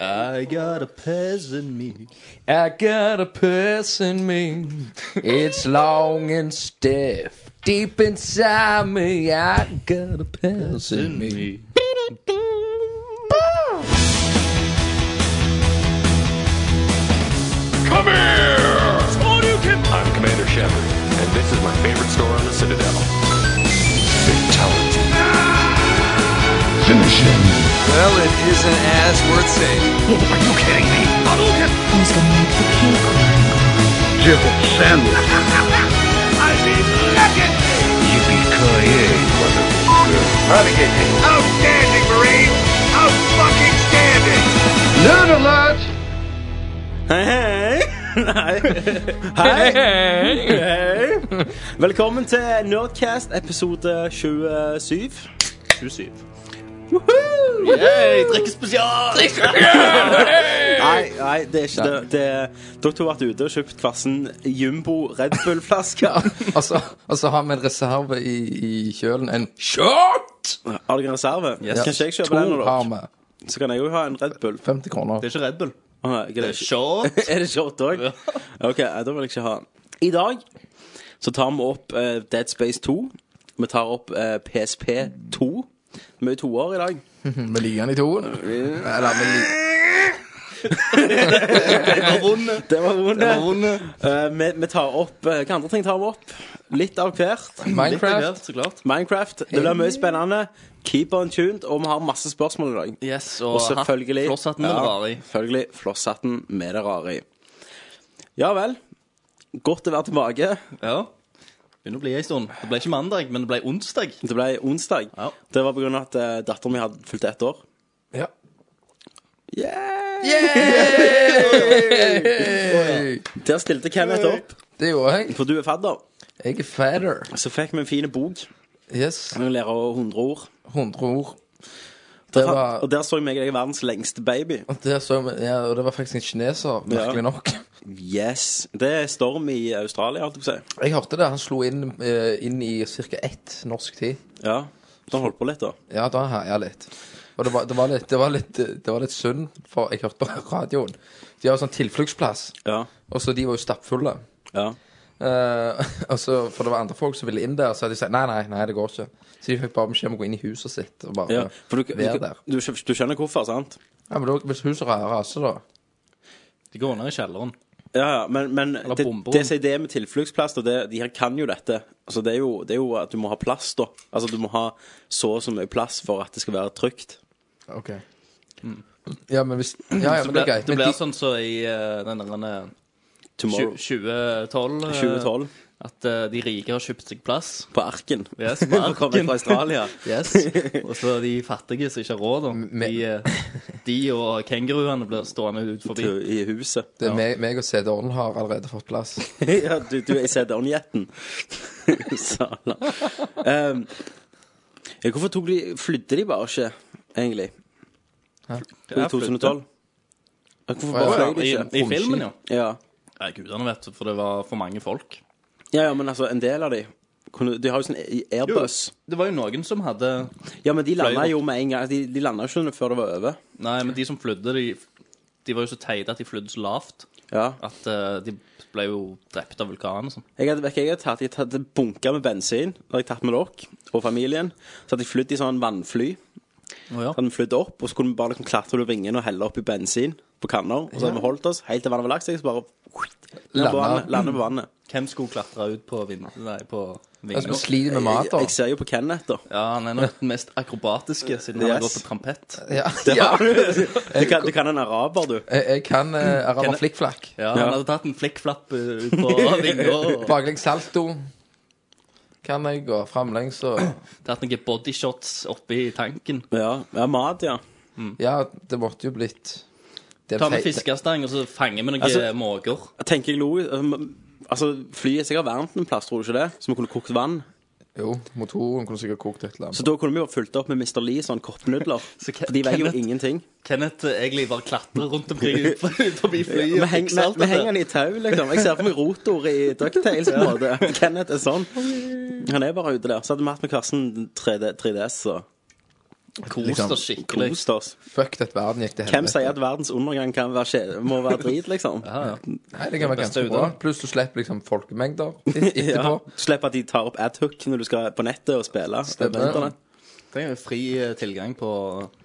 I got a pez in me. I got a piss in me. It's long and stiff. Deep inside me, I got a piss in me. Come here! I'm Commander Shepard, and this is my favorite store on the Citadel. Fatality. Finish him. Well, it isn't as worth saying. Are you kidding me? Hadouken! Who's gonna make the cake? Jill Sandwich. I mean, look at me! Yippee-ki-yay, motherfucker. Renegade. Outstanding, Marine! Out fucking standing! Nerd alert! Hei, hei. Hei. Hei. Velkommen til Nerdcast episode 27. 27. Yay, drikkespesial! Nei, nei, det er ikke det. det er- dere to har vært ute og kjøpt hver sin Jumbo Red Bull-flaske. Og så, og så har vi en reserve i, i kjølen. En shot! Har dere en reserve? Ja. Kan ikke jeg kjøpe To den? av dere? har vi. Så kan jeg jo ha en Red Bull. 50 kroner. Det er ikke Red Bull. Ah, ikke det. Short. Er det short òg? OK, eh, da vil jeg ikke ha den. I dag så tar vi opp eh, Dead Space 2. Vi tar opp eh, PSP 2. Mye toer i dag. Vi liker den i toen. Eller, vi liker Det var vondt. Runde. Eh, vi, vi tar opp eh, Hva andre ting tar vi opp? Litt av hvert. Minecraft. Så klart. Minecraft. Det blir mye spennende. Keep on tuned, og vi har masse spørsmål i dag. Yes, og, Og selvfølgelig Flosshatten ja. var i. Selvfølgelig flosshatten med det rare i. Ja vel. Godt å være tilbake. Ja. Begynner å bli en stund. Det ble ikke mandag, men det ble onsdag. Det ble onsdag. Ja. Det var pga. at uh, datteren min hadde fylt ett år. Ja. Yeah! Hey. Der stilte Kenneth opp, Det gjorde jeg. for du er fadder. Jeg er fatter. Så fikk vi en fin bok. Yes. Vi lærer over 100 ord. 100 ord. Det var, Og der så jeg meg jeg er verdens lengste baby. det, så, vi- ja, og det var faktisk en kineser, merkelig nok. Yes. Det er storm i Australia, holdt jeg på å si. Jeg hørte det. Han slo inn, eh, inn i ca. ett norsk tid. Ja. Så han holdt på litt, da. Ja, da herja litt. Og det var, det, var litt, det, var litt, det var litt synd, for jeg hørte på radioen. De har jo sånn tilfluktsplass, Ja. og så de var jo stappfulle. ja. Eh, og så, for det var andre folk som ville inn der, så hadde de sagt nei, nei, nei, det går ikke. Så de fikk bare beskjed om å gå inn i huset sitt og bare ja. For du, være du, der. du, skjø- du skjønner hvorfor, sant? Ja, men da, hvis huset raser, da De går ned i kjelleren. Ja, ja, men, men det, bomberom. det som er det med tilfluktsplass, og det, de her kan jo dette altså, det, er jo, det er jo at du må ha plass, da. Altså du må ha så og så mye plass for at det skal være trygt. Ok. Ja, men hvis Ja, ja, Så men det ble, er greit. det Men ble de, altså sånn så i eh, den der Tomorrow 2012 eh, 2012 At eh, de rike har kjøpt seg plass. på Arken. Yes, på For å komme Arken. fra Australia. Yes. Og så de fattige som ikke har råd, da. De, eh, de og kenguruene blir stående ut forbi. til, I huset. det er meg, meg og CD-en har allerede fått plass. ja, du, du er i CD-on-jetten. Sala. Ehm, ja, hvorfor tok de Flydde de bare ikke, egentlig? I Ja, 2012? Ja, Å, Hvorfor bare ja. fløy de I, ikke? I filmen, ja. Ja. Nei, gudene vet, for det var for mange folk. ja, ja, men altså, en del av de kunne, De har jo sånn airbus. Det var jo noen som hadde Ja, men de landa Fløy jo med en gang. Altså, De, de landa jo ikke før det var over. Nei, men de som flydde, de, de var jo så teite at de flydde så lavt Ja. at eh, de ble jo drept av vulkanen og sånn. Jeg hadde, vet ikke, jeg hadde tatt, jeg hadde bunka med bensin da hadde jeg tatt med dere og familien. Så hadde jeg flydd i sånn vannfly. Så hadde vi flydd opp, og så kunne vi bare liksom klatre ut av vingen og helle opp i bensin på kanner. Og så hadde vi holdt oss helt til vannet var lagt seg, så bare lande på vannet. Lande på vannet. Hvem skulle klatre ut på vind... Nei, på Altså, vi vinger? sliter med mat, da. Jeg ser jo på Kenneth, da. Ja, han er nok den mest akrobatiske siden han har Yes. gått på trampett. Ja, Det ja. har du. Du kan, du kan en araber, du. Jeg, jeg kan uh, arama flikkflakk. Ja, Han hadde tatt en flikkflapp eh, ut på vinger og Baklengs salto kan jeg, og framlengs og tatt noen bodyshots oppi tanken. Ja, ja mat, ja. Ja, det måtte jo blitt det er Ta med feit- fiskestang, og så fanger vi noen Altså- måker. Jeg tenker jeg lo Altså, flyet er sikkert varmt en plass, tror du ikke det? Så vi kunne kokt vann. Jo, motoren kunne sikkert kokt et eller annet. Så da kunne vi jo fulgt opp med Mr. Lee sånn koppnudler. Så Ke- For de veier jo Kenneth- ingenting. Kenneth eh, egentlig bare klatrer rundt omkring ut ut forbi flyet. Vi og henger, fikser alt vi, vi dette. henger den i tau, liksom. Jeg ser for meg rotor i Ducktails på en måte. Kenneth er sånn. Han er bare ute der. Så hadde vi hatt med hver sin 3D, 3DS, så Kos Liksom, oss skikkelig. Kost oss. Fuck that verden gikk til Hvem sier at verdens undergang kan være kje, må være drit, liksom? Ja, ja. Nei, det kan være Beste ganske bra. utdrag. Pluss du slipper liksom folkemengder litt etterpå. Slipp at de tar opp adhook når du skal på nettet og spille. Over internett. Trenger jo fri eh, tilgang på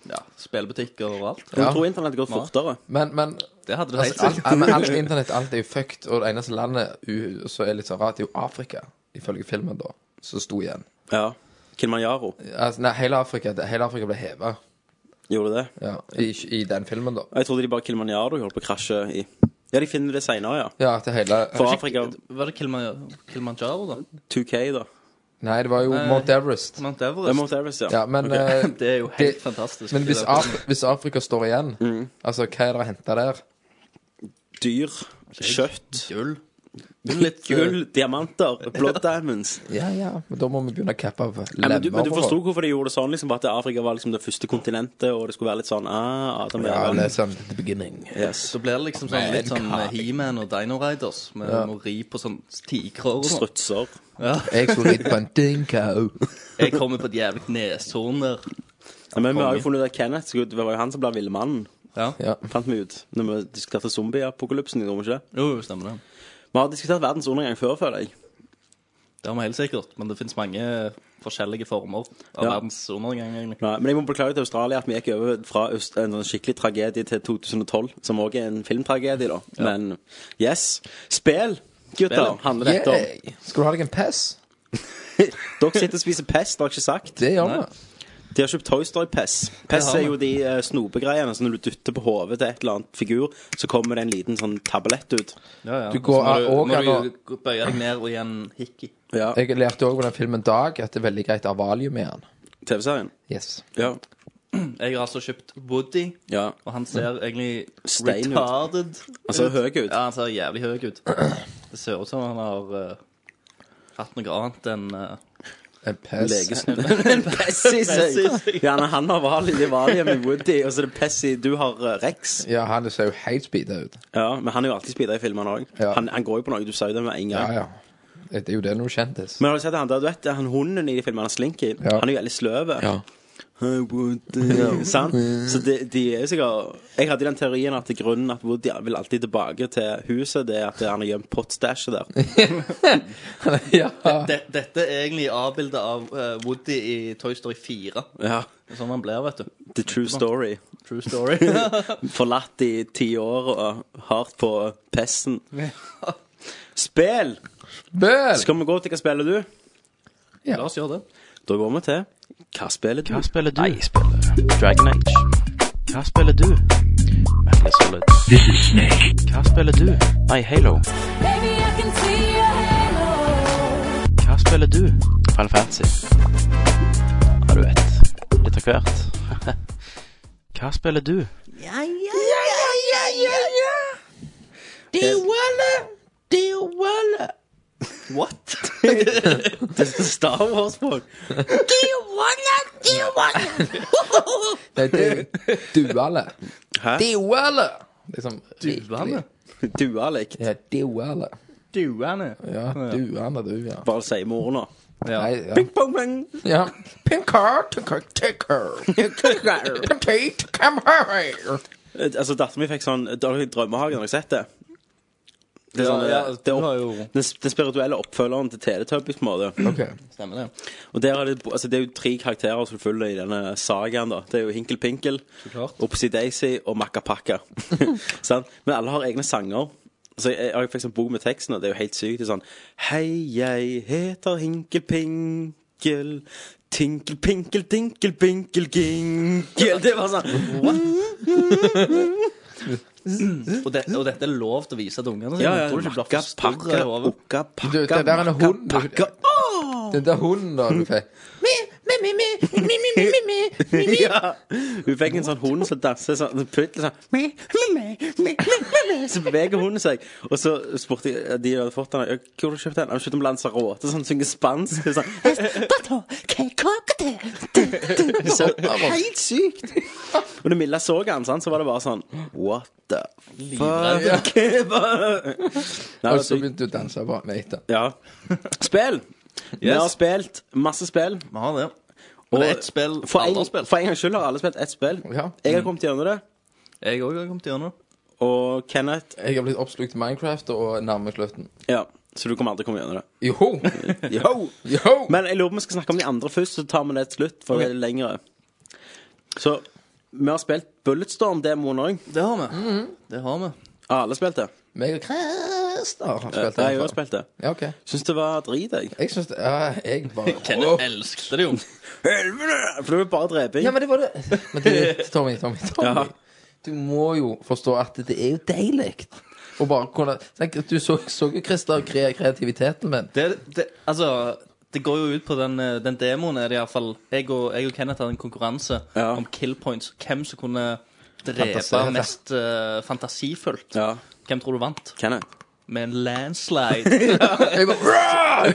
ja, spillbutikker og alt. Jeg tror internett går fortere. Men, men Det hadde du helt altså, alt, sikkert. men alt internett alt er jo fucked, og det eneste landet u- som er litt sånn rart, er jo Afrika, ifølge filmen, da, som sto igjen. Ja. Kilimanjaro Altså, nei, hele Afrika, det- hele Afrika ble heva gjorde det. ja, i, i den filmen, da. Og Jeg trodde de bare Kilimanjaro holdt på å krasje i Ja, de finner det seinere, ja. Ja, til hele For Afrika Var det Kilima- Kilimanjaro, da? 2K, da. Nei, det var jo Nei. Mount Everest. Mount Det er Everest. Mount Everest, ja. Ja, men eh, Det er jo helt det- fantastisk. Men hvis, Det- Af hvis Afrika står igjen, altså hva er det å hente der? Dyr, kjøtt, Gull. Litt gull, diamanter, blood diamonds. Ja, ja, men da må vi begynne å cappe av Ja, men, du, men du lemmer forsto og- hvorfor de gjorde det sånn? liksom At Afrika var liksom det første kontinentet, og det skulle være litt sånn ah, Adam og Ja, Eva. det er sånn the beginning. Yes. Så blir det liksom sånn, litt sånn eh, He-Man og Dino Riders. Med å ri på sånn tigrer og sånn. Strutser. Jeg skulle ridd på en dingo. Jeg kommer på et jævlig neshorn der. Ja, men vi har jo funnet ut at Kenneth skulle- det var jo han som ble villmannen. Ja. Ja. Fant vi ut når vi diskuterte zombieapokalypsen. gjorde Vi ikke det? Jo, jo, stemmer det. Vi har diskutert verdens undergang før, føler jeg. Det har vi helt sikkert. Men det finnes mange forskjellige former av Ja. verdens undergang, egentlig. Nei, men jeg må beklage til Australia at vi gikk over fra øst, en sånn skikkelig tragedie til 2012, som også er en filmtragedie, da. Men yes. Spill, gutter, Spill. handler dette om. Yeah. Skal du ha deg en pess? Dere sitter og spiser pest, det har jeg ikke sagt. Det gjør vi. Nei. De har kjøpt Toy Story-pess. Pess har er jo de eh, snopegreiene som når du dytter på hodet til et eller annet figur, så kommer det en liten sånn tablett ut. Ja, ja. Du går Og så må av- du- og- må du bøye deg ned og gi en hikki. Ja, Jeg lærte òg på den filmen Dag at det er veldig greit å ha valium i den. TV-serien. Yes. Ja. Jeg har altså kjøpt Woody, ja. og han ser egentlig Stein ut. retarded ut. Han ser høy ut. Ja, han ser jævlig høy ut. Det ser ut som han har eh, hatt noe annet enn eh, En pess. Leges- En pess i seg. Gjerne han har Vali, det er Vali med Woody, og så er det Pess i Du har eh, Rex. Ja, han ser jo helt speeda ut. Ja, men han er jo alltid speeda i filmene òg. Ja. Han, han går jo på noe, du sa jo det med en Ja, gang. ja. Det er jo det når du kjentes. Men har du sett han der, du vet, han hunden i de filmene, han Slinky, Ja. han er jo veldig sløv. Ja. Hey, Woody. Sant? Så de, de er jo sikkert Jeg hadde den teorien at grunnen at Woody vil alltid tilbake til huset, det er at han har gjemt potstæsjet der. ja. de, Dette er egentlig avbildet av eh, Woody i Toy Story 4. Ja, Sånn han blir, vet du. The true story. True story. Forlatt i ti år og hardt på pesten. Spill! Bøl! Skal vi gå til hva spiller du? La oss gjøre det. Da går vi til Hva spiller du? Hva spiller du? Jeg spiller Dragon Age. Hva spiller du? Metal Solid. This is Snake. Hva spiller du? Nei, Halo. Baby, I can see your halo. Hva spiller du? Final Fantasy. Ja, du vet. Litt av hvert. Hva spiller du? What? Star Wars-folk. Nei, det er duale. Hæ? Duale! Liksom Duane? Dualikt. Ja, duale. Duane? Ja, duane, du, ja. Bare si med ordene. Ja. Nei, ja. Bong, bong. ja. Pinkar, tinkar, tinkar. Petite, come here. Eh, Altså, Datteren min fikk sånn Dårlig drømmehage, har dere sett det? Det, er sånn, Ja, ja, eh, det du er har opp, jo den, s- den spirituelle oppfølgeren til Teletubbies, på en måte. Ok. Stemmer det. Og der er det, altså, det er jo tre karakterer som følger i denne sagaen. da Det er jo Hinkel Pinkel, klart. Opsi Daisy og Makkapakka. Sant? Men alle har egne sanger. Så jeg, jeg har jo faktisk en bok med teksten, og det er jo helt sykt. Det er sånn Hei, jeg heter Hinkel Pinkel. Tinkel, pinkel, tinkel, pinkel, ginkel. Det var sånn Og, det, og dette er lov til å vise til ungene sine? Ja, ja, Tror du ikke makka, blir for store pakka, i hodet? okka, pakka, Du, det der er en makka, hund. pakka. Den der hunden da du fikk. Ja. Hun fikk en sånn hund som danser sånn en pytt, sånn mi, mi, mi, mi, mi, mi. Så beveger hunden seg. Og så spurte jeg de hadde fått den. «Ja, Hvor har du kjøpt den? Han kjøpte den på Lanzarote, sånn synger spansk. Det er Sånn. Så, helt sykt! Og når Milla så han, sant, så var det bare sånn What the fuck? Nei, Og det var så sykt. begynte du å danse på den etter. ja. Spill! Vi har spilt masse spill. Vi har det. Men det er ett spill For alle en, har spilt. for en gangs skyld har alle spilt ett spill. Ja. Jeg har kommet gjennom det, Jeg òg har kommet gjennom. og Kenneth Jeg har blitt oppslukt i Minecraft og nærmer slutten. Ja, så du kommer aldri til å komme gjennom det. Joho! Yo! Joho! Men jeg lurer på om vi skal snakke om de andre først, så tar vi det til slutt. For det er lengre. Så vi har spilt Bulletstorm-demoen òg. Det har vi. Mhm. Det har vi. Alle spilte. Meg og Christer har Ja, spilt jeg har det. også spilt det. Ja, ok. Syns det var drit, jeg. Jeg syns det Ja, jeg bare Kenneth Åh. elsket det jo. Helvete! For det var bare dreping. Ja, men det var det. Men det, Tommy, Tommy, Tommy. Ja. Du må jo forstå at det er jo deilig. Og bare kunne tenk, Du så, så jo, Christer, kre, kreativiteten min. Det, det, altså, det går jo ut på den, eh, den demoen er det iallfall jeg, og- jeg og Kenneth hadde en konkurranse Ja. om kill points. Hvem som kunne drepe Fantasere. mest eh, fantasifullt. Ja. Hvem tror du vant? Kenneth. Med en landslide. Jeg bare Rah!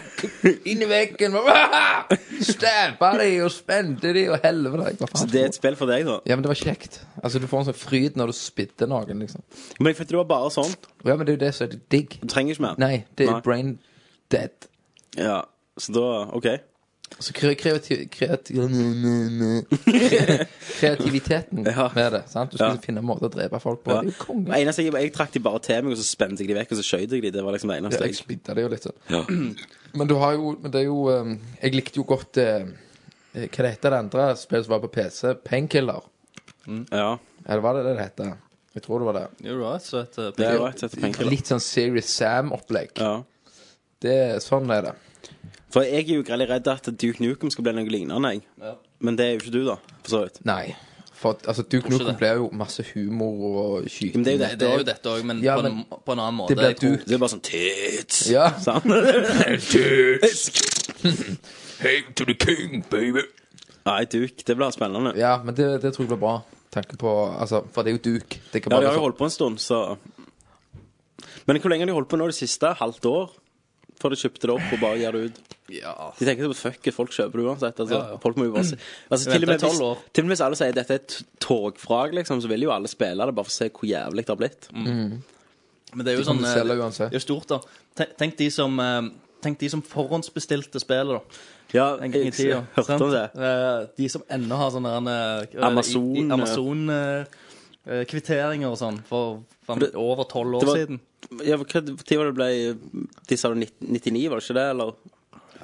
Inn i veggen. Rah! Stabba de og spente de og helvete. Jeg bare, Så faen, det er et spill for deg, da. Ja, men det var kjekt. Altså, Du får en sånn fryd når du spytter noen, liksom. Men jeg følte det var bare sånn. Ja, men det er jo det som er det digg. Du trenger ikke mer. Nei, det er Nei. brain dead. Ja. Så da OK. Altså kre kreativ kreativ kreativiteten Ja. med det. sant? Du skulle Ja. finne en måte å drepe folk på. Ja. Det er jo Det konge. eneste jeg, jeg trakk de bare til meg, og så spente jeg de vekk, og så skjøt jeg de. Det var liksom det Ja, eneste. jeg Jeg... splittet det jo litt. sånn. Men du har jo Men det er jo um, Jeg likte jo godt eh, eh, Hva det heter det andre spillet som var på PC? Painkiller. Ja. Eller var det det det heter? Jeg tror det var det. You're right, så et, eh, Det er right, setter penger. Litt sånn Serious Sam-opplegg. Ja. Det er Sånn er det. For jeg er jo veldig redd at Duke Nukem skal bli noe lignende, jeg. Ja. Men det er jo ikke du, da. For så vidt. Nei. For at, altså, Duke Nukem det. ble jo masse humor og Men skyting. det er jo Nei, det er jo dette òg. dette òg, men, Ja, på, en, men på en annen måte. Det ble Jeg tror- Det er bare sånn tits. Ja. Sant? Hate to the king, baby. Nei, Duke. Det blir spennende. Ja, men det, det tror jeg blir bra. Tanke på, altså, For det er jo duk. Det kan Ja, bare de har være jo holdt på en stund, så Men hvor lenge har de holdt på nå det siste? Halvt år? Før de kjøpte det opp og bare gir det ut? Ja. De tenker sånn Fuck it, folk kjøper det uansett. Altså, Ja, ja. Folk må jo bare se altså, til, og Vent, det er med hvis, 12 år. til og med hvis alle sier dette er et togfrag, liksom, så vil jo alle spille det bare for å se hvor jævlig det har blitt. Men det er jo kan sånn du eh, selge uansett. Det er jo stort, da. Tenk, tenk, de som, eh, tenk de som forhåndsbestilte spillet, da. Ja, En gang i jeg, tida. hørte sant? om det. Eh, De som ennå har sånne der, eh, Amazon, i- i- eh. Amazon eh, eh, kvitteringer og sånn for, for det- over tolv år det var- siden. Ja, hva tid var det ble De sa det 99, var det ikke det? Eller?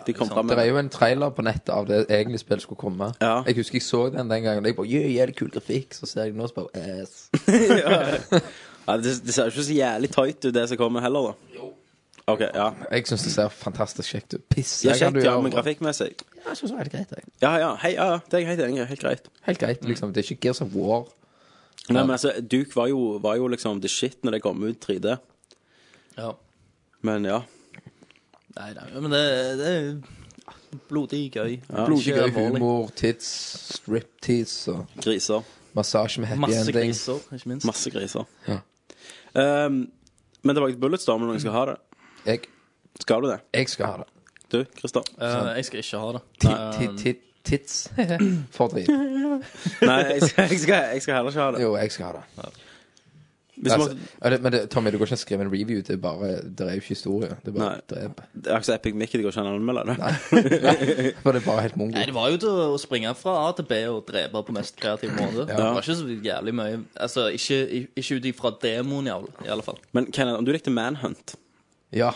De kom fram Det med er jo en trailer på nettet av det egentlig spillet skulle komme. Ja. Jeg husker jeg så den den gangen. og Jeg bare, yeah, yeah, det er kul grafikk Så ser jeg den nå og så bare ass. ja, det, det ser jo ikke så jævlig tight ut, det som kommer heller, da. OK, ja. Jeg syns det ser fantastisk kjekt ut. Piss. Det jeg er kan kjekt, du ja, gjøre. men grafikkmessig Ja, Jeg synes det var helt greit. Jeg. Ja, ja, hei, ja, ja, det er jeg helt enig i. Helt greit. Helt greit, Mm. liksom. Det er ikke Gears of War. Nei, men altså, Duke var jo, var jo liksom the shit når det kom ut 3D. Ja. Men ja. Nei, nei, men det, det er blodig gøy. Blodig Ikke gøy alvorlig. humor, tits, striptease og Griser. massasje med happy Masse ending. griser, ikke minst. Masse griser. Ja. Ehm, men tilbake til Bulletstorm, når noen skal ha det. Jeg, Skal du det? jeg skal ha det. Du, Christer? Eh, jeg skal ikke ha det. Um. Tit- tit- tit- Tits. For dritt. Nei, jeg skal, jeg, skal, jeg skal heller ikke ha det. Jo, jeg skal ha det. Hvis du Altså, måtte, ja, det- men det, Tommy, det går ikke an å skrive en review. Det er bare, det er jo ikke historie. Det er bare Nei. drep. det er ikke så epic Mickey det går ikke an å anmelde det. For det er bare helt mongo. Nei, Det var jo til å springe fra A til B og drepe på mest kreativ måte. Det var ikke så jævlig mye Altså, Ikke, ikke ut ifra demoen, i alle- i alle fall. Men Kenneth, om du likte Manhunt Ja.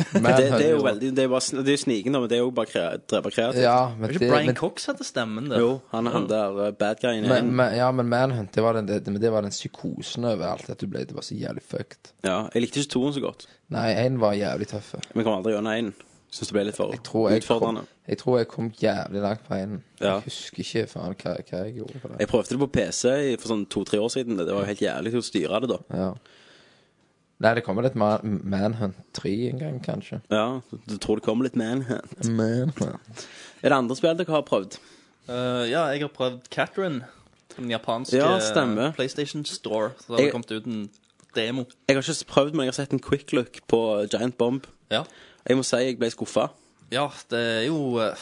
Det, det er jo veldig Det er jo bare sn- det er jo sniken, da, men det er jo bare kre, drepe kreativt. Ja, men Var det, ikke Brian men, Cox hadde stemmen der? Jo, han, han der eh, bad guyen i men, en. men, ja, men Manhunt, det var den, det, men det var den psykosen over alt. At du ble det var så jævlig fucked. Ja, jeg likte ikke toen så godt. Nei, én var jævlig tøff. Vi kommer aldri gjennom én. Syns det ble litt for Jeg tror jeg, kom, utfordrende. jeg tror jeg kom jævlig langt på én. Ja. Jeg husker ikke faen hva, hva jeg gjorde på det. Jeg prøvde det på PC i- for sånn to-tre år siden. Det var jo helt jævlig å styre det, da. Ja. Nei, det kommer litt Man Manhunt 3 en gang, kanskje. Ja, Du tror det kommer litt manhunt. Manhunt. Er det andre spill dere har prøvd? Eh, ja, jeg har prøvd Catherine. Den japanske Ja, stemmer. PlayStation Store. Så det har Jeg- kommet ut en demo. Jeg har ikke prøvd, men jeg har sett en quick look på Giant Bomb. Ja, Jeg må si jeg ble skuffa. ja det er jo eh,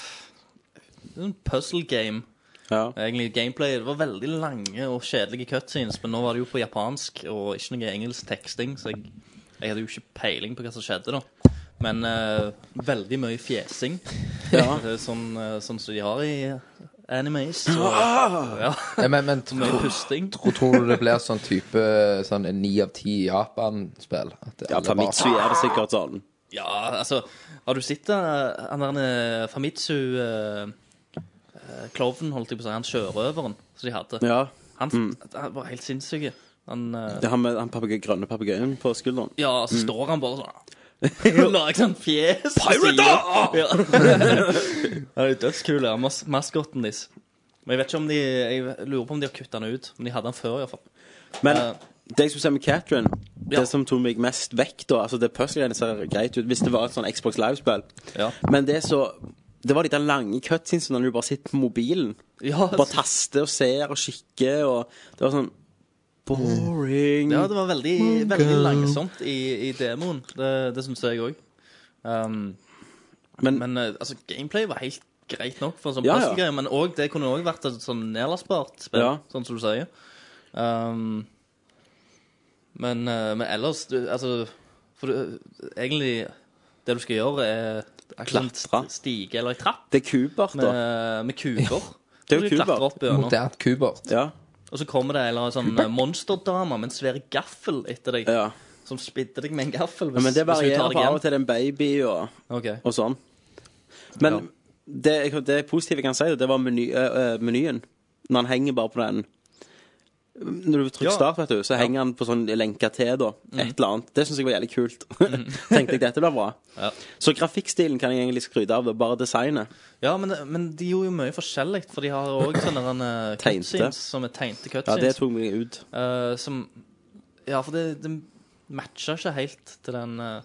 det er en puzzle game. Ja. Egentlig gameplay. Det var veldig lange og kjedelige cutscenes, men nå var det jo på japansk og ikke noe engelsk teksting, så jeg, jeg hadde jo ikke peiling på hva som skjedde, da. Men eh, veldig mye fjesing. Ja. Det er sånn eh, sånn som de har i animes. Så, Ah! ja, Nei, men, men mye tro, pusting. tro, tror du det blir sånn type sånn en ni av ti Japan-spill? At Ja, alle bare- Famitsu er det sikkert sånn. Ja, altså Har du sett eh, han der eh, Famitsu eh, eh, Klovnen, holdt jeg på å si. Han sjørøveren som de hadde. Ja. Mm. Han, han var helt sinnssyk. Han eh, Det er han med den papegøy- grønne papegøyen på skulderen. Ja, så står han bare sånn Lager sånn fjes på siden. Ja. Han er jo dødskul, ja. Mas maskotten deres. Men jeg vet ikke om de Jeg lurer på om de har kutta han ut. Men de hadde han før, iallfall. Men Eh. det jeg skulle si med Catherine, Ja. det som tok meg mest vekk da Altså, det puzzle-greiene ser greit ut hvis det var et sånn Xbox Live-spill, Ja. men det er så det var de der lange cutscenesene når du bare sitter på mobilen. Ja, Bare taster og ser og kikker og Det var sånn Boring. Ja, det var veldig, veldig langsomt i, i demoen. Det, det syns jeg òg. Um, Men- men eh, altså, gameplay var helt greit nok for en sånn Ja, ja, ja. puzzlegreie. Men også, det kunne òg vært et sånn nedlastbart spill, Ja. sånn som du sier. Um, men, eh, men ellers du, Altså, for du, eh, egentlig Det du skal gjøre, er Klatre. Stige eller ei trapp Det er Kubert, da. med, med kuber. Det er jo Så du kuber. klatrer "Ah, opp gjennom. Moderne Kubert. Ja. Og så kommer det en eller annen sånn eh, monsterdame med en svær gaffel etter deg. ja. Som spidder deg med en gaffel Ja, hvis, Men det hvis du varierer tar fra av og deg til det er en baby og, igjen. og sånn. Men Ja. det, jeg- det positive jeg kan si, det var meny, øh, øh, menyen. Når han henger bare på den Når du trykker Ja. Mhm. start, vet du, så henger han på sånn lenka til, da. Et eller annet. Det syns jeg var jævlig kult. Tenkte jeg dette blir bra. Ja. Så grafikkstilen kan jeg egentlig skryte av. Det er bare designet. Ja, men, men de gjorde jo mye forskjellig, for de har òg sånne eh, Tegnte. cutscenes som er tegnte Ja, det cutscenes. tok meg ut. eh, som Ja, for det, det matcha ikke helt til den eh,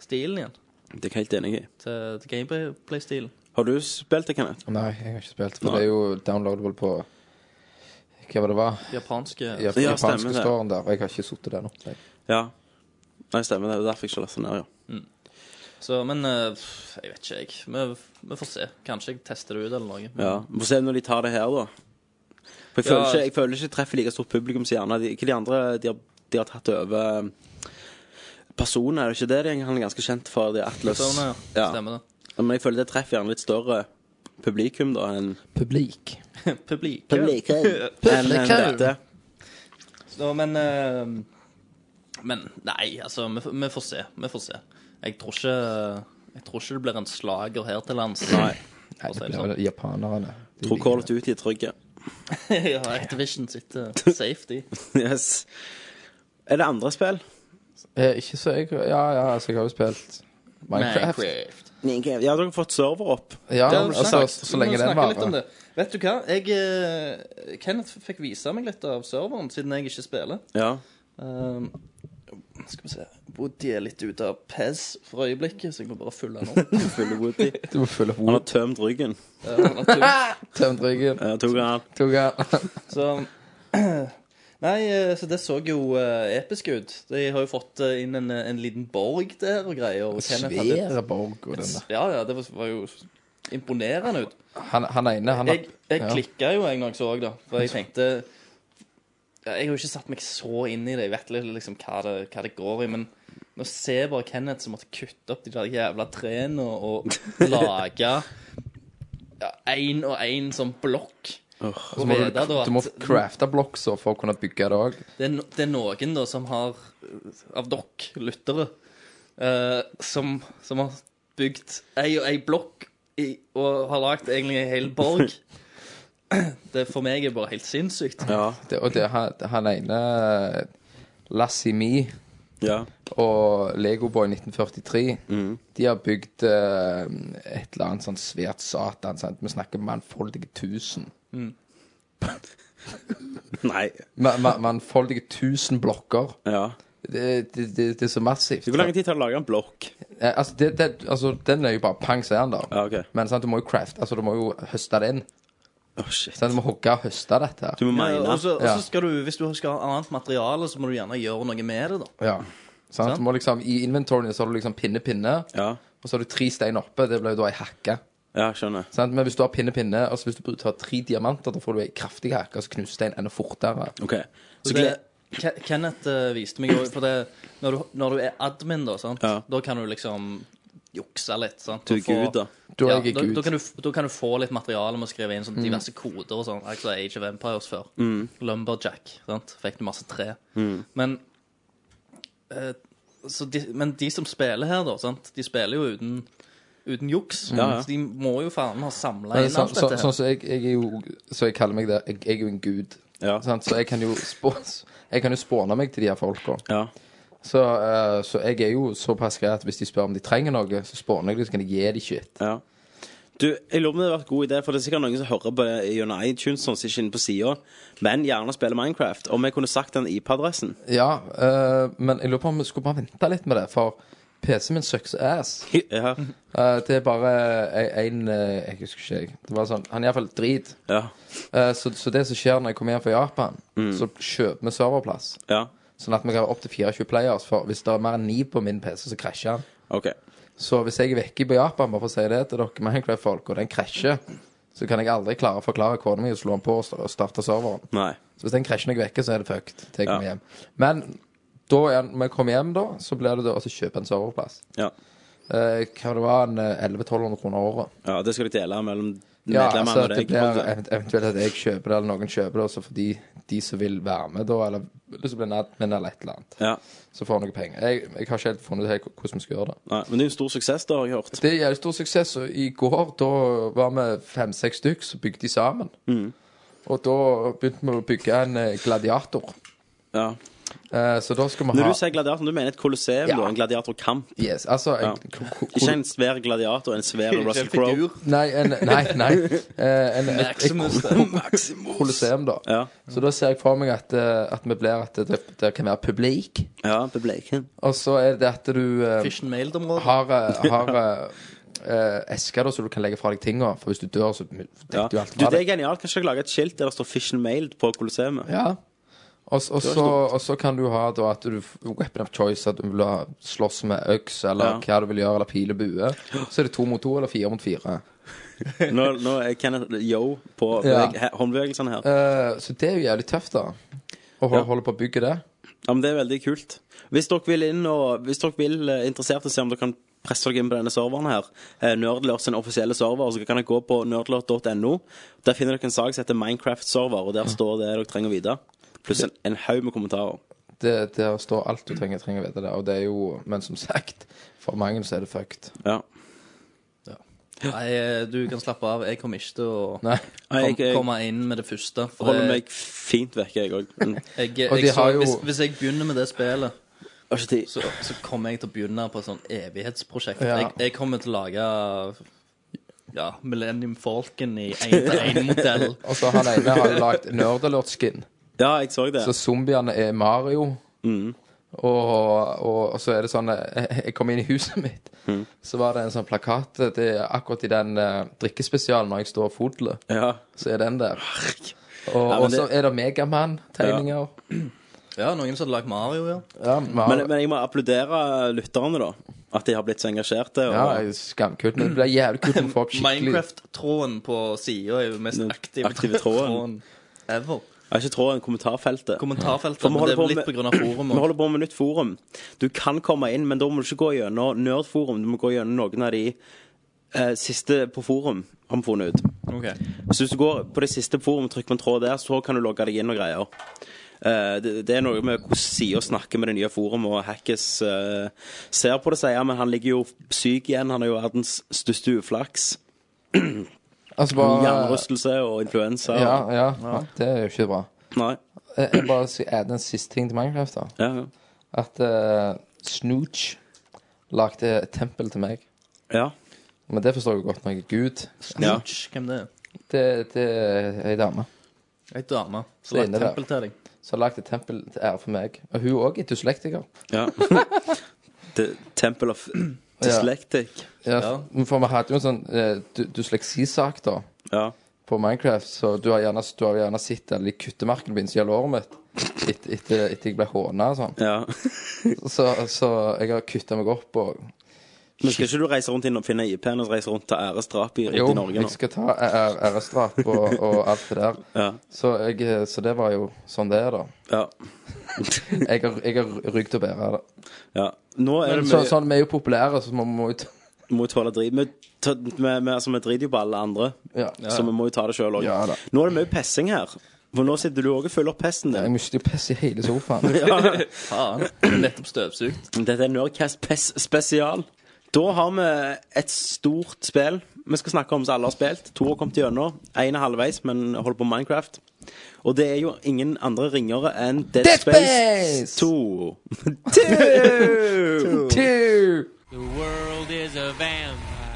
stilen igjen. Det er jeg helt enig i. Til, til gameplay-stilen. Har du spilt det, Kenneth? Nei, jeg har ikke spilt, for Nei. det er jo downloadable på Hva var det var? Japanske I den Ja, stemmer japanske det. storen der. Og jeg har ikke sittet der nå. så jeg- Ja. Nei, stemmer det. Det er derfor jeg ikke lastet ned, ja. Så, men eh, pff, jeg vet ikke, jeg. Vi, vi får se. Kanskje jeg tester det ut eller noe. Ja, Vi får se når de tar det her, da. For jeg, Ja. føler ikke, jeg føler ikke det treffer like stort publikum som gjerne de, Hva de andre de har, de har tatt over um, personer, er det ikke det? de- Han er ganske kjent for det er Atlas. Sånn, ja. Ja. Stemmer det. Men jeg føler det treffer gjerne litt større publikum da enn Publik. Publikum. enn enn dette. Så, men eh, Men nei, altså, vi, vi får se. Vi får se. Jeg tror ikke Jeg tror ikke det blir en slager her til lands. Nei. Nei, si det det blir vel japanerne. De sånn? Tror liker Call det. of Duty er trygge. ja, Activision eh, sitter safe, de. Yes. Er det andre spill? Eh, Ikke så jeg Ja, ja, altså, jeg har jo spilt Minecraft. Ja, dere har fått server opp. Ja, Det har du altså, sagt. så, Vi så må lenge den snakke litt om varer. det. Vet du hva? Jeg, eh, Kenneth fikk vise meg litt av serveren, siden jeg ikke spiller. Ja. Um, skal vi se Woody er litt ute av PES for øyeblikket, så jeg må bare fylle han opp. Fulle Woody. Du må følge opp Han har ordet. tømt ryggen. Eh, han har tur. Tømdryggen. Ja, tok han Tok han. Så Nei, eh, så det så jo eh, episk ut. De har jo fått eh, inn en, en liten borg der og greier. Og Kenneth hadde et- Svære borg og den der. Ja, ja, det var, var jo imponerende ut. Han, han ene, han Jeg, jeg ja. klikka jo en gang jeg så det, for jeg tenkte ja, Jeg har jo ikke satt meg så inn i det, jeg vet litt liksom hva det, hva det går i, men nå ser jeg bare Kenneth som måtte kutte opp de der jævla trærne og, og lage ja, én og én sånn blokk. Så og må vite da du, du må at- crafte blokser for å kunne bygge det òg. det er, no, det er noen da som har eh, Av dere lyttere eh, som, som har bygd ei og ei blokk i, og har lagd egentlig ei hel borg. Det for meg er bare helt sinnssykt. Ja. Det- Og det, han, han ene Lassimi ja. og Legoboy 1943 De har bygd eh, et eller annet sånn svært satan. Sant? Vi snakker mannfoldige tusen. Nei. Ma- ma- Mannfoldige tusen blokker. Ja. Det, det, det, det er så massivt. Hvor lang tid tar det å lage en blokk? Eh, altså, det, det, altså, den er jo bare pang, så er den der. Ja, ok. Men sant, du må jo craft, altså, du må jo høste det inn. Åh, shit. Sant? Du må hogge og høste dette. Du må Ja, mene. og så og Ja. så skal du, hvis du skal ha annet materiale, så må du gjerne gjøre noe med det, da. Ja. Sant? Du må liksom, I inventoryen så har du liksom pinne, pinne, Ja. og så har du tre stein oppe. Det blir jo da ei hakke. ja, skjønner. Sant? Men hvis du har pinne, pinne, altså hvis du tar tre diamanter, da får du ei kraftig hakke, altså knuser stein enda fortere. OK. Så Så det, gled... Ke- Kenneth eh, viste meg òg, for det når du, når du er admin, da, sant? Ja. da kan du liksom jukse litt. Sant? Du og er gud, da. Du ja, er ikke da, da, gud. Mm. kan du, f- da kan du få litt materiale med å skrive inn sånn diverse koder og sånn. Altså Age of Empires før. Lumberjack. Sant? Fikk du masse tre. Mm. Men, eh, så de, men de som spiller her, da, sant? de spiller jo uten, uten juks. Ja, ja. Så de må jo faen ha samla Nei, inn så, alt så, dette. her. sånn som jeg, jeg er jo Så jeg kaller meg det. Jeg, jeg er jo en gud. Ja. Sant? Så jeg kan jo spå, Jeg kan jo spåne meg til de her folka. Ja. Så, eh, så jeg er jo såpass grei at hvis de spør om de trenger noe, så spåner jeg dem, så kan jeg gi dem shit. ja. Du, jeg lurer på om det hadde vært god idé, for det er sikkert noen som hører på det gjennom iTunes, sånn som ikke inne på sida, men gjerne spiller Minecraft. Om jeg kunne sagt den IP-adressen. Ja, eh, men jeg lurer på om vi skulle bare vente litt med det, for PC-en min sucks ass. Ja. Eh, det er bare en eh, Jeg husker ikke, jeg. Det var sånn, Han er iallfall drit. Ja. Eh, så, så det som skjer når jeg kommer hjem fra Japan, så kjøper vi serverplass. ja. Sånn at vi kan ha opptil 24 players. For hvis det er mer enn 9 på min PC, så krasjer han. OK. Så hvis jeg er vekke på Japan, bare for å si det til dere Minecraft-folk, og den krasjer, så kan jeg aldri klare å forklare kona mi å slå den på og sta- og starte serveren. Nei. Så hvis den krasjer når jeg er vekke, så er det fucked til jeg Ja. kommer hjem. Men da er, den- når jeg kommer hjem, da, så blir det da å kjøpe en serverplass. Ja. Eh, hva det var en eh, 1100-1200 kroner året. ja. Det skal du dele mellom Ja, medlemmene altså og at det deg. blir event- eventuelt at jeg kjøper det, eller noen kjøper det, og så får de, de som vil være med, da, eller lyst til å bli admin eller et eller annet, Ja. så får jeg noe penger. Jeg, jeg har ikke helt funnet ut helt hvordan vi skal gjøre det. Nei. Men det er jo en stor suksess, da, har jeg hørt. Det er jævlig stor suksess. Og i går da var vi fem-seks stykk som bygde sammen. Mm. Og da begynte vi å bygge en eh, gladiator. Ja. Eh, så da skal vi ha Når du sier gladiator, du mener et kolosseum, Ja. da? En gladiatorkamp? Yes, altså Ja. en, ko- ko- ko- Ikke en svær gladiator, en svær Russell Crowe. Nei, en, nei, nei. eh, en, et, et Maximus, det. kolosseum, da. Ja. Så da ser jeg for meg at, eh, at vi blir at det, det kan være publik. Ja, bebleiken. Og så er det at du eh, Fish and Mailed-området. har, eh, har eh, eh, esker da, så du kan legge fra deg tinga. For hvis du dør, så dekker Ja. du alt Du, fra det er deg. genialt. Kanskje jeg lager et skilt der det står 'Fish and Mailed' på Coliseum. Ja. Og, s- og, så, og så kan du ha da, at du f- weapon of choice, at du vil ha slåss med øks, eller Ja. hva du vil gjøre, eller pil og bue. Så er det to mot to, eller fire mot fire. Nå, nå er Kenneth yo på Ja. beveg- he- håndbevegelsene her. Eh, så det er jo jævlig tøft, da. Å holde, holde på å bygge det. Ja, men Det er veldig kult. Hvis dere vil inn og Hvis dere vil eh, interessert i å se om dere kan presse dere inn på denne serveren her, eh, Nerdlert sin offisielle server, så kan dere gå på nerdlert.no. Der finner dere en sak som heter Minecraft-server, og der står det dere trenger å vite. Pluss en, en haug med kommentarer. det. Der står alt du trenger, trenger å vite det. Og det er jo, men som sagt, for mange så er det fucked. Ja. Nei, eh, du kan slappe av. Jeg kommer ikke til å Nei. Nei, kom, jeg- jeg- komme inn med det første. For Holder det- meg fint vekk, jeg òg. Mm. Jeg Jeg, jeg, Og de så, har jo- hvis, hvis jeg begynner med det spillet, Har ikke tid. så, så kommer jeg til å begynne på et sånn evighetsprosjekt. Ja. Jeg, jeg kommer til å lage ja, Millennium Falcon i én-til-én-modell. Og så han ene har jo lagd nerdelert-skin. Ja, Mm. jeg så det. Så zombiene er Mario. Og, og, og så er det sånn eh, Jeg kom inn i huset mitt, Mm. så var det en sånn plakat Det er akkurat i den eh, drikkespesialen når jeg står og fodler, Ja. så er den der. Og, Ja, men og så det- er det Megamann-tegninger. Ja, noen som hadde lagd Mario, ja. Ja, Mario- Men, men jeg må applaudere lytterne, da. At de har blitt så engasjerte. Og, ja, jeg er skamkult. Men det blir jævlig kult om folk skikkelig Mm, Minecraft-tråden på sida er jo den mest Den aktive, aktive tråden. ever. Jeg har ikke tråd i kommentarfeltet. Kommentarfeltet. For vi Men det holder er på vel litt med- på grunn av forum Vi også. holder på med nytt forum. Du kan komme inn, men da må du ikke gå gjennom Nerdforum. Du må gå gjennom noen av de eh, siste på forum, har vi funnet ut. Ok. Så hvis du går på det siste forum, trykker på en tråd der, så kan du logge deg inn og greier. Eh, det, det er noe med hvordan sider snakker med det nye forumet, og Hackes eh, ser på det og sier men han ligger jo syk igjen. Han er jo verdens største uflaks. altså bare, Hjernerystelse og influensa. ja, ja, Det er jo ikke bra. Nei. Jeg jeg bare si- er det en siste ting til Minecraft, da. Ja, ja. At eh, Snooch lagde et tempel til meg. ja. Men det forstår jeg godt når jeg er gud. Ja. Snitch, hvem det er? Det, det er eh, ei dame Ei dame som Det har er inne lagd der. tempel til deg. som har lagd et tempel til ære for meg. Og hun òg er dyslektiker. ja. The Temple of Dyslectic. Ja, Ja. For vi hadde jo en sånn eh, dy- dysleksisak da Ja. på Minecraft, så du har gjerne, du har gjerne sett alle de kuttemerkene på innsida av låret mitt etter et, jeg ble håna og sånn. ja. Så, så jeg har kutta meg opp og Men skal ikke du reise rundt inn og finne IP-en og reise rundt til æresdrap i, rundt Jo, i Norge nå? jeg skal ta æ- æ- æresdrap og, og alt det der. Ja. Så, jeg, eh, så det var jo sånn det er, da. Ja. Jeg har, jeg har rygg til å bære det. ja. Nå er Men det så, mye sånn, vi er jo populære, så man må jo ta må jo tåle drit. Vi, ta- vi, vi, altså, vi driter jo på alle andre, Ja. så vi må jo ta det sjøl òg. Ja da. nå er det mye pessing her. For nå sitter du òg og følger opp pesten Jeg din. mister jo piss i hele sofaen. Faen. Nettopp støvsugd. Dette er Nerdcast Pess spesial. Da har vi et stort spill vi skal snakke om som alle har spilt. To har kommet gjennom. Én er halvveis, men holder på med Minecraft. Og det er jo ingen andre ringere enn Dead, Dead Space, Space! 2. Two. world is a vampire.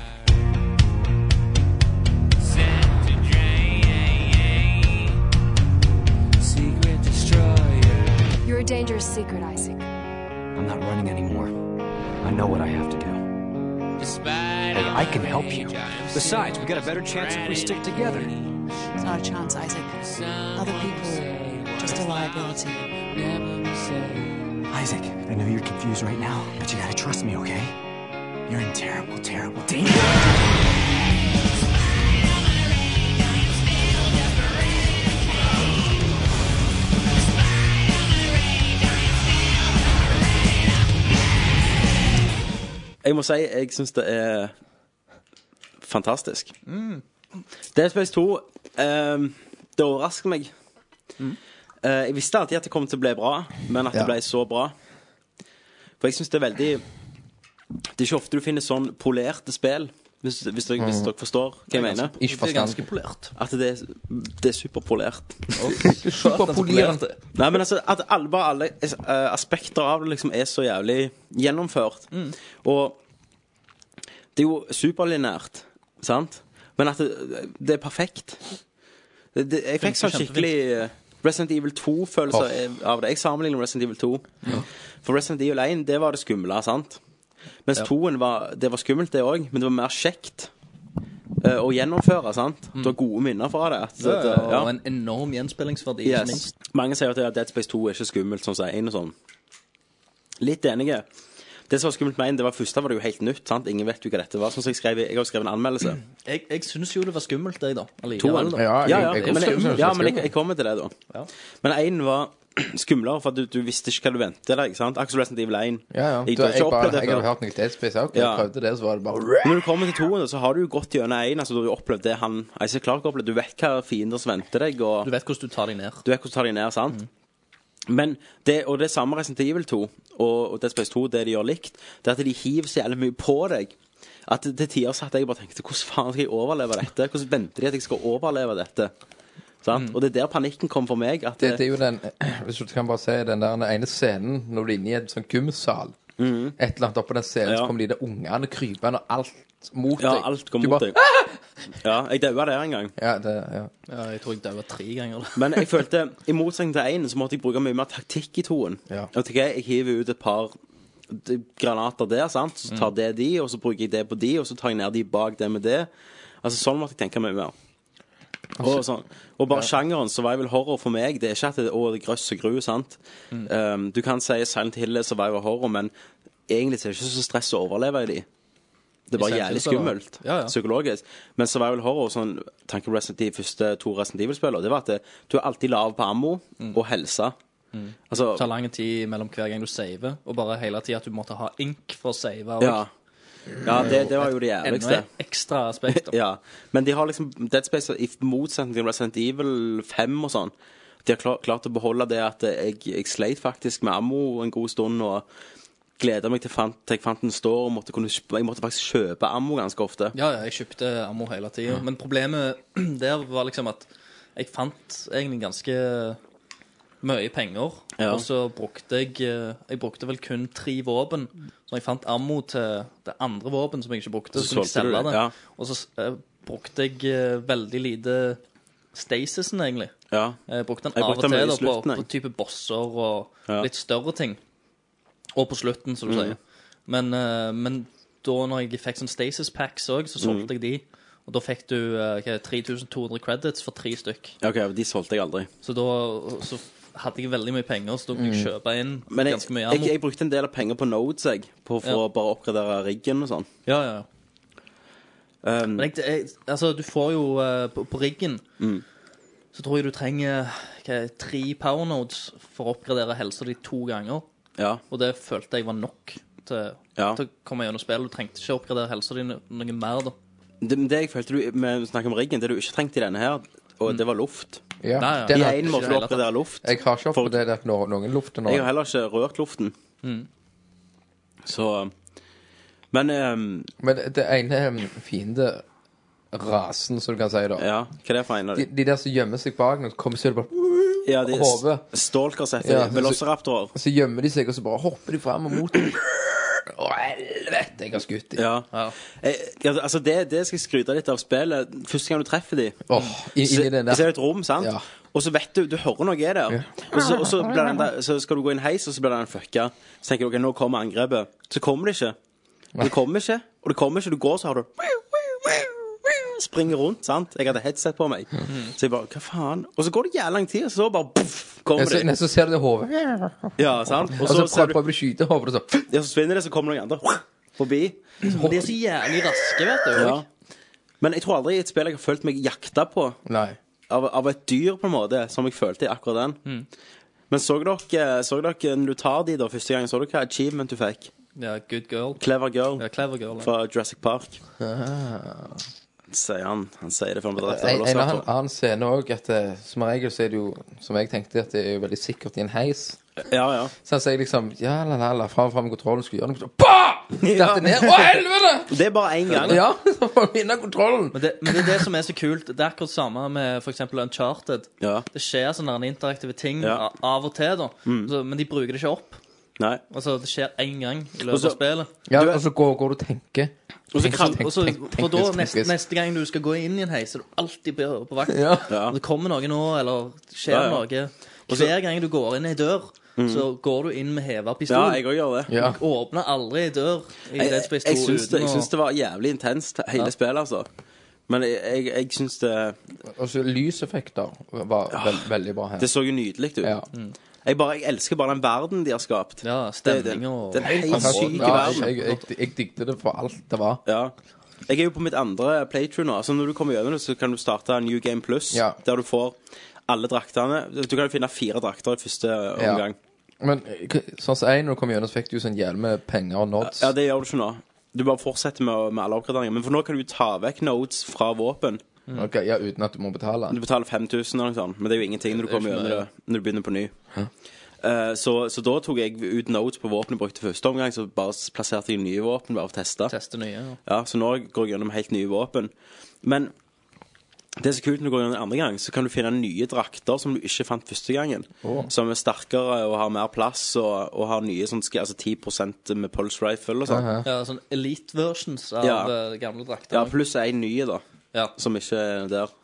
Set to drain. Secret destroyer. You're a dangerous secret, Isaac. I'm not running anymore. I know what I have to do. Despite Hey, all I can help you. rage, I'm Besides, we got a better chance if we stick together. It's not a chance, Isaac. Other people are just a liability. Isaac, I know you're confused right now, but you gotta trust me, okay? You're in terrible, terrible danger. Jeg må si jeg syns det er fantastisk. Mm. Dead Space 2 ehm, Det overrasker meg. Mm. Eh, jeg visste alltid at det kom til å bli bra, men at Ja. det ble så bra. For jeg syns det er veldig Det er ikke ofte du finner sånn polerte spill, hvis, hvis, dere, hvis dere forstår hva jeg mener. Ikke Mm. Det er ganske forstand. polert. At det er, det er superpolert. Superpolert. Nei, men altså, at alle, bare alle eh, aspekter av det liksom er så jævlig gjennomført. Og det er jo superlinært, sant? Men at det, det er perfekt. Det, det, jeg fikk sånn skikkelig eh, Resident Evil 2-følelse av det. Jeg sammenligner Resident Evil 2. For Resident Evil 1, det var det skumle, sant? Mens 2-en var, det var skummelt, det òg, men det var mer kjekt. eh, Å gjennomføre, sant? Du har gode minner fra det. At, at, eh, Mm. ja. Og en enorm gjenspillingsverdi, ikke Yes. minst. Mange sier at Dead Space 2 er ikke skummelt, sånn som 1 og sånn. Litt enige. Det som var skummelt med 1, det var første var det jo helt nytt. sant? Ingen vet jo hva dette var. Sånn som jeg, skrev, i- jeg har jo skrevet en anmeldelse. Jeg, jeg syns jo det var skummelt, jeg, da. Toen. Allikevel, da. Ja, jeg- ja, ja, jeg- men, jeg- jeg, ja, men jeg, jeg kommer til det, da. Ja. Men 1 var skumlere, for at du, du visste ikke hva du ventet deg. ikke sant? Akkurat som Resident Evil 1. Ja, ja. Jeg, Du, har jeg, ikke bare, opplevd det jeg hadde før. hørt noe Dead Space også. Ja. Jeg prøvde det, så var det bare Men Når du kommer til 2, så har du jo gått gjennom 1. Altså, du har jo opplevd det han Isaac Clark har opplevd. Du vet hva fiender som venter deg. og... Du vet hvordan du tar deg ned. Du vet hvordan du tar de ned, sant? Men det, og det er samme Resident Evil 2 og, og Dead Space 2, det de gjør likt, det er at de hiver så jævlig mye på deg. At det- til tider satt jeg og bare tenkte Hvordan faen skal jeg overleve dette? Hvordan venter de at jeg skal overleve dette? Sant? Og det er der panikken kom for meg. At Mm. det, det er jo den Hvis du kan bare si den der den ene scenen når du er inne i en sånn gymsal. Et eller annet oppå den scenen, Mhm. Ja. så kommer de der ungene krypende og alt mot ja, deg. alt går Du mot bare- deg. Ja, jeg daua der en gang. Ja, det, ja. Ja, jeg tror jeg daua tre ganger. da. Men jeg følte, i motsetning til én, så måtte jeg bruke mye mer taktikk i toen. Ja. Jeg, tenker, jeg hiver ut et par d- granater der, sant? så tar det de, og så bruker jeg det på de, og så tar jeg ned de bak det med det. Altså Sånn måtte jeg tenke mye mer. Og, sånn. og bare sjangeren survival horror for meg, det er ikke at det, å, det er grøss og gru. sant? Um, du kan si Silent Hill er survival horror, men egentlig så er det ikke så stress å overleve i de. Det er bare Silent Hill jævlig så er det- skummelt Ja, ja. psykologisk. Men survival horror, sånn tanken på Resident Evil, første to Resident Evil-spillere, det var at det, du er alltid lav på ammo Mm. og helse. Altså, Det tar lang tid mellom hver gang du saver, og bare hele tida at du måtte ha ink for å save. og- ja. Ja, det, det var jo det Enda jævligste. et ekstra aspekt. da. Ja. Men de har liksom Dead Space i motsetning til Resident Evil 5 og sånn. De har klar, klart å beholde det at jeg, jeg sleit faktisk med ammo en god stund. og Gleda meg til, fant, til jeg fant en store og måtte kunne, kjøpe- jeg måtte faktisk kjøpe ammo ganske ofte. Ja, ja, jeg kjøpte ammo hele tida. Men problemet der var liksom at jeg fant egentlig ganske mye penger. Ja. Og så brukte jeg eh, Jeg brukte vel kun tre våpen. Så jeg fant ammo til det andre våpen som jeg ikke brukte. Så, Så kunne jeg solgte du selge det, det. ja. Og så eh, brukte jeg eh, veldig lite stasisen, egentlig. Ja. Jeg brukte den Jeg av og brukte den til i da, på, slutten, jeg. på type bosser og Ja. Mm. litt større ting. Og på slutten, som du sier. Men, eh, men da når jeg fikk sånn Stasis Packs òg, så Mm. solgte jeg de. Og da fikk du eh, hva er det, 3200 credits for tre stykk. Ja, ok, De solgte jeg aldri. Så da så hadde jeg veldig mye penger, så da kunne jeg kjøpe inn Mm. Men jeg, ganske mye jeg, ammo. jeg brukte en del av penger på nodes jeg, på, for Ja. å bare oppgradere riggen og sånn. Ja, ja, ja. Um, Men jeg, jeg, altså, du får jo eh, på, på riggen Mm. Så tror jeg du trenger hva er det, tre power nodes for å oppgradere helsa di to ganger. ja. Og det følte jeg var nok til, Ja. til å komme gjennom spillet. Du trengte ikke oppgradere helsa di no- noe mer, da. Det, men det jeg følte du med snakk om riggen, det du ikke trengte i denne her, og det var luft. Ja, Nei, Mm. ja. den I har- én måte det å hele tatt. oppgradere luft. jeg har ikke oppgradert no- noen luft nå. Jeg har heller ikke rørt luften. Så Men ehm, Men det ene um, fiende rasen, som du kan si, da. ja, hva er det for en? av De, de? de der som gjemmer seg bak noen, kommer så er det bare Ja, de Hove. s- stalkers heter Ja, de. Velociraptorer. Så gjemmer de seg, og så bare hopper de fram og mot dem. Å, helvete, jeg har skutt dem. Ja. Ja. Eh, ja, altså det, det skal jeg skryte litt av spillet. Første gang du treffer de Åh, i- Så, inni den der. så er det et rom, sant? Ja. Og så vet du, du hører noe er der. Og, så, og så, blir den der, så skal du gå i en heis, og så blir den fucka. Så tenker du ok, nå kommer angrepet. Så kommer det ikke. Og Det kommer ikke, og det kommer ikke. Du går, så har du Springer rundt, sant. Jeg hadde headset på meg. Så jeg bare hva faen? Og så går det jævla lang tid, og så bare poff, Ja, kommer Så, de. nei, så ser du det hodet, Ja, sant? og Og så så ser prøver du, prøver du å skyte hodet, og så ja, så svinner det, så kommer noen andre forbi. Og de er så jævlig raske, vet du. Ja. Men jeg tror aldri i et spill jeg har følt meg jakta på Nei. av, av et dyr, på en måte, som jeg følte i akkurat den. Men så dere, så dere når du tar de da første gang, så dere hva achievement du fikk? Ja, good girl. Clever girl Ja, clever girl. Ja. fra Jurassic Park. Ah. Sier han. Han sier det før han blir drept. En, av en annen, velociraptor. annen scene òg, at eh, som regel så er det jo, som jeg tenkte, at det er jo veldig sikkert i en heis. Ja, ja. Så han sier liksom ja, la, la, la, fram, fram med kontrollen, skulle gjøre noe så BAH! Dette ned. Å, helvete! Det er bare én gang. Ja, så får vi vinne kontrollen. Men det, men det er det som er så kult. Det er akkurat samme med for eksempel Uncharted. Ja. Det skjer sånne interaktive ting Ja. Mm. a- av og til, da. Så, men de bruker det ikke opp. Nei. Altså, det skjer én gang i Og løpet så- av spillet. Ja, Du- og så går, går du og tenker. Og så Tenk- kram- tenk- Og så, tenk- for da, tenkes, neste, tenkes. neste gang du skal gå inn i en heis, er du alltid på på vakt. Ja. Ja. Om det kommer noe nå, eller skjer Ja, ja. noe Hver gang du går inn i ei dør, så går du inn med heva ja, pistol. jeg òg gjør det. Ja. Åpner aldri ei dør i Jeg, Dead jeg, Space 2 syns det, jeg uten å- syns det var jævlig intenst, hele spillet, altså. Men jeg, jeg, jeg syns det Og så lyseffekter var vel- veldig bra her. Det så jo nydelig ut. Ja. Jeg, bare, jeg elsker bare den verden de har skapt. Ja, Det- det- stemning og Den helt Fantastisk. syke Ja, verden. jeg, jeg, jeg digget det for alt det var. Ja. Jeg er jo på mitt andre playthrough nå. Så når du kommer gjennom det, så kan du starte en New Game Plus, Ja. der du får alle draktene. Du kan jo finne fire drakter i første Ja. omgang. Men eh, sånn som jeg, når du kom gjennom, så fikk du jo sånn hjelm med penger og nods. Ja, det gjør du ikke nå. Du bare fortsetter med, å- med alle oppgraderinger. Men for nå kan du jo ta vekk nodes fra våpen. Ok, ja, uten at du må betale. Du betaler 5000 eller noe sånt, men det er jo ingenting når du kommer gjennom det når du begynner på ny. Eh, så, så da tok jeg ut nodes på våpenet jeg brukte første omgang, så bare s- plasserte jeg nye våpen bare for å teste. teste nye. Ja. Ja, så nå går jeg gjennom helt nye våpen. Men det er så kult når du går gjennom andre gang, så kan du finne nye drakter som du ikke fant første gangen. Som er sterkere og har mer plass og, og har nye sånn, sk- altså 10 med pulse rifle og sånn. Ja, sånn elite versions av Ja. eh, gamle drakter. Ja, pluss en ny da, Ja. som ikke er der.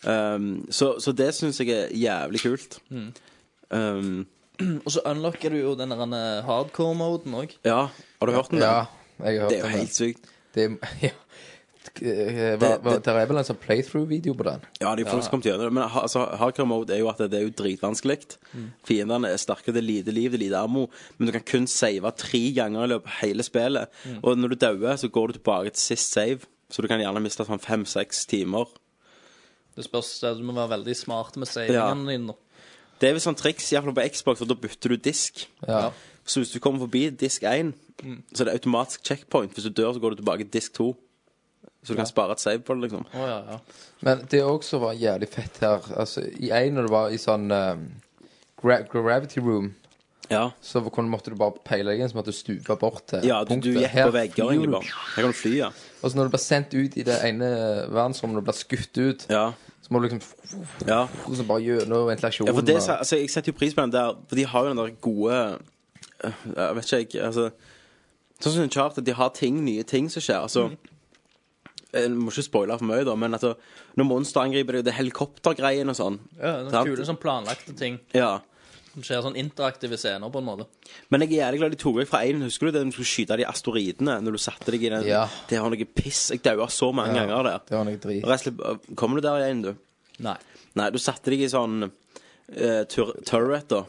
Um, så, så det syns jeg er jævlig kult. Um, Og så unlocker du jo den der eh, hardcore-moden òg. ja, har du hørt den? Ja, der? jeg har hørt Det er om jo helt sykt. Det, ja. Eh, hva- Det- hva- Der er vel en sånn playthrough-video på den? Ja, de folk som kom til gjennom det. Men ha- altså, hardcore mode er jo at det er jo dritvanskelig. Fiendene er sterke, det er lite liv, det er lite ammo. Men du kan kun save tre ganger i løpet av hele spillet. Og når du dauer, så går du tilbake til sist save. Så du kan gjerne miste sånn fem-seks timer. Det spørs, eh, Du må være veldig smart med savingene dine. nå. Det er vel sånn triks, iallfall på Xbox, for da bytter du disk. Ja. Så hvis du kommer forbi disk 1, så er det automatisk checkpoint. Hvis du dør, så går du tilbake til disk 2. Så du kan spare et save på det, liksom. Å, ja, ja. Men det også var jævlig fett her. Altså, I en når du var i sånn eh, gra gravity room, Ja, så kunne, måtte du bare peile deg inn, så måtte du stupe bort til ja du, du gikk Her på vegger, flyr egentlig du. bare. Her kan du fly, ja. Og så når du blir sendt ut i det ene verdensrommet og blir skutt ut, Ja. så må du liksom ja. og så bare gjennom ventilasjonen. Ja, for det, og- sa- altså, jeg setter jo pris på den der, for de har jo den der gode øh, Jeg vet ikke, jeg altså, Sånn som Uncharted, de har ting, nye ting som skjer. Mm. Altså Jeg må ikke spoile for mye, da, men altså, når monster angriper deg, og det er helikoptergreien og sånn ja noen Sant. kule sånn planlagte ting Ja. som skjer. Sånn interaktive scener, på en måte. Men jeg er jævlig glad de tok vekk fra én. Husker du det de skulle skyte de asteroidene? Når du satte deg i den Ja. Det var noe piss. Jeg daua så mange Ja, ganger der. det var noe drit. Rett og slett, øh, Kommer du der igjen, du? Nei. Nei, du satte deg i sånn eh, tur turret, da.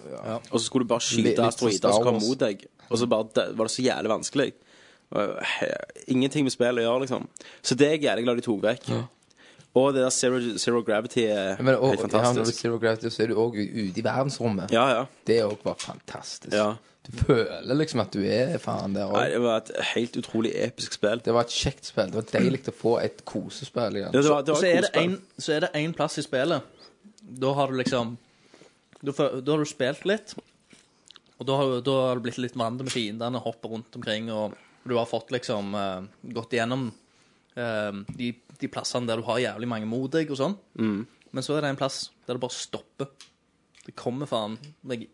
Og så skulle du bare Litt- litt skyte som asteroider Star som kom Wars. mot deg. altså. Og så bare, det, var det så jævlig vanskelig. Og, eh, Ingenting med spillet å gjøre, liksom. Så det er jeg jævlig glad de tok vekk. Og det der Zero, zero Gravity er Men, og, helt ja, når du fantastisk. Zero Gravity, så er du òg ute i verdensrommet. Ja, ja. Det òg var fantastisk. Ja. Du føler liksom at du er faen der Nei, òg. det var et helt utrolig episk spill. Det var et kjekt spill. Det var deilig å få et kosespill igjen. Ja, det var, det Og var så er et det kosespill. en- så er det én plass i spillet. Da har du liksom Da, fø- da har du spilt litt, og da har, du- da har du blitt litt vant med fiendene, hopper rundt omkring, og du har fått liksom eh, gått igjennom eh, de, de plassene der du har jævlig mange mot deg og sånn. Mm. Men så er det en plass der det bare stopper. Det kommer faen meg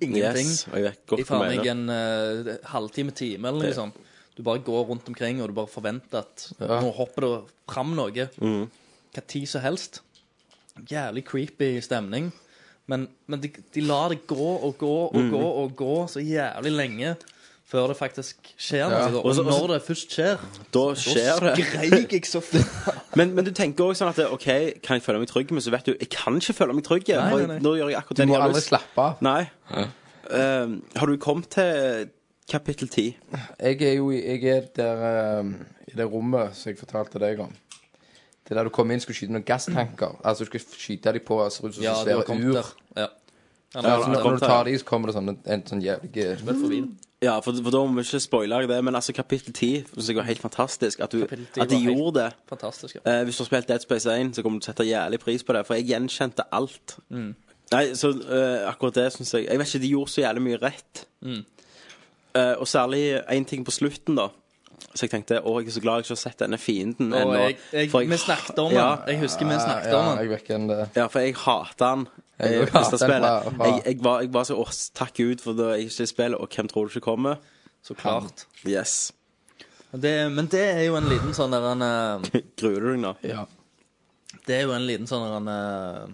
ingenting. Yes, og jeg vet godt I faen hva du meg mener. en eh, halvtime, time eller noe Det- sånt. Du bare går rundt omkring, og du bare forventer at Ja. nå hopper det fram noe. Hva tid som helst. Jævlig creepy stemning. Men, men de, de lar det gå og gå og gå og gå så jævlig lenge før det faktisk skjer noe. Og, Og så- og så- når det først skjer, Da da skjer det. skreik jeg så Men, men du tenker også sånn at OK, kan jeg føle meg trygg? Men så vet du, jeg kan ikke føle meg trygg. Nei, for nei, nei. Nå gjør jeg akkurat Du det må jeg har aldri lyst slappe av. Nei. Ehm, har du kommet til kapittel 10? Jeg er jo i- jeg er der, eh, i det rommet som jeg fortalte deg om. Det er der du kom inn og skulle skyte noen gasstanker. Altså, du skal skyte dem på ser ut som Ja, du har svære kommet ur. der. Ja. Ja, altså, du har når, når kommet du der, tar dem, så kommer det sånn en, en sånn jævlig Vel forbi det. Ja, for, for da må vi ikke spoile det, men altså kapittel 10 synes jeg var helt fantastisk. At, du, Kapittel 10 at de var helt- gjorde det. Fantastisk. Ja. Eh, hvis du har spilt Dead Space 1, så kommer du til å sette jævlig pris på det, for jeg gjenkjente alt. Nei, så eh, akkurat det syns jeg Jeg vet ikke, de gjorde så jævlig mye rett. Eh, og særlig én ting på slutten, da. Så jeg tenkte å, jeg er så glad jeg ikke har sett denne fienden Og ennå. jeg, jeg, for jeg- vi snakket om den. Ja. Jeg husker vi snakket om Ja, den. jeg vet ikke eh, om det Ja, for jeg hater han. Jeg Jeg, hater første han spillet. fra- fra- jeg, jeg, var, jeg var så åh, takk Gud for da jeg ikke spiller, og hvem tror du ikke kommer? Så klart. Yes. Det, men det er jo en liten sånn der en, eh, Gruer du deg nå? Ja. Det er jo en liten sånn der en eh,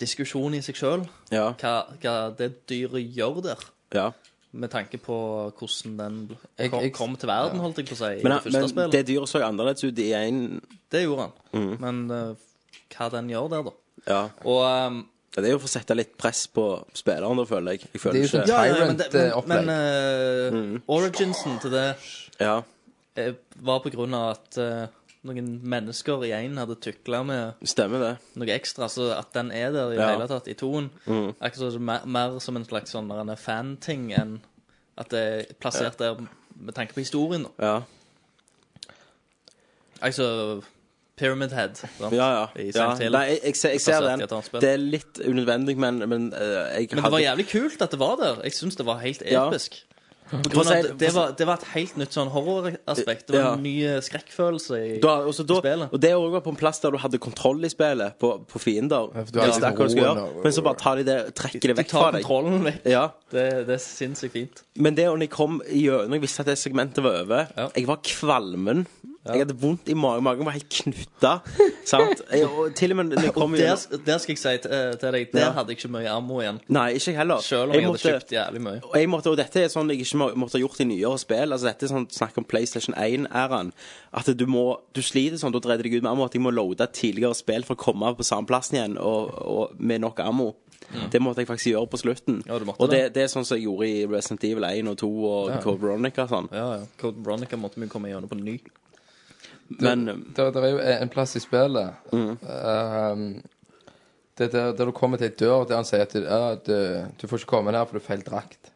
Diskusjon i seg sjøl. Ja. Hva, hva det dyret gjør der. ja. Med tanke på hvordan den bl- Jeg- kom, jeg- kom til verden, holdt jeg på å si, i Men, det første men spillet. det Mm. dyret så jo annerledes ut i en Det gjorde han. Men eh, hva den gjør der, da. Ja. Og ehm, Ja, Det er jo for å sette litt press på spilleren, da, føler jeg. Jeg føler Det er jo ikke sånn- ja, ja, men, det, men, Tyrant-opplegg. men eh, Mm. originsen til det ja. eh, var på grunn av at eh, noen mennesker i én hadde tukla med Stemmer det. noe ekstra, så at den er der i det Ja. Mm. hele tatt, i toen. Akkurat som det er mer, mer som en slags sånn der en fan-ting enn at det er plassert der med tanke på historien. da. Ja. Altså Pyramid Head. sant? Ja, ja. I ja. Silent Hill. Nei, jeg, jeg, ser- jeg ser Basert i et annet den. spill. Det er litt unødvendig, men, men eh, jeg Men det var jævlig kult at det var der. Jeg syns det var helt Ja. episk. På For å grunn av si- at det, det, var, det var et helt nytt sånn horroraspekt. Det var Ja. en ny eh, skrekkfølelse i da, også da, spillet. og det òg var på en plass der du hadde kontroll i spillet, på, på fiender. for du har Jeg visste liksom akkurat hva du skulle roen gjøre, og- men så bare tar de det, trekker det De vekk fra tar deg. kontrollen vekk. Ja. Det, det er sinnssykt fint. Men det når jeg kom gjennom, jeg visste at det segmentet var over. Ja. Jeg var kvalmen. Jeg hadde vondt i magen. Magen var helt knytta. sant? Jeg, og til og med når jeg Og kom der, gjennom der skal jeg si til, eh, til deg, der Ja. hadde jeg ikke mye ammo igjen. Nei, ikke jeg heller. Selv om jeg, hadde kjøpt jævlig mye. Og, jeg måtte, og dette er sånn jeg ikke må, måtte ha gjort i nyere spill. Altså Dette er sånn snakk om PlayStation 1-æraen. At du må Du sliter sånn, da driter deg ut med ammo. At jeg må loade et tidligere spill for å komme på samme plassen igjen og, og med nok ammo. Det måtte jeg faktisk gjøre på slutten. Ja, du måtte og det, det. det er sånn som jeg gjorde i Resident Evil 1 og 2 og ja. Code Veronica og sånn. Ja, ja. Code Veronica måtte vi komme gjennom på ny. Men um, Det er jo en plass i spillet ehm, det der, der du kommer til ei dør der han sier at du, ja, du, du får ikke komme ned, for du er feil drakt.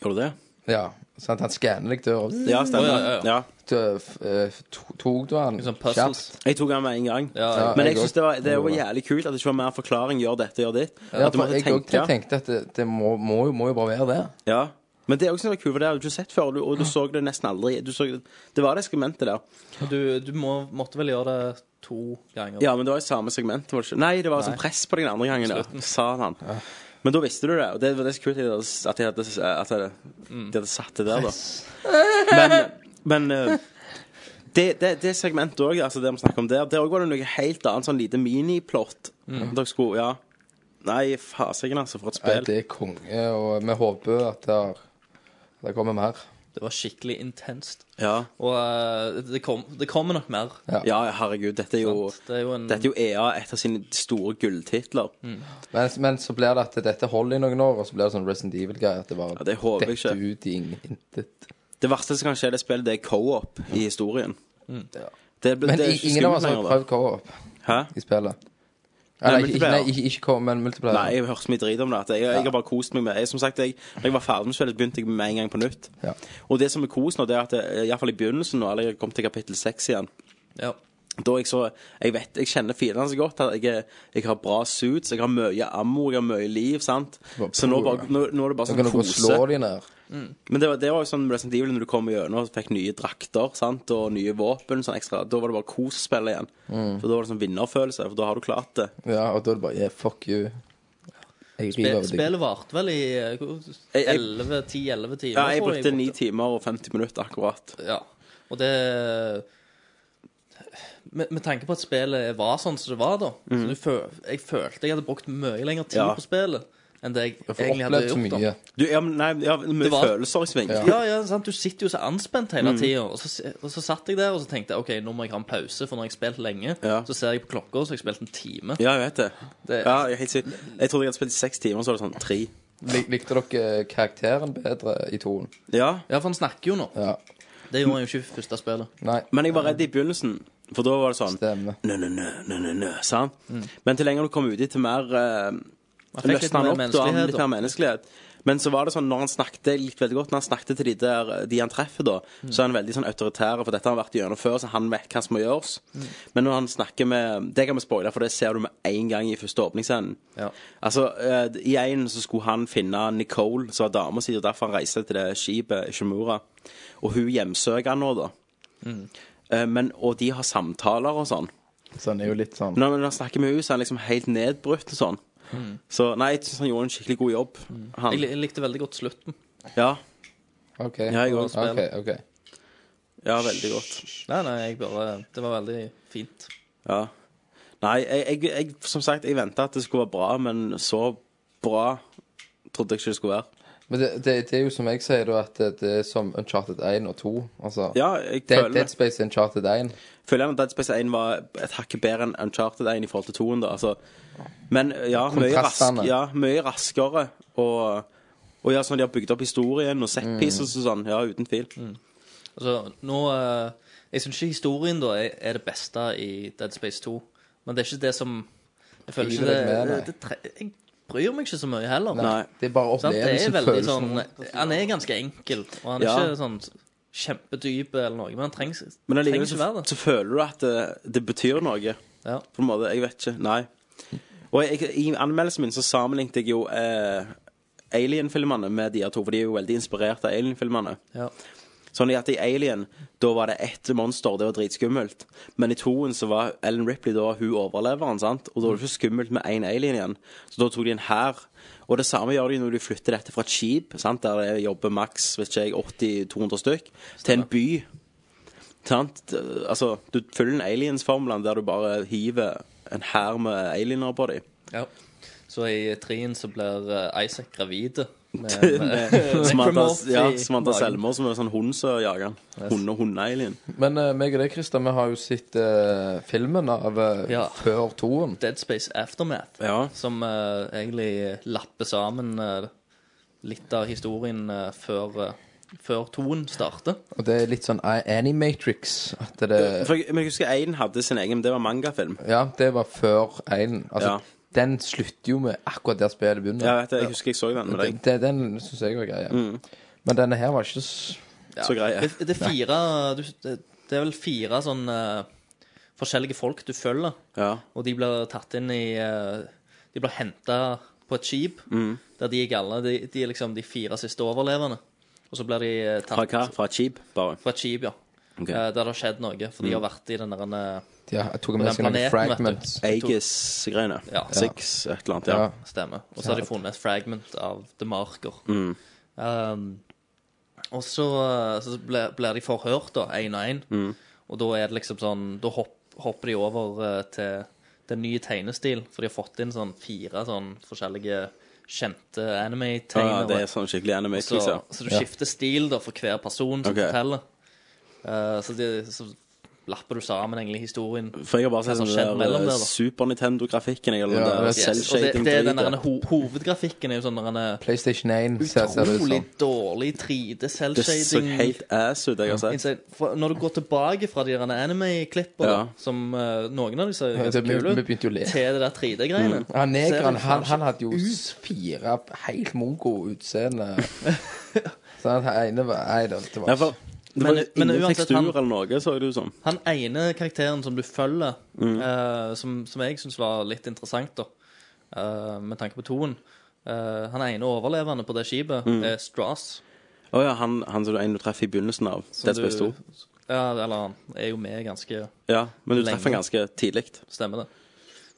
Gjorde du det? Ja, sant? Han skanner deg døra. Ja, stemmer. Å, ja, ja, ja. Du, f- eh, to- Tok du han Sånn puzzles. Jeg tok den med en gang. Ja, ja. Liksom Men jeg jeg synes også. det var, det var jævlig kult at det ikke var mer forklaring 'gjør dette, gjør ditt'. Ja, at du for måtte jeg òg tenke. tenkte at det, det må, må, jo, må jo bare være det. Ja. Men det er også noe kult, for det har du ikke sett før, og du, og du så det nesten aldri. Du så, det var det segmentet der. Du, du må, måtte vel gjøre det to ganger. Ja, men det var i samme segment. Var det ikke? Nei, det var sånn press på den andre gangen. Ja. Sa han. Men da visste du det, og det var det så kult at de hadde- at de hadde, at de hadde, de hadde satt det der, da. Men, men eh, det, det, det segmentet òg, altså det vi snakker om der, der også var det noe helt annet, sånn lite miniplott. Dere skulle Ja. Nei, fasiken, altså, for Nei, et spill. det er konge, og vi håper at der, der kommer mer. Det var skikkelig intenst. Ja. Og eh, det, kom, det kommer nok mer. Ja. ja, herregud, dette er jo sant? Det er jo en Dette er jo EA, et av sine store gulltitler. Men, men så blir det at dette holder i noen år, og så blir det sånn Resident Evil-greie. At det bare Ja, det håper jeg detter ikke. ut i ingen- intet. Det verste som kan skje i det spillet, det er co-op i historien. Det, det, Men det er i- ikke ingen av skummelt oss har lenger. prøvd co-op da. Hæ? i spillet. Eller, ikke, multiplayer. nei, ikke, ikke co-op, men multiplayer. Nei, jeg har hørt så mye drit om det. At jeg, jeg har bare kost meg med det. Jeg- Som sagt, jeg, når jeg var ferdig med spillet, begynte jeg med en gang på nytt. Ja. Og det som er kos nå, det er at eh, i hvert fall i begynnelsen, nå, eller jeg kom til kapittel seks igjen Ja. da er jeg så Jeg vet, jeg kjenner fiendene så godt. At jeg, er- jeg har bra suits, jeg har mye ammo, jeg har mye liv. sant? Bare Så nå, prøv, bare, ja. nå, nå er det bare Så kan sånn du gå og slå kose. de ned. Men det var, det var jo sånn Resident Evil når du kom gjennom og fikk nye drakter sant? og nye våpen. sånn ekstra, Da var det bare kos å spille igjen. Mm. For da var det sånn vinnerfølelse, for da har du klart det. Ja, og da er det bare yeah, fuck you. Jeg river over deg. Spillet varte vel i eh, Jeg- jeg- 11-10-11 timer. Ja, jeg tror brukte brukte. ni timer og 50 minutter akkurat. Ja. Og det med, med tanke på at spillet var sånn som det var, da så du føl, Jeg følte jeg hadde brukt mye lengre tid Ja. på spillet enn det jeg Du får egentlig hadde opplevd så gjort. mye. da Du, ja, men nei, ja, mye Det var- følelser i sving. ja, ja, sant? Du sitter jo så anspent hele Mm. tida. Og, så s- og så satt jeg der og så tenkte jeg, OK, nå må jeg ha en pause, for nå har jeg spilt lenge. Ja. Så ser jeg på klokka, så har jeg spilt en time. Ja, jeg vet det. Det- Ja, jeg, er helt sikker. jeg trodde jeg hadde spilt i seks timer, så var det sånn tre. Lik, likte dere eh, karakteren bedre i toen? Ja, Ja, for han snakker jo nå. Ja. Det gjorde han jo ikke i første spillet. Nei. Men jeg var redd i begynnelsen, for da var det sånn Stemmer. Nø, nø, nø, nø, nø, nø, sant? Men til lenger du kommer ut i, til mer eh, Mm. fikk litt løsner han mer opp, da har han menneskelighet, litt mer menneskelighet. Men så var det sånn, når han snakket jeg likte veldig godt Når han snakket til de der eh, De han treffer, da, Mm. så er han veldig sånn autoritær, for dette har han vært gjennom før, så han vet hva som må gjøres. Mm. Men når han snakker med Det kan vi spoile, for det ser du med en gang i første åpningsscenen. Ja. Altså, eh, I en så skulle han finne Nicole, som var dama si, og derfor han reiste til det skipet, Shimura. Og hun hjemsøker han nå, da. Mm. Eh, Men, og de har samtaler og sånn. Så han er jo litt sånn Når, når han snakker med henne, så er han liksom helt nedbrutt og sånn. Så nei, jeg synes han gjorde en skikkelig god jobb. Jeg, Han, li- jeg likte veldig godt slutten. ja, OK. Ja, jeg går og spiller. OK. ok. ja, veldig godt. Nei, nei, jeg bare Det var veldig fint. Ja. Nei, jeg, jeg, jeg som sagt, jeg venta at det skulle være bra, men så bra trodde jeg ikke det skulle være. Men det, det, det er jo som jeg sier, da, at det, det er som Uncharted 1 og 2. Altså. Ja, jeg Dead, føler Dead Space er Uncharted 1. Føler gjerne at Dead Space 1 var et hakket bedre enn Uncharted 1 i forhold til 2-en, da. Altså, men ja, mye, rask, Kontrastene. ja, mye raskere. Og, og ja, sånn de har bygd opp historien og set pieces og sånn. Ja, uten tvil. Mm. Altså, nå eh, Jeg syns ikke historien da er, er det beste i Dead Space 2, men det er ikke det som Jeg føler ikke Driver det, deg med, nei. det, tre, Jeg bryr meg ikke så mye heller. Nei. Det er bare Sant? Det er opplevelsen, veldig sånn følelsen. Han er ganske enkel, og han er Ja. ikke sånn kjempedyp eller noe, men han trengs, Men trenger allikevel ikke være så, det. så føler du at det, det betyr noe. Ja. På en måte. Jeg vet ikke. Nei. Og jeg, i anmeldelsen min så sammenlignet jeg jo eh, Alien-filmene med de her to, for de er jo veldig inspirert av Alien-filmene. Ja. Sånn at i Alien, da var det ett monster, det var dritskummelt. Men i toen så var Ellen Ripley da hun overleveren, sant? og da var det ikke skummelt med én alien igjen. Så da tok de en hær. Og det samme gjør de når de flytter dette fra et skip, sant? der det jobber maks vet ikke jeg, 80-200 stykk, til en by. Sant? Altså, du følger den aliens-formelen der du bare hiver en hær med aliener på dem. Ja. Så i trien så blir eh, Isaac gravid. Med, med, Som han tar, Necromorph ja, i som han tar magen. selvmord, som er en sånn hund som jager han. Hunde- Hunde-alien. Men uh, meg og deg, Christer, vi har jo sett eh, filmen av eh, Ja. før toen. Dead Space Aftermath, Ja. som eh, egentlig lapper sammen eh, litt av historien eh, før, uh, før toen starter. Og det er litt sånn A- Animatrix. At det Eh, For jeg, men jeg husker Aiden hadde sin egen, men det var mangafilm. Ja, det var før 1. Altså, Ja. den slutter jo med akkurat der spillet begynner. Jeg, vet, det, jeg husker jeg så den med deg. Mm. Den, den, den syns jeg var grei. ja. Men denne her var ikke s- Så grei jeg. Det, det er fire du, det, det er vel fire sånn eh, forskjellige folk du følger, Ja. og de blir tatt inn i eh, De blir henta på et skip, Mm. der de er gale. De, de er liksom de fire siste overlevende. Og så blir de eh, tatt Fra hva? Fra Cheap, bare. fra et skip, ja. Ok. Eh, der det har skjedd noe. For de Mm. har vært i den der eh, Ja, jeg tok På med den seg noen planeten, vet du. fragments. Aegis-greiene. Ja. Six, et eller annet. Ja. Ja. Stemmer. Og så har de funnet et fragment av The Marker. Mm. Um, og så, så blir blir de forhørt, da, én og én. Mm. Og da er det liksom sånn Da hopp, hopper de over eh, til den nye tegnestil, for de har fått inn sånn fire sånn forskjellige kjente Ja, ja, det anime-tegnere. er sånn skikkelig så, animatrix, ja. så du skifter stil da for hver person som Ok. forteller. Eh, så, de, så lapper du sammen egentlig historien. For jeg har bare sett Hva som den skjedde mellom der der, da? eh, Super Nintendo-grafikken. Jeg, eller den der Yes, og det, selvshading det er den der dritet. ho hovedgrafikken er jo sånn der en eh, PlayStation 1 ser, ser det ut utrolig som. dårlig 3D Det så selvshading. helt ass ut, jeg har sett. Insane. For Når du går tilbake fra de der anime-klippene, Ja. som eh, noen av de ser Ja, ganske det- vi- kule vi ut, begynte jo å le. til det der 3D-greiene Ja, Negeren, Ser han, det han hadde jo s- fire helt mongo-utseende. Så han ene var Nei, det var- det Ja, var for, det Men- var men ingen uansett, tekstur han- eller noe, så det sånn. ut som. Han ene karakteren som du følger, Mm. eh, som, som jeg syns var litt interessant, da, eh, med tanke på toen eh, Han ene overlevende på det skipet Mm. er Strass. Å ja, han, han som du en du treffer i begynnelsen av som Dead Space 2. du- Ja, eller han er jo med ganske Ja, men du Lenge. treffer han ganske tidlig. Stemmer det.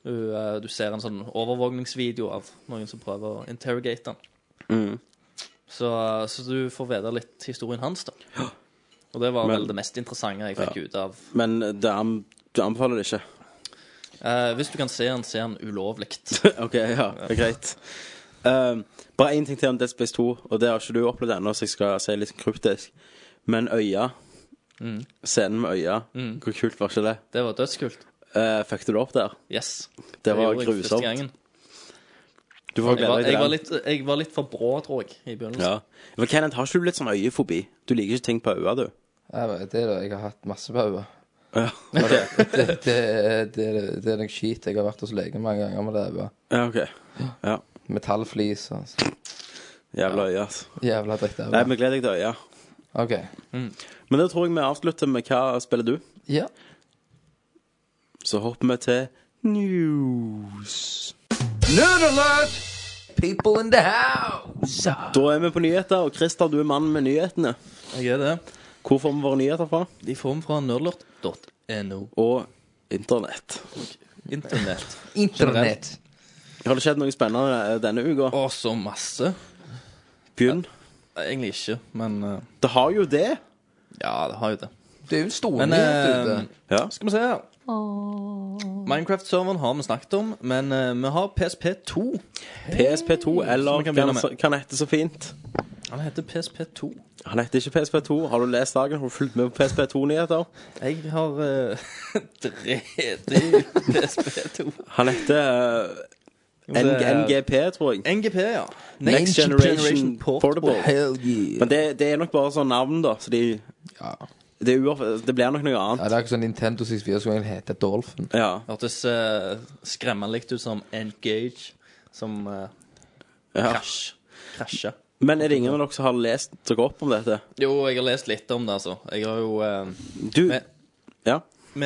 Du, eh, du ser en sånn overvåkningsvideo av noen som prøver å interrogate han. Mm. Så, eh, så du får vite litt historien hans, da. Og det var Men- vel det mest interessante jeg fikk ut av Men eh, det an- du anbefaler det ikke. eh, Hvis du kan se han, se han ulovlig. OK, ja, det er greit. Ehm, bare én ting til om Dead Space 2, og det har ikke du opplevd ennå, så jeg skal si litt kryptisk. Men øya Mm. Scenen med øya, hvor kult var ikke det? Det var dødskult. Uh, Fucket du det opp der? Yes. Det var gjorde jeg første grusomt. gangen. Du får Jeg glede var, deg jeg, til var den. litt, jeg var litt for brå, tror jeg, i begynnelsen. Ja. For Kenneth, har ikke du litt sånn øyefobi? Du liker ikke ting på øya, du. Nei, det er det jeg har hatt masse pauer. Ja, Det, det, er- det, er- det er noe skit. Jeg har vært hos legen mange ganger med det. bare. ja OK. Ja. Metallflis og så- Jævla øye, altså. Jævla dritt. Nei, det var. men gled deg til øya. OK. Men da tror jeg vi avslutter med hva spiller du? Ja. Så hopper vi til news. People in the house! Da er vi på nyheter, og Christer, du er mannen med nyhetene. Jeg er det. Hvor får vi våre nyheter fra? De får den fra nerdlort.no. Og internett. Internett. Internett. Har det skjedd noe spennende eh, denne uka? Å, så masse. Begynn. Egentlig ikke, men eh, Det har jo det. ja, det har jo det. Det er jo en stor Men nyhet ute. eh, Ja. skal vi se her. Minecraft-serveren har vi snakket om, men eh, vi har PSP2. PSP2, eller vi kan hva begynne han med. hva han heter så fint. Han heter PSP2. Han heter ikke PSP2. Har du lest dagen? Har du fulgt med på PSP2-nyheter? Jeg har uh, drevet i PSP2. Han heter eh, N NGP, tror jeg. NGP, ja. Next Generation Portable. Hell yeah. Men det, det er nok bare sånn navn, da. Så de, Ja. det, er uoff det blir nok noe Ja, annet. det er ikke sånn Nintendo 64 skulle egentlig hete Dolphin. Ja. Hørtes eh, skremmende likt ut som Engage, som uh, ja. krasj. Krasja. Men er det ingen av dere som har lest dere opp om dette? Jo, jeg har lest litt om det, altså. Jeg har jo eh, Du Men- Ja.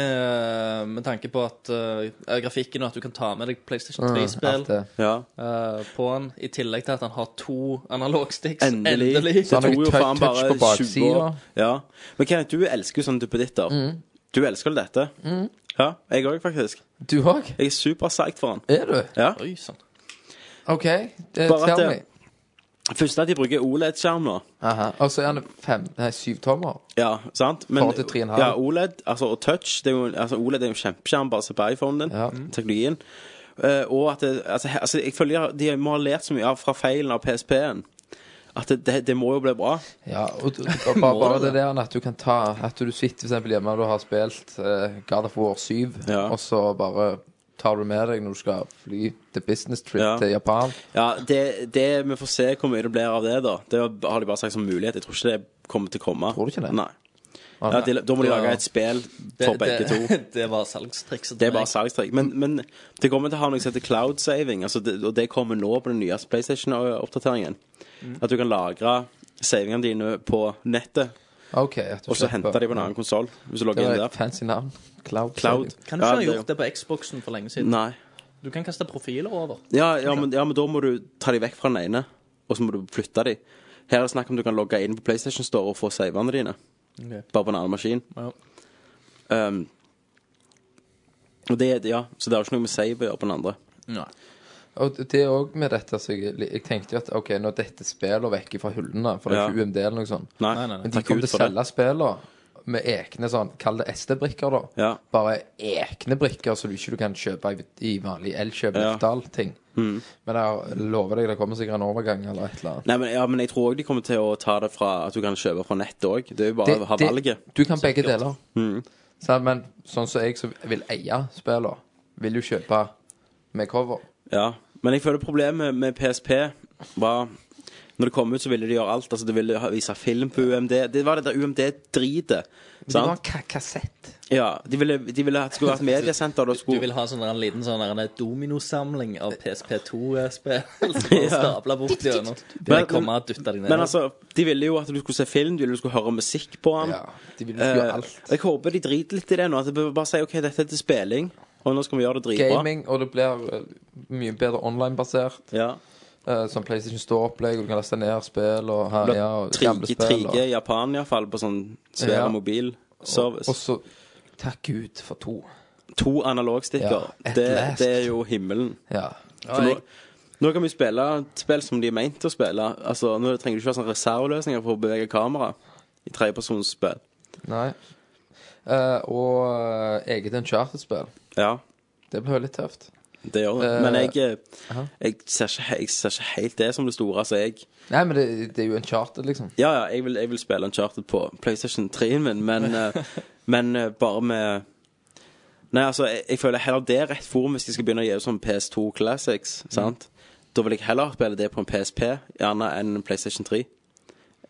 med, med tanke på at eh, grafikken og at du kan ta med deg PlayStation Mm, 3-spill alt det. ja. eh, på han, i tillegg til at han har to analogsticks. Endelig. Det Så han har tok jo ikke touch- faen bare touch på 20 baksida. år. Ja. Men Kenneth, du elsker jo sånne duppeditter. Mm. Du elsker jo dette. Ja, jeg òg, faktisk. Du òg? Jeg er superpsyked for den. Er du? Ja. Oi, sånn. OK. Det, Bare at tell det- me. Først at de bruker OLED-skjerm nå. Aha. Og så er han fem, nei, syv tommer. Ja, sant? Men Forhold til 3,5. ja, OLED altså, og touch det er jo, altså, OLED er jo en kjempeskjerm bare se på iPhonen din. Ja. Teknologien. Eh, og at det, altså, he- altså, jeg føler de må ha lært så mye av fra feilen av PSP-en at det, det, det må jo bli bra. Ja, og, du- og bare, bare det der at du kan ta At du sitter for eksempel hjemme og du har spilt eh, God of War 7, Ja. og så bare tar du med deg når du skal fly til business trip Ja. til Japan. Ja, det, det, Vi får se hvor mye det blir av det, da. Det har de bare sagt som mulighet. Jeg tror ikke det kommer til å komme. Tror du ikke det? Nei. Ja, de, da må de lage et spill for begge to. det, det var salgstrikset. Det er til bare meg. salgstrekk. Men, men det kommer til å ha noe som heter cloud saving, altså det, og det kommer nå på den nye PlayStation-oppdateringen. At du kan lagre savingene dine på nettet, Ok, at du og så slipper- hente de på en annen konsoll. Hvis du Det logger var inn et der. fancy navn. Cloud. Cloud. Kan du ikke Ja, ha det- gjort det på Xboxen for lenge siden? Nei. Du kan kaste profiler over. Ja, ja, men, ja, men da må du ta de vekk fra den ene, og så må du flytte de. Her er det snakk om du kan logge inn på PlayStation Store og få savene dine. Bare på en annen maskin. Ja. Um, og det, ja, så det har jo ikke noe med save å gjøre på den andre. Nei. Og det er òg med dette så jeg, jeg tenkte jo at OK, nå detter spillene vekk fra hyllene, for det er Ja. ikke UMD eller noe sånt. Nei, Nei, nei, nei. Men de takk kom Gud til å for det. selge spillene med egne sånn, kall det SD-brikker, da. Ja. Bare egne brikker som du ikke du kan kjøpe i, i vanlig Elkjøp Ja. Mm. Løftdal-ting. Men jeg lover deg, det kommer sikkert en overgang eller et eller annet. Nei, men, ja, men jeg tror òg de kommer til å ta det fra at du kan kjøpe fra nettet òg. Det er jo bare å ha valget. Mm. Du kan begge deler. Sant? Men sånn som jeg som vil eie spillene, vil jo kjøpe med cover. Ja, men jeg føler problemet med PSP var Når det kom ut, så ville de gjøre alt. Altså, De ville ha- vise film på UMD. Det var det der UMD-dritet. Det var Sant? en ka kassett. Ja, de ville, de ville at det skulle være et mediesenter. Da Du skulle vil ha sånn en liten sånn der en dominosamling av PSP2-spill og stable bort gjennom. Vil jeg komme og dytte deg ned? Men altså, de ville jo at du skulle se film, de ville du skulle høre musikk på den. Ja, de vil gjøre Eh, alt. Jeg håper de driter litt i det nå. At de bare sier OK, dette er til spilling, og nå skal vi gjøre det dritbra. Gaming, og det blir eh, mye bedre online-basert. Ja. eh, Som PlayStation Store-opplegg, og du kan laste ned spill og her, Blir ja, og tri- gamle I spill. trige Japan, iallfall, på sånn svær Ja. Og, mobilservice. og så Takk Gud for to. To analogstikker. Ja, at det, last. det er jo himmelen. Ja. For nå, nå kan vi spille et spill som de er meint til å spille. Altså, Nå trenger du ikke ha sånne reserveløsninger for å bevege kamera i tredjepersonsspill. Nei. Eh, og eh, eget Uncharted-spill. Ja, Det blir jo litt tøft. det gjør det. Eh, Men jeg, aha. jeg, ser ikke, he- jeg ser ikke helt det som det store. Altså, jeg Nei, men det, det er jo Uncharted, liksom. Ja, ja, jeg vil, jeg vil spille Uncharted på PlayStation 3-en min, men, eh, men eh, bare med Nei, altså, jeg, jeg føler heller det er rett forum hvis de skal begynne å gi ut sånn PS2 Classics. Mm. sant? Da vil jeg heller spille det på en PSP gjerne enn en PlayStation 3.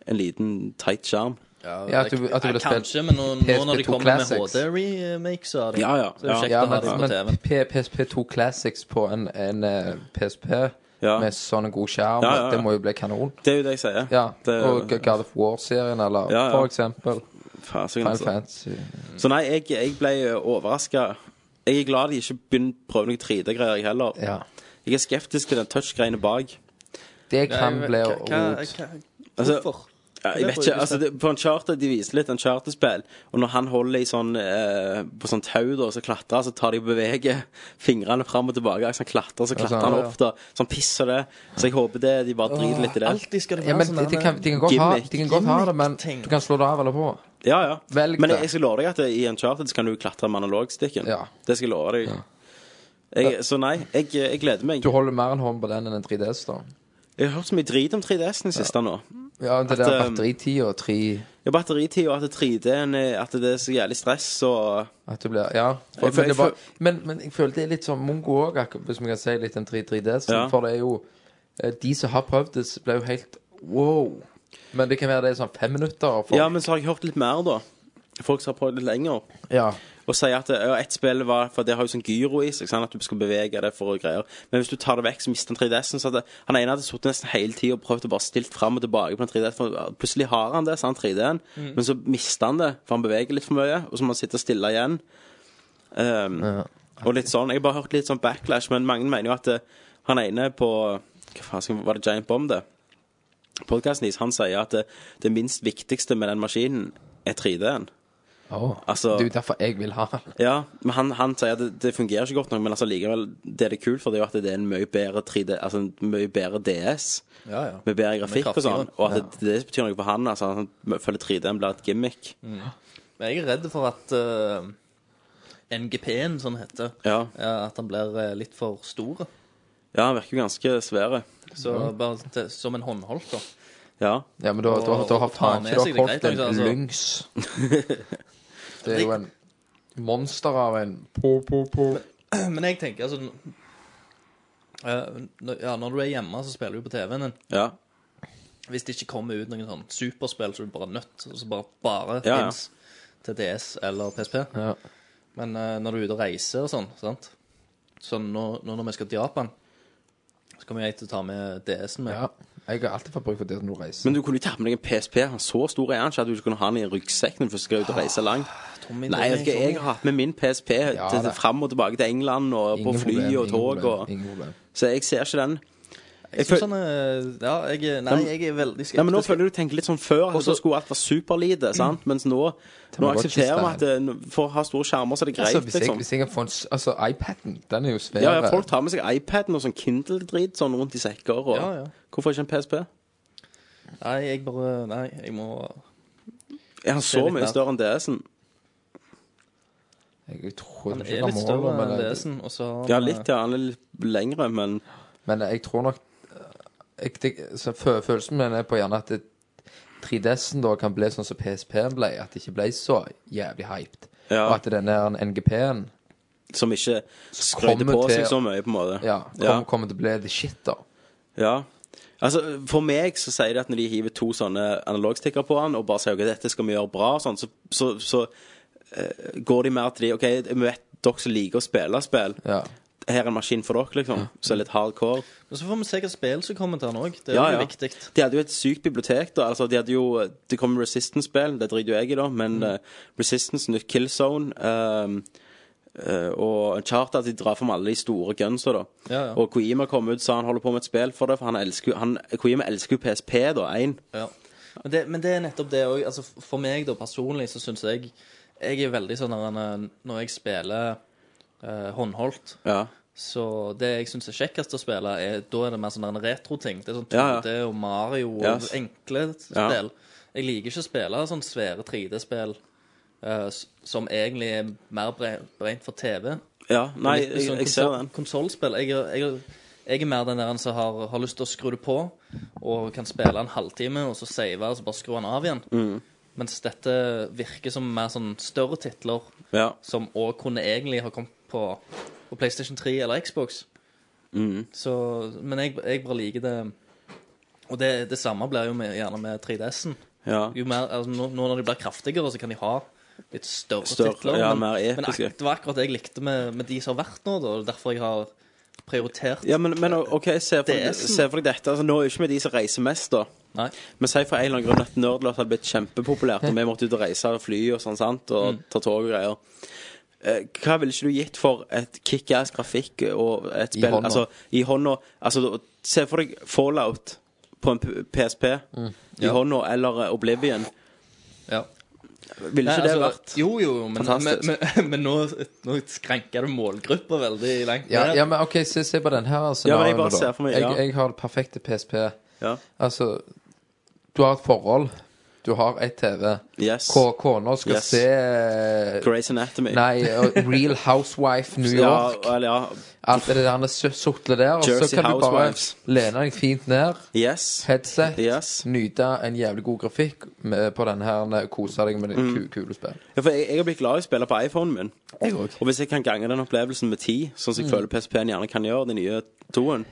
En liten, tight skjerm. Ja, at du, at du ville spilt Kanskje, men nå, nå når de PSP2 kommer med Classics. HD-remakes av det, Ja, ja, så er det ja. kjekt ja, å ha det men, på TV-en. men P- PSP2 Classics på en, en eh, PSP Ja. med sånn en god skjerm, Ja, ja, ja. det må jo bli kanon. Det er jo det jeg sier. Ja, det, Og God of War-serien, eller Ja, ja. for eksempel Fasingen, Final altså. Fantasy. Så nei, jeg, jeg ble overraska. Jeg er glad de ikke begynner å prøve noe 3D-greier, jeg heller. Ja. Jeg er skeptisk til den touch-greiene bak. Det kan Nei, bli hva- hva- rot. hva- Altså, Hvorfor? Ja, jeg vet ikke, altså det, På en charter, de viser litt en charterspill, og når han holder i sånn eh, på sånn tau da, så klatrer, han, så tar de og beveger fingrene fram og tilbake. Så han klatrer, så klatrer sånn, han ja. opp, da. Så han pisser det. Så jeg håper det, de bare driter litt i det. Alltid skal det Ja, være men sånn de, de, der- kan, de kan godt, ha, gimmick- de kan godt ha det, men gimmick-ting. du kan slå det av eller på. Ja, ja. Velg Men det. jeg, jeg skal love deg at det, i en charter så kan du klatre med analogstikken. Ja. Det skal jeg love deg. Jeg, så nei, jeg, jeg gleder meg. Du holder mer en hånd på den enn en 3DS, da. Jeg har hørt så mye drit om 3DS-en i siste nå. Ja, det At, der um, batteritid og tre Ja, batteritid og at 3D-en er at det er så jævlig stress og At du blir Ja. For, føl- men, det jeg var, men, men jeg føler det er litt sånn Mongo òg, hvis vi kan si litt om 3DS. Ja. For det er jo eh, De som har prøvd det, blir jo helt wow. Men det kan være det er sånn fem minutter. og folk- Ja, men så har jeg hørt litt mer, da. Folk som har prøvd litt lenger. ja. Og sier at ja, ett spill var For det har jo sånn gyro i seg, sant? at du skal bevege det for å greier. Men hvis du tar det vekk, så mister han 3DS-en. Så at det, han ene hadde sittet nesten hele tida og prøvd å bare stilt fram og tilbake på en 3DS. For plutselig har han det, så han 3D-en, men så mister han det, for han beveger litt for mye. Og så må han sitte stille igjen. Um, Og litt sånn. Jeg har bare hørt litt sånn backlash, men mange mener jo at eh, han ene på Hva faen skal- var det Giant Bomb, det? Podkasten hans, han sier at det, det minst viktigste med den maskinen er 3D-en. Åh, Altså- det er jo derfor jeg vil ha den. Ja, men han, han sier at det, det fungerer ikke godt nok, men altså likevel, det det er kult for, det er jo at det er en mye bedre 3D, altså en mye bedre DS, Ja, ja. med bedre grafikk og sånn, og at det, det betyr noe for han, altså han føler 3D-en blir et gimmick. Men jeg er redd for at uh, NGP-en, sånn heter, Ja, ja, at han blir eh, litt for stor. ja, han virker jo ganske svære. Så bare til, som en håndholdt, da. Ja, Ja, men da, da, da har Og- og ta faen med ikke seg, dere holdt det er greit, en liksom, altså. lynx. Det er jo en monster av en po, po, po. Men jeg tenker altså eh, når- ja, Når du er hjemme, så spiller du på TV-en din. ja, Hvis det ikke kommer ut noen sånn superspill, så er du bare nødt. Og så bare, bare Ja, ja. finnes til DS eller PSP. Ja. Men eh, når du er ute og reiser og sånn, sant? Så nå, nå når vi skal til Japan, så kommer jeg til å ta med DS-en min. ja. Jeg har alltid fått bruk for det når du reiser. men du kunne jo ta med deg en PSP, han er så stor er han ikke at du ikke kunne ha han i ryggsekken for du skal ut og reise langt. Tommy, Nei, jeg, vet ikke, jeg har hatt med min PSP Ja, til, til det- frem og tilbake til England og på fly problem, og ingen tog problem, og... Ingen problem. Så jeg ser ikke den. Jeg synes han er Ja, jeg er Nei, jeg er veldig skeptisk. Ja, men nå føler du tenker litt sånn før, at Også- da skulle alt være superlite, sant? Mens nå, nå Tamagotchi aksepterer style. vi at det, n- for å ha store skjermer, så er det greit, altså, hvis, jeg, liksom. hvis jeg kan få en s- Altså, iPaden, den er jo svær. Ja, ja, folk tar med seg iPaden og sånn Kindle-drit sånn rundt i sekker og Ja, ja. Hvorfor ikke en PSP? Nei, jeg bare Nei, jeg må Er han Se så litt mye mer. større enn DS-en? Jeg tror Han ikke er litt han må, større men, enn DS-en, og så har Ja, han, eh, litt, ja. Han er litt lengre, men men jeg tror nok eh, jeg, det, så fø- Følelsen min er på gjerne at det- 3DS-en da kan bli sånn som PSP-en ble, at det ikke ble så jævlig hyped. Ja. Og at den der NGP-en Som ikke skryter kommer på til- seg så mye, på en måte. ja, kom, ja. kommer til å bli the shit, da. Ja. Altså, For meg så sier de at når de hiver to sånne analogstikker på han og bare sier ok, dette skal vi gjøre bra, og sånn, så, så, så eh, går de mer til de OK, vi vet dere som liker å spille spill. Ja. Her er en maskin for dere, liksom. Som er litt hardcore. Men så får vi se hva spill som kommer til han òg. Det er Ja, jo ja. viktig. De hadde jo et sykt bibliotek. da, altså de hadde jo, Det kom Resistance-spill, det driter jo jeg i, da, men Mm. eh, Resistance, nytt Killzone eh, eh, og Charter at de drar fram alle de store gunsa. da. Ja, ja. Og Koima kom ut sa han holder på med et spill for det, for han elsker, jo- han, Koima elsker jo PSP, da, 1. Ja. Men, det, men det er nettopp det òg. Altså, for meg da, personlig så syns jeg Jeg er veldig sånn når, en, eh, når jeg spiller eh, håndholdt, Ja. så det jeg syns er kjekkest å spille, er, da er det mer sånn en retro-ting. Det er sånn 2D Ja, ja. og Mario og Yes. enkle Ja. spill. Jeg liker ikke å spille sånn svære 3D-spill eh, s- som egentlig er mer bre- brent for TV. ja. Nei, Litt jeg, sånn jeg ser konsol- den. Konsolspill. Jeg, er- jeg, er- jeg er mer den der som har, har lyst til å skru det på, og kan spille en halvtime, og så save, og så bare skru den av igjen. Mm. Mens dette virker som mer sånn større titler, Ja. som òg kunne egentlig ha kommet på, på PlayStation 3 eller Xbox. Mm. Så, men jeg, jeg bare liker det Og det, det samme blir jo med, gjerne med 3DS-en. ja. Jo mer, altså, nå, nå når de blir kraftigere, så kan de ha litt større, Større, titler. ja, men, mer men ak episke. det var akkurat det jeg likte med, med de som har vært nå, da. og Derfor jeg har prioritert Ja, men, men OK, se for, deg, DS-en. se for deg dette. altså Nå er jo ikke vi de som reiser mest, da. Nei. Men si for en eller annen grunn at Nerdlot hadde blitt kjempepopulært, og vi måtte ut og reise og fly og sånn, sant, og Mm. ta tog og greier. Eh, Hva ville ikke du gitt for et kickass grafikk og et I spill hånda. altså, i hånda? Altså, se for deg Fallout på en P- PSP Mm. i hånda, eller eh, Oblivion. Ja. altså, Ville ikke altså, det vært Jo, jo, jo, men, men, fantastisk? men, men nå, nå skrenker du målgruppa veldig langt Ja, ned. ja, men OK, se, se på den her Ja, men scenarioet, jeg bare da. ser for meg, ja. jeg, jeg har det perfekte PSP. Ja. Altså, du har et forhold. Du har et TV. Yes. K- Kona skal Yes. se Grace Anatomy. Nei, og Real Housewife New York. Ja, eller ja. Alt det der sutle der. Og så Jersey kan du bare Housewives. lene deg fint ned. Yes. Headset. Yes. Nyte en jævlig god grafikk med, på den her. Kose deg Mm. med litt ku- kule spill. Ja, for jeg, jeg har blitt glad i å spille på iPhonen min. Jeg òg. Og hvis jeg kan gange den opplevelsen med ti, sånn som Mm. jeg føler PSP-en gjerne kan gjøre, den nye toen,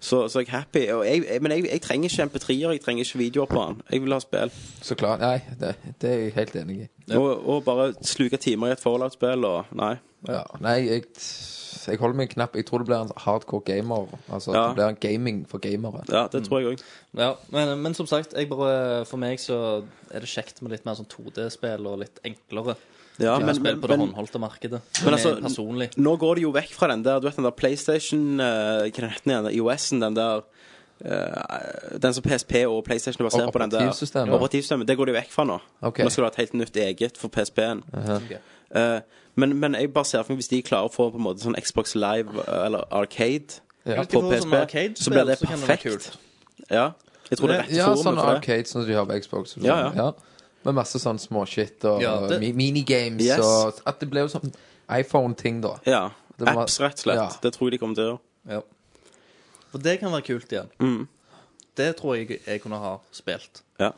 så, så er jeg happy. Og jeg, jeg, men jeg, jeg trenger ikke MP3-er, jeg trenger ikke videoer på den. Jeg vil ha spill. Så klart. Nei, det, det er jeg helt enig i. Og, og bare sluke timer i et Fallout-spill og Nei. Ja. Nei, jeg, jeg holder meg knapp. Jeg tror det blir en hardcore gamer. Altså Ja. det blir en gaming for gamere. Ja, det tror jeg òg. Ja, men, men som sagt, jeg bare, for meg så er det kjekt med litt mer sånn 2D-spill og litt enklere. Ja, type men, spill men, på det men håndholdte markedet. men Men altså, personlig. nå går det jo vekk fra den der Du vet den der PlayStation eh, Hva heter den igjen? IOS-en, den der eh, Den som PSP og PlayStation er basert Og på, den der operativsystemet. operativsystemet. Det går de vekk fra nå. Ok. Nå skal du ha et helt nytt eget for PSP-en. Ok. Eh, men, men jeg bare ser for meg hvis de klarer å få på en måte sånn Xbox Live eh, eller Arcade Ja. Hvis de på får sånn PSP, arcade-spill, så blir det så kan det være perfekt. ja. Jeg tror det er rett Ja, forum sånn for det. arcade som de har på Xbox. og sånn. Ja, ja. Med masse sånn småshit og Ja, det- mi- minigames Yes. og At det ble jo sånn iPhone-ting, da. Ja. Det må- Apps, rett og slett. Ja. Det tror jeg de kommer til å gjøre. Ja. For det kan være kult igjen. Det tror jeg jeg kunne ha spilt. Mm. Ja.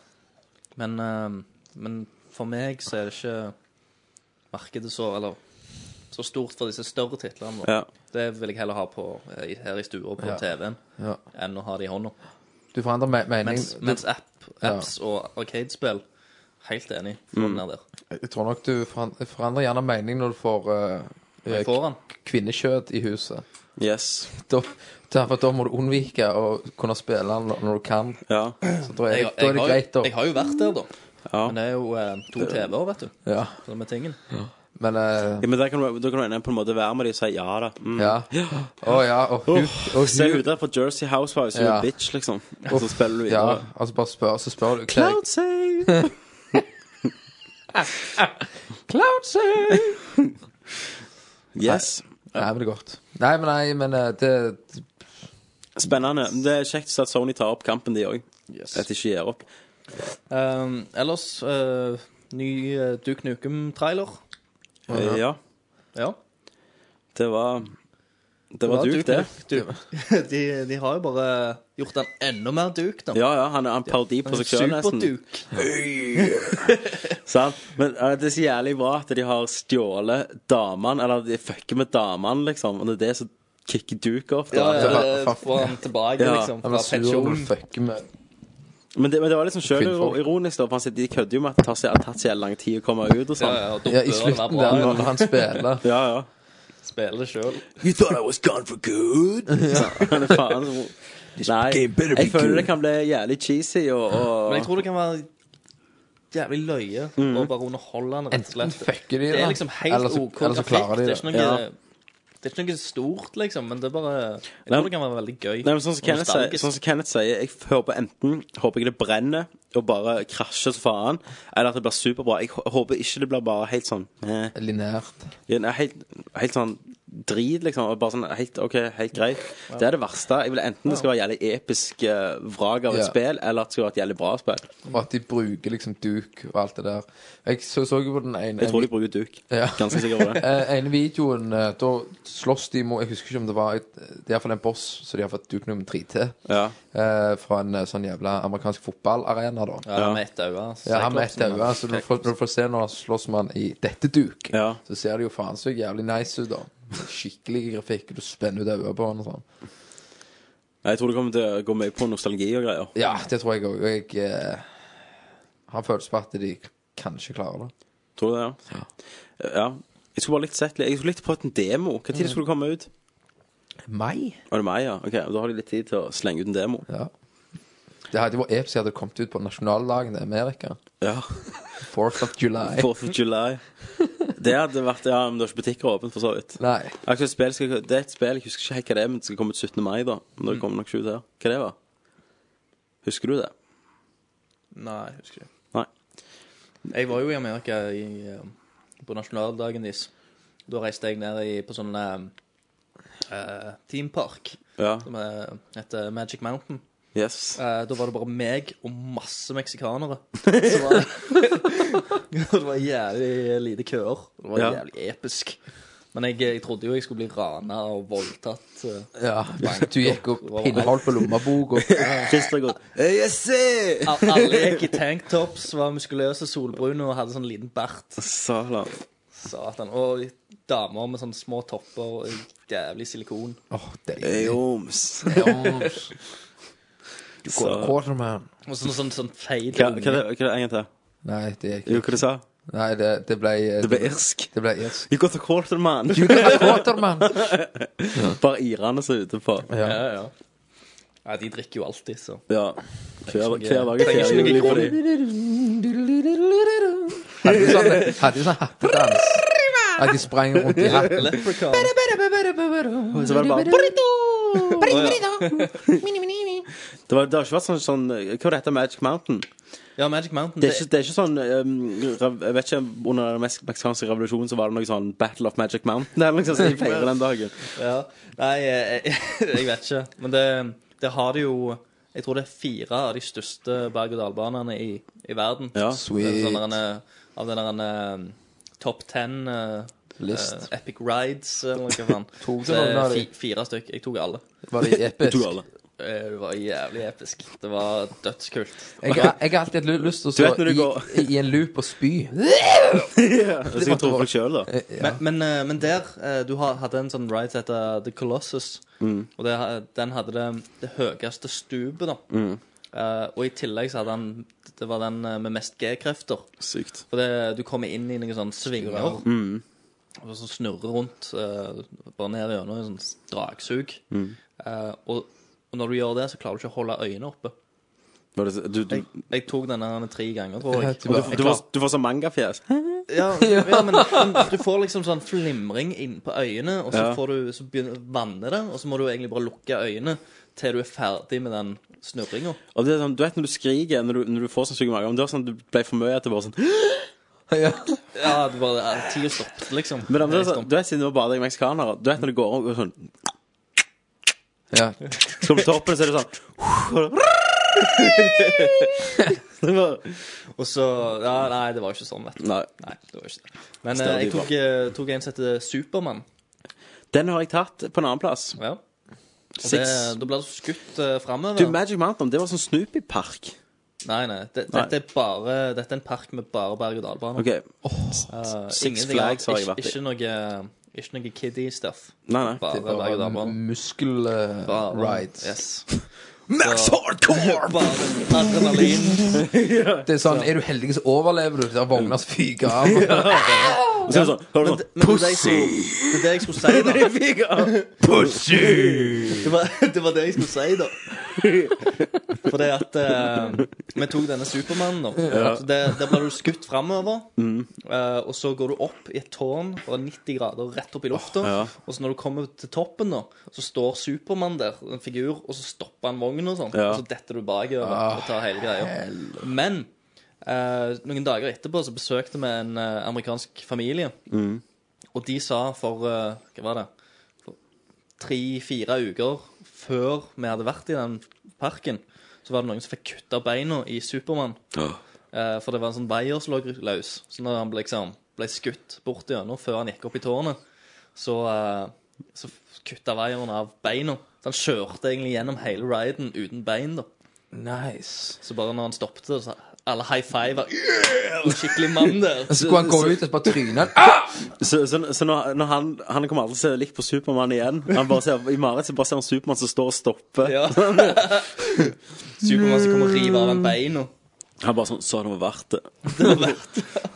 Men, eh, men for meg så er det ikke markedet så Eller så stort for disse større titlene. da. Ja. Det vil jeg heller ha på, eh, i- her i stua på Ja. TV-en Ja. enn å ha det i hånda. Du forandrer me mening. Mens, mens app, apps og arcade-spill Helt enig. Få Mm. den ned der. Jeg tror nok du foran- forandrer gjerne mening når du får eh, Jeg får den. k- kvinnekjøtt i huset. Yes. Da, derfor da må du unnvike å kunne spille den når- når du kan. Ja. Så da er, da Jeg, jeg, er det har, greit, jo- da. jeg har jo vært der, da. Ja. Men det er jo eh, to TV-er, vet du. Ja. Sånn med tingen. Men eh, Ja, men da kan du, da kan du ende på en måte være med de og si ja da. Mm. ja. Å ja. Og hun, og Se hun ut der på Jersey Housewives, you Ja. a bitch, liksom. Og så spiller du Ja, videre. altså bare spør, så spør du Claire, Cloud save! Cloud save! Yes. Nei, men det er godt. Nei, men nei, men eh, det Spennende. Det er kjekt å se at Sony tar opp kampen, de òg. At de ikke gir opp. Um, ellers eh, ny eh, Duke Nukem-trailer. Eh, Ja. Ja. Det var Det var duk, det. Duke. De, de har jo bare gjort han enda mer duk, da. Ja, ja, han er en parodi på seg sjøl, nesten. Superduk. Sant? Men eh, det er så jævlig bra at de har stjålet damene, eller de fucker med damene, liksom. Og det er det som kicker Duke opp. Ja, Da. ja, det eh, får han tilbake, Ja. liksom. Han Fra var sur og pensjon. fucker med Men, det, men det var liksom sjøl ironisk, da. For han sier- de kødder jo med at det tar så- det har tatt så jævlig lang tid å komme ut og Ja, sånn. ja, og da Ja, bør i det være slutten bra. der, når han spiller. Ja, ja. Spiller det sjøl. You thought I was gone for good? Men faen så- Nei, game better be jeg føler good. det kan bli jævlig cheesy og, og Men jeg tror det kan være jævlig løye Mm. og bare underholde han, rett og Enten slett. fucker de Det det, er liksom helt eller så, OK eller så klarer grafikk. de det. Det er ikke noe Det er ikke noe stort, liksom, men det er bare Jeg Nei, tror det kan være veldig gøy. Nei, men sånn som, Og Kenneth sier, nostalgisk. sånn som Kenneth sier, jeg hører på enten håper jeg det brenner og bare krasjer så faen, eller at det blir superbra. Jeg hå- håper ikke det blir bare helt sånn eh, Linært. Ja, nei, helt, helt sånn drit, liksom. og Bare sånn helt OK, helt greit. Det er det verste. Jeg vil enten det skal være jævlig episk eh, vrak av et Ja. spill, eller at det skal være et jævlig bra spill. Og at de bruker liksom duk og alt det der. Jeg så, så jo på den ene Jeg tror de bruker duk. Ja. Ganske sikker på det. Eh, ene videoen, eh, da slåss de mot Jeg husker ikke om det var et, Det er iallfall en boss som de har fått duk nummer tre til. Ja. Eh, fra en eh, sånn jævla amerikansk fotballarena, da. Ja, med ett øye. altså. Ja, han med ett Cyclopsen, øye. Så du får, når du får se når han slåss med han i dette duk, Ja. så ser det jo faen så jævlig nice ut, da. Skikkelig grafikk, og du spenner ut øynene på han og sånn. Nei, Jeg tror det kommer til å gå mye på nostalgi og greier. Ja, det tror jeg òg. Jeg eh, har følelse på at de kanskje klarer det. Tror du det, ja? ja. Mm. Jeg skulle bare likt sett litt Jeg skulle likt prøvd en demo. Når skulle det komme ut? Mai? Var det meg, ja? Ok, Da har de litt tid til å slenge ut en demo. Ja. Det hadde vært episk hadde det kommet ut på nasjonaldagen i Amerika. Ja. 4th of July. Fourth of July. Det hadde vært Ja, men det er ikke butikker åpne, for så vidt. Nei. Akkurat spill skal, det er et spill, jeg husker ikke helt hva det er, men det skal komme ut 17. mai, da. Men det kommer nok ikke ut her. Hva det var? Husker du det? Nei, jeg husker ikke. Nei. Jeg var jo i Amerika i, eh, på nasjonaldagen deres. Da reiste jeg ned i, på sånn uh, teampark Ja. som eh, heter Magic Mountain. Yes. Eh, da var det bare meg og masse meksikanere. Så var det, det var jævlig lite køer. Det var Ja. jævlig episk. Men jeg, jeg trodde jo jeg skulle bli rana og voldtatt. eh. Ja. Du gikk og pinneholdt på lommebok og Christer går ASC! Al- Alle gikk i tanktops, var muskuløse, solbrune og hadde sånn liten bart. Sala. Satan. Og damer med sånne små topper og jævlig silikon. Åh, deilig. Ayoms. Hva Quarterman. Og sånn, sånn, sånn feit hva er unge. det hva er det en gang til? Nei, det gikk Jo, hva du sa Nei, det, det ble Det ble irsk. Det ble irsk. You got a quarter, man. Du ble Quarterman! Bare irene som er ute på. Ja. Ja, ja. Nei, de drikker jo alltid, så. Ja. Hver, hver dag er Trenger ikke noe fjerde juli for grunn. dem. Hadde jo sånn, hadde jo sånn hattedans. At de sprang rundt i hatten. Leprechaun. Så var det bare Det, var, det har ikke vært sånn, sånn Hva er det heter Magic Mountain? Ja, Magic Mountain. Det er ikke, det er ikke sånn ehm, rev- Jeg vet ikke, Under den mes- meksikanske revolusjonen så var det noe sånn Battle of Magic Mountain. Det er liksom sånn de feirer den dagen. Ja. Nei, jeg, jeg vet ikke. Men det, det har det jo Jeg tror det er fire av de største berg-og-dal-banene i, i verden. Ja. Sweet. Sånn der en, eh, av den der en, eh, Top Ten eh, List. eh, Epic Rides, eller noe faen. Tok du Så det noen av er de? fi- Fire stykk. Jeg tok alle. Var det To episk? alle. Eh, Det var jævlig episk. Det var dødskult. Jeg, har- jeg har alltid hatt lyst til å Du vet når stå du i, går- i en loop og spy. Så jeg tror folk selv, da. Men, men, eh, men der eh, Du ha- hadde en sånn ride som heter The Colossus. Og det, ha- den hadde det, det høyeste stupet, da. Eh, og i tillegg så hadde han Det var den eh, med mest G-krefter. Sykt. For det, du kommer inn i noen sånne svinger. Mm. Og så snurrer rundt eh, bare ned gjennom en sånn dragsug. Eh, og, og når du gjør det, så klarer du ikke å holde øynene oppe. Var det, du, du, Jeg, jeg tok denne her tre ganger, tror jeg. Du- Jeg du, klarte- var, du var sånn mangafjes. ja, ja, men men du får liksom sånn flimring inn på øynene, og så, Ja. får du, så begynner vanner det, og så må du egentlig bare lukke øynene til du er ferdig med den snurringa. Og det er sånn, du vet når du skriker når du, når du får sånn syk mage om det var sånn, Du ble for mye etter bare sånn Ja. Ja, det bare er tida stoppet, liksom. Men det, Det er er sånn, du vet siden du var bader i meksikanere Du vet når det går rundt og sånn ja. Skal på toppen, så er det sånn det var, stopp. Og så Ja, nei, det var jo ikke sånn, vet du. Nei. Nei, det var jo ikke det. Men eh, Stadig jeg tok, eh, tok en som heter Supermann. Den har jeg tatt på en annen plass. Ja. Og det, Six. da blir du skutt uh, framover. Du, Magic Mountain, det var sånn Snoopy-park. Nei, nei. Det, Nei. Dette, er bare, dette er en park med bare berg-og-dal-bane. Ok. Six Six Flags har jeg vært i. Ikke noe, eh, ikke noe kiddie stuff. Nei, nei. Bare berg-og-dal-bane. Bare- Muskel-rides. Yes. Max Hardcore! Bare adrenalin. Det er sånn, er du heldig, så overlever du. Der vogner fyker av. Og så er det sånn, hører du sånn, Men det, er det jeg skulle- det er det jeg skulle si, da. Det var, det var det jeg skulle si, da. Fordi at eh, vi tok denne Supermannen nå. Så Der, der blir du skutt framover. Eh, og så går du opp i et tårn fra 90 grader rett opp i lufta. Ja. Og så når du kommer til toppen, da, så står Supermann der, en figur, og så stopper han vognen og sånn. Ja. Og så detter du bakover og tar hele greia. Men eh, noen dager etterpå så besøkte vi en eh, amerikansk familie. Og de sa for eh, Hva var det? tre-fire uker før vi hadde vært i den parken, så var det noen som fikk kutta beina i Supermann. Eh, for det var en sånn veier som lå løs. Så når han ble, liksom, ble skutt bort gjennom før han gikk opp i tårnet, så, eh, så kutta veieren av beina. Så han kjørte egentlig gjennom hele riden uten bein, da. Nice. Så bare når han stoppet, så sa alle high five yeah! og skikkelig mann der. Så skulle han gå ut og bare tryne han. Ah! Så, så, så når, når han, han kommer aldri til å se likt på Supermann igjen. Han bare ser, I mareritt så bare ser han Supermann som står og stopper. Ja. Supermann som kommer og river av en beina. Han bare sånn Sånn har det vært. det. Det var verdt det.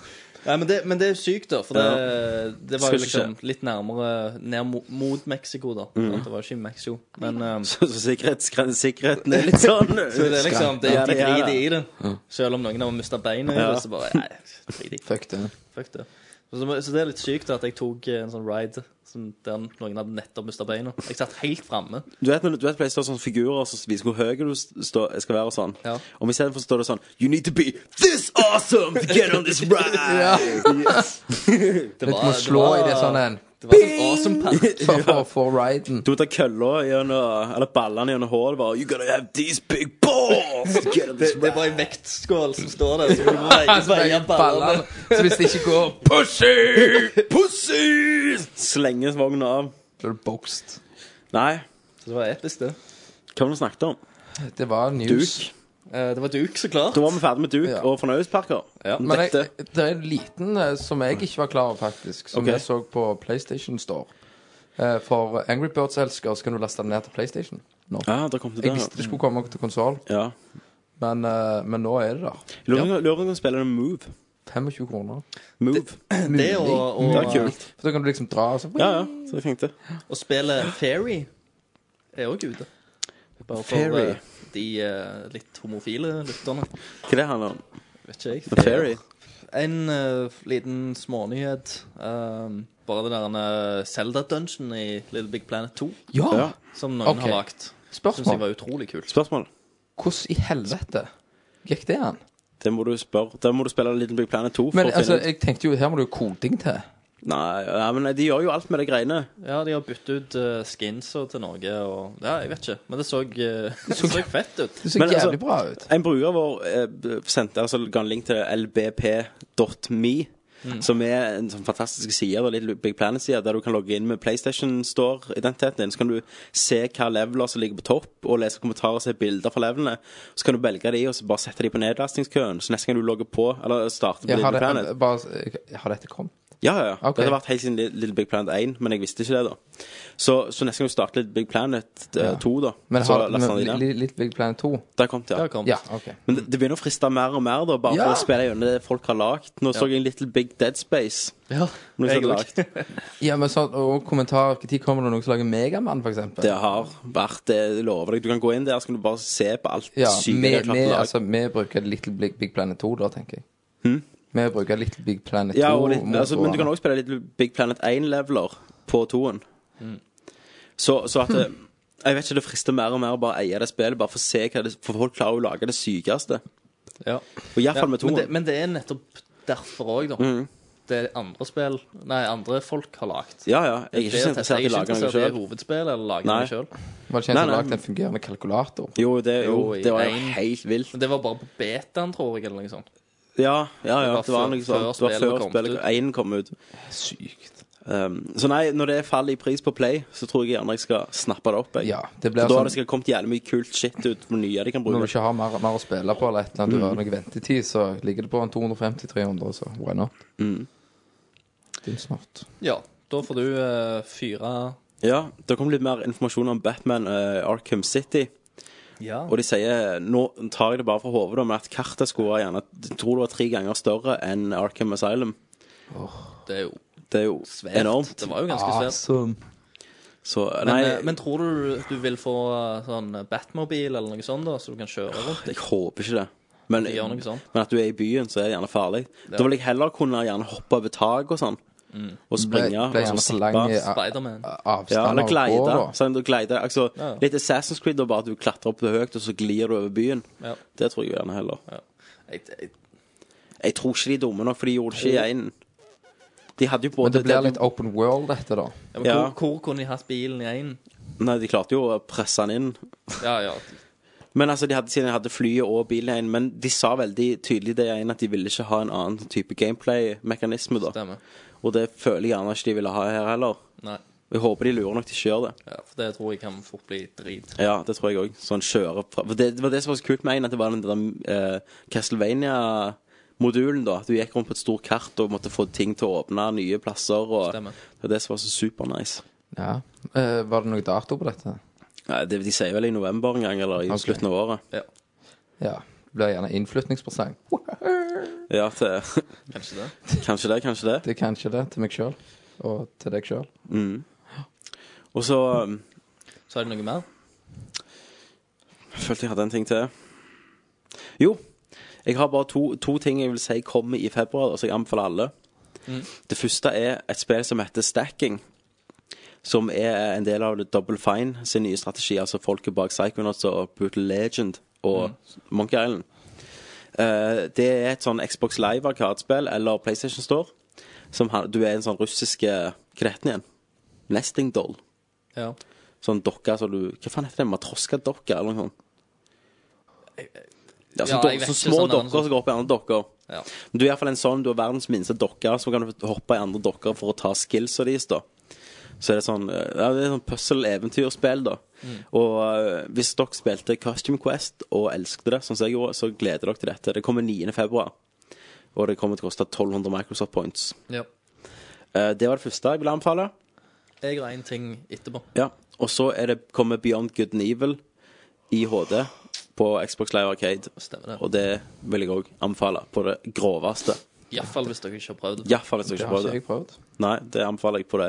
Nei, men, det, men det er sykt, da. For det, det Skal var jo ikke liksom litt nærmere ned mo- mot Mexico, da. Det var ikke i Mexico. Men um, Mm. Så, så sikkerhetsgren- sikkerheten er litt sånn så det er liksom det, Ja, De det er driter det. i det. Selv om noen har mista beinet i det, så bare Nei, drit i. Fuck det. Fuck det. Så, så det er litt sykt at jeg tok en sånn ride som der noen hadde nettopp mista beina. Jeg satt helt framme. Du vet, når- du vet pleier det står sånne figurer som viser hvor høy du stå, skal være og sånn. Ja. Om istedenfor står det sånn You need to be this awesome to get on this ride! Det Du må slå i det sånn en Det var sånn awesome pack. for, for, for riden. Du må ta kølla gjennom Eller ballene gjennom håret bare You gotta have these big balls! to Get on Det, this det er ride! bare en vektskål som står der, så du må veie- veie ballene. Så hvis det ikke går, Pussy! Pussy! Slenges vogna av. blir du boxed. Nei, Så det var episk, det. hva var det vi snakket om? Det var news. Duk. Eh, Det var duk, så klart. Da var vi ferdig med duk Ja. og fornøyelsesparker. Ja. Men Dette. jeg, det er en liten eh, som jeg ikke var klar over, faktisk. Som Ok. jeg så på PlayStation Store. Eh, For Angry Birds elsker, så kan du laste den ned til PlayStation. Nå. Ja, da kom det Jeg der. visste det skulle komme til konsoll, Ja. men, eh, men nå er det der. Jeg Lurer på om- lurer på om vi kan spille en move. 25 kroner. Move. Det og, Det er og, kult. For da kan du liksom dra og så Ja, ja. Så jeg tenkte. og spille Fairy er òg ute. Bare for Fairy. eh, de eh, litt homofile lytterne. Hva det handler om? Vet ikke jeg. Fairy? En eh, liten smånyhet. ehm, bare det der eh, Zelda-dungeon i Little Big Planet 2, Ja. Ja! som noen Ok. har lagd. Syns jeg Spørsmål. var utrolig kult. Spørsmål? Hvordan i helvete gikk det an? Det må du spørre. Der må du spille Little Big Planet 2. For Men å finne altså, ut. jeg tenkte jo, her må du jo koding til. Nei, ja, men de gjør jo alt med de greiene. Ja, de har byttet ut uh, skinsa til noe og Ja, jeg vet ikke, men det så, eh, det så fett ut. Det så Men, altså- jævlig bra ut. En bruker vår eh, sendte altså, ga en link til lbp.me, Mm. som er en sånn fantastisk side da, Little Big Planet-side, der du kan logge inn med PlayStation Store-identiteten din. Så kan du se hva leveler som ligger på topp, og lese kommentarer og se bilder fra levelene. Så kan du velge de, og så bare sette de på nedlastingskøen. Så neste gang du logger på, eller starter på Jeg Little har, Big Planet det, bare, jeg har dette kommet? Ja, ja. ja. Ok. Det har vært helt siden Li- Little Big Planet 1, men jeg visste ikke det, da. Så, så neste gang du starter Little Big Planet eh, Ja. 2, da, Men så har, laster han men, det inn. Li- Little Big Planet 2? Der kom det, Det ja. har kommet. Ja, OK. Men det, det begynner å friste mer og mer, da, bare Ja. for å spille gjennom det folk har lagd. Nå så jeg en Little Big Dead Space. Ja, Noe som jeg er òg. lagt. Ja, men sånn, og kommentarer Når kommer det noen som lager Megamann, for eksempel? Det har vært det, jeg lover deg. Du kan gå inn der, så kan du bare se på alt ja, syke de vi, har klart vi, å lage. altså, vi bruker Little Big, Big Planet 2 da, tenker jeg. Vi bruker Little Big Planet 2 Hm? ja, og litt, mot altså, men du kan hverandre. også spille Little Big Planet 1-leveler på toen. Mm. Så, så at det- Jeg vet ikke, det frister mer og mer å bare eie det spillet, bare for å se hva det For folk klarer å lage det sykeste. Ja. Og i hvert Ja, fall med Mm. toen. men, det, men det er nettopp derfor òg, da. Det er andre spill Nei, andre folk har lagd. Ja, ja. Jeg er ikke Det så er tett- interessert i å lage noe Jeg er ikke interessert i sjøl. hovedspill eller lage Nei. noe sjøl. Var det ikke en som Nei, nei. lagde en fungerende kalkulator? Jo, det, jo, Jo, i det var jo en- helt vilt. Men det var bare på betaen, tror jeg, eller noe sånt. Ja, ja, ja. var Det var før- noe sånt. før Det var spillet før kom spillet ut. 1 kom ut. Sykt. Um, så nei, når det faller i pris på Play, så tror jeg gjerne jeg skal snappe det opp. Jeg. Ja, det blir For da sånn- har det sikkert kommet jævlig mye kult shit ut på nye de kan Når bruke. du ikke har mer, mer å spille på, eller et eller annet, du Mm. har noe ventetid, så ligger det på en 250-300, så why not? Mm. Det er smart. Ja, da får du eh, fyre Ja, Det kom litt mer informasjon om Batman eh, Arkham City. Ja. Og de sier Nå tar jeg det bare fra hodet, da, men at kartet skulle være gjerne jeg tror det var tre ganger større enn Arkham Asylum. Det er jo Det er jo svært. enormt. Det var jo ganske svært. Så Men, nei, eh, men tror du du vil få eh, sånn Batmobil eller noe sånt, da, så du kan kjøre rundt? jeg håper ikke Ah, det. Men, At de gjør noe sånt. men at du er i byen, så er det gjerne farlig. Da vil jeg heller kunne gjerne hoppe over tak og sånn. Mm. Og springe. Ble- ble og gjerne så for lang i- sippe. Spiderman. Ah. Ja, Avstander eller å gå, gleide. da. Sånn, du gleide. Altså, Ja. Litt Assassin's Creed, da, bare at du klatrer opp det høyt, og så glir du over byen. Ja. Det tror jeg gjerne heller. Jeg, jeg, Jeg tror ikke de er dumme nok, for de gjorde det ikke i én. De hadde jo Men både det blir det- litt open world, dette, da. ja, men Ja. hvor, hvor kunne de hatt bilen i én? Nei, de klarte jo å presse den inn. Ja, ja. Men altså, de hadde, siden de hadde flyet og bilen inn, men de sa veldig tydelig det igjen at de ville ikke ha en annen type gameplay-mekanisme, da. Stemmer. Og det føler jeg gjerne ikke de ville ha her heller. Nei. Jeg håper de lurer nok til å kjøre det. Ja, for det tror jeg kan fort bli drit. Ja, det tror jeg òg. Sånn kjøre fra For det, det var det som var så kult med en, at det var den der eh, Castlevania-modulen, da. At du gikk rundt på et stort kart og måtte få ting til å åpne nye plasser, og Stemmer. det var det som var så supernice. Ja. Eh, var det noe dato på dette? Nei, det, de sier vel i november en gang, eller i Ok. slutten av året. Ja, Ja. Det blir gjerne innflytningspresang. Ja, til, kanskje det. kanskje det, kanskje det. Det er kanskje det til meg sjøl, og til deg sjøl. Og så um, Så er det noe mer? jeg følte jeg hadde en ting til. Jo, jeg har bare to, to ting jeg vil si kommer i februar, da, så jeg anbefaler alle. Det første er et spill som heter Stacking. Som er en del av Double Fine sin nye strategi. Altså folket bak Psychonauts og Brutal Legend og Monkey Island. Eh, det er et sånn Xbox Live arkadspill eller PlayStation Store. Som har, du er en sånn russisk eh, Hva er den igjen? Nesting doll. Ja. Sånn dokke som du Hva faen heter det? Matroska-dokke, eller noe sånt? Ja, Ja, sånn, jeg dok- vet sånn ikke, små sånn der, dokker som går opp i andre dokker. Ja. Men Du er iallfall en sånn, du er verdens minste dokke, så kan du hoppe i andre dokker for å ta skillsa deres, da. Så er det sånn eh, ja, det er sånn puzzle-eventyrspill, da. Mm. Og eh, hvis dere spilte Costume Quest og elsket det, sånn som jeg gjorde, så gleder dere til dette. Det kommer 9. februar, og det kommer til å koste 1200 Microsoft points. ja. Eh, Det var det første jeg ville anbefale. Jeg har én ting etterpå. Ja, og så er det kommet Beyond Good and Evil i HD på Xbox Live Arcade. Stemmer det. Og det vil jeg òg anbefale på det groveste. Iallfall hvis dere ikke har prøvd det. Iallfall hvis du Det ikke har prøver ikke det. jeg prøvd. Nei, det anbefaler jeg på det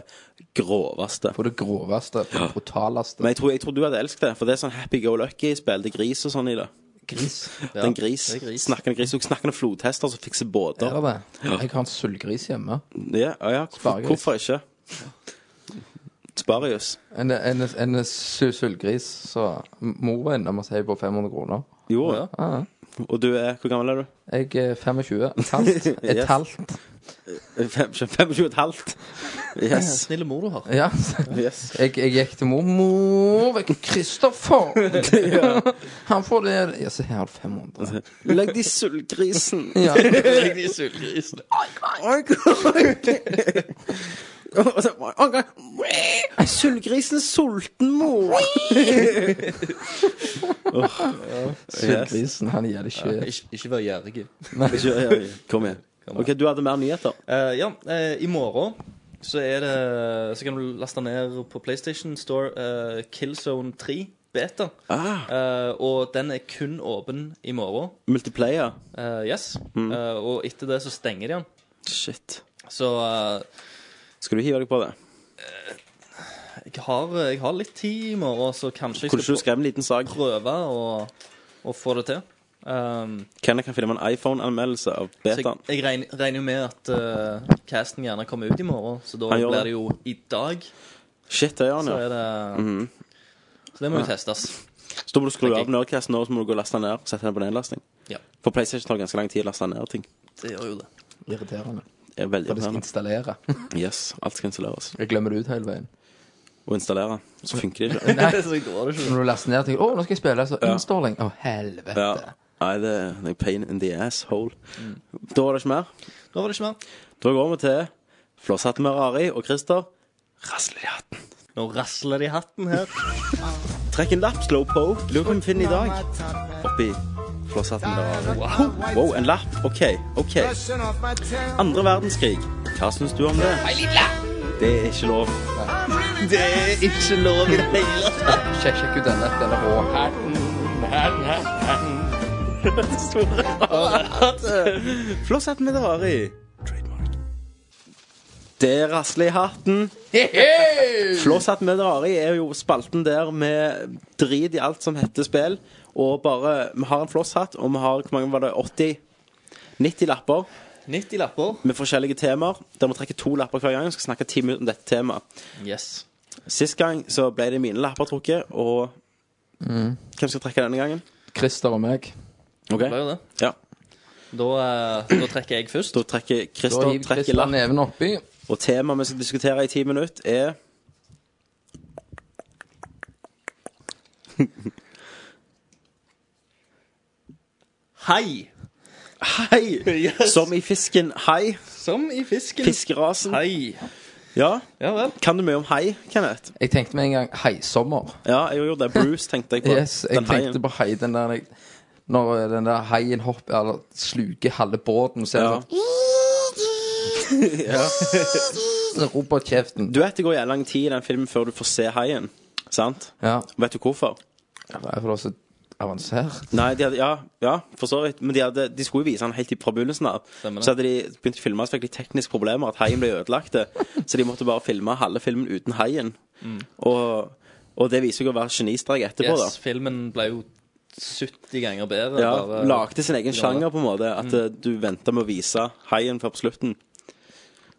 groveste. På det groveste, på det brutaleste. Men jeg tror, jeg tror du hadde elsket det, for det er sånn happy go lucky-spill. Det er gris og sånn i det. Gris. Det er en gris. det er gris. Snakkende gris. Og snakkende flodhester som fikser Er båter. det det? Jeg har en sølvgris hjemme. Ja, ja, ja. Hvorfor, Sparegris. hvorfor ikke? Sparius. En, en, en sø- sølvgris, så mor var innom og sa på 500 kroner. Jo, Ja. Ja, og du er Hvor gammel er du? jeg er 25. Et halvt. Et Yes. halvt. Fem- 25 og et halvt? Yes. Snille mor du har. Ja. yes. Jeg, jeg gikk til mormor. Vekk Kristoffer! Han får det Ja, se her har du 500. Legg de sultgrisen. Ja. Legg de sultgrisene. Og så bare, «Å, nei, Sølvgrisen er sulten, mor. Sølvgrisen, han gir det ikke. Ikke, ikke vær gjerrig. Ikke- ja, ja, Kom igjen. Ok, Du hadde mer nyheter. Eh, ja, eh, i morgen så er det Så kan du laste ned på PlayStation Store eh, Killzone 3 Beta. Ah, Eh, og den er kun åpen i morgen. multiplayer. Eh, yes. Eh, og etter det så stenger de den. Shit. Så eh, Skal du hive deg på det? jeg, har, jeg har litt tid i morgen, så kanskje Kunne ikke jeg du skal skrevet en liten sak? prøve å, å få det til. Um, Kenneth kan finne meg en iPhone-anmeldelse av så jeg, betaen. jeg regner, regner jo med at eh, casten gjerne kommer ut i morgen, så da Han gjør det. blir det jo i dag. Shit, det gjør Mm. han, Så ja. Mhm. er det Så det må jo testes. Så da må du skru Ok. av Nerdcasten nå, så må du gå og laste den ned. Sette den på nedlasting. Ja. For PlayStation tar ganske lang tid å laste ned ting. Det gjør jo det. Irriterende. Det er veldig For det skal irriterende. installere. Yes, alt skal installeres. Jeg glemmer det ut hele veien. Og installere. Så funker det ikke. så går det ikke. Når du laster ned, tenker du 'Å, nå skal jeg spille', så innstalling. Å, helvete. Ja. Nei, det er det er pain in the asshole. Da var det ikke mer. Nå var det ikke mer. Da går vi til Flosshatten med Rari og Christer rasler de hatten. Nå rasler de hatten her. Trekk en lapp, Slowpo. Lurer på hva vi finner i dag. Oppi flosshatten med Rari. Wow. wow, en lapp. OK, OK. Andre verdenskrig. Hva syns du om det? Det er ikke lov. Det er ikke lov i det hele tatt. Sjekk, sjekk ut denne. Den er rå. Flosshatten med Ferrari. Det er rasle i hatten. Flosshatten med Ferrari er jo spalten der vi driter i alt som heter spill, og bare Vi har en flosshatt, og vi har hvor mange var det, 80? 90 lapper 90 lapper. med forskjellige temaer, der vi trekker to lapper hver gang og skal snakke ti minutter om dette temaet. Yes. Sist gang så ble det mine lapper trukket, og hvem skal trekke denne gangen? Christer og meg. Ok, Det ble jo det. ja Da, eh, da trekker jeg først. Da trekker Da Christer hiver trekker Christer lapp. neven oppi. Og temaet vi skal diskutere i ti minutter, er Hei! hei! Yes. Som i fisken hei. Som i fisken. Fiskerasen. Hei. Ja. Ja vel. Kan du mye om hei, Kenneth? Jeg tenkte med en gang heisommer. Ja, jeg gjorde det. Bruce tenkte jeg på. Yes, jeg Den tenkte heien. på hei, den der Når eh, den der heien hopper eller sluker halve båten, så er det Ja. sånn så rop på kjeften. Du vet det går jævlig lang tid i den filmen før du får se haien. Sant? Ja. Vet du hvorfor? Jeg får også avansert. Nei, de hadde, ja, ja, for så vidt. Men de, hadde, de skulle jo vise den helt i- fra begynnelsen av. Stemmer det. Så hadde de begynt å filme, så fikk de tekniske problemer, at haien ble ødelagt. Så de måtte bare filme halve filmen uten haien. Og, og det viser jo å være genistrek etterpå, da. Mm. Yes, filmen ble jo 70 ganger bedre. Ja, bare- lagde sin egen Ja. Mm. sjanger, på en måte. At eh, du venta med å vise haien før på slutten.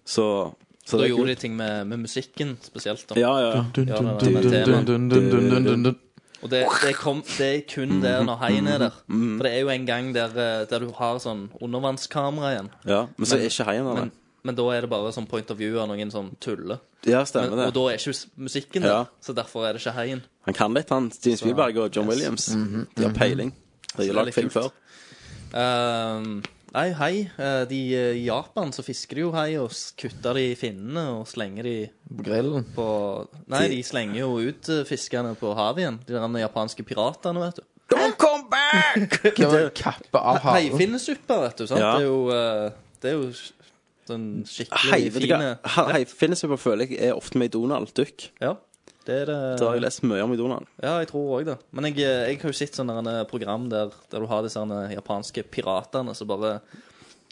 Så, så Da det er gjorde de kult. ting med, med musikken spesielt. Da. Ja, ja. Ja, den- den- den- den- den- Og det, det, kom, det er kun der Mm-hmm. når heien er der. For det er jo en gang der, eh, der du har sånn undervannskamera igjen. ja. Men så er ikke haien der. Men, nei. men da er det bare sånn point of view av noen som tuller. Ja, Men, stemmer og det. da er ikke s- musikken Ja. der, så derfor er det ikke heien. Han kan litt, han. Steven Spielberg og John Williams. De har peiling. De det er har lagd litt film kult. før. Ehm, nei, hei. eh, De, eh, I Japan så fisker de jo hei og s- kutter de finnene og slenger de På grillen. på Nei, de slenger jo ut eh, fiskene på havet igjen. De der japanske piratene, vet du. Hva var det? Kappe av halen. Heifinnesuppe, vet du. sant? Ja. Det er jo eh, Det er jo s- sånn Hei, skikkelig vet du fine hva? Ha- hei, finnes jeg på føler jeg er ofte med i Donald Duck. Ja, det er det. Da har jeg lest mye om i Donald. Ja, jeg tror òg det. Men jeg, eh, jeg har jo sett sånne der program der, der du har disse her eh, japanske piratene som bare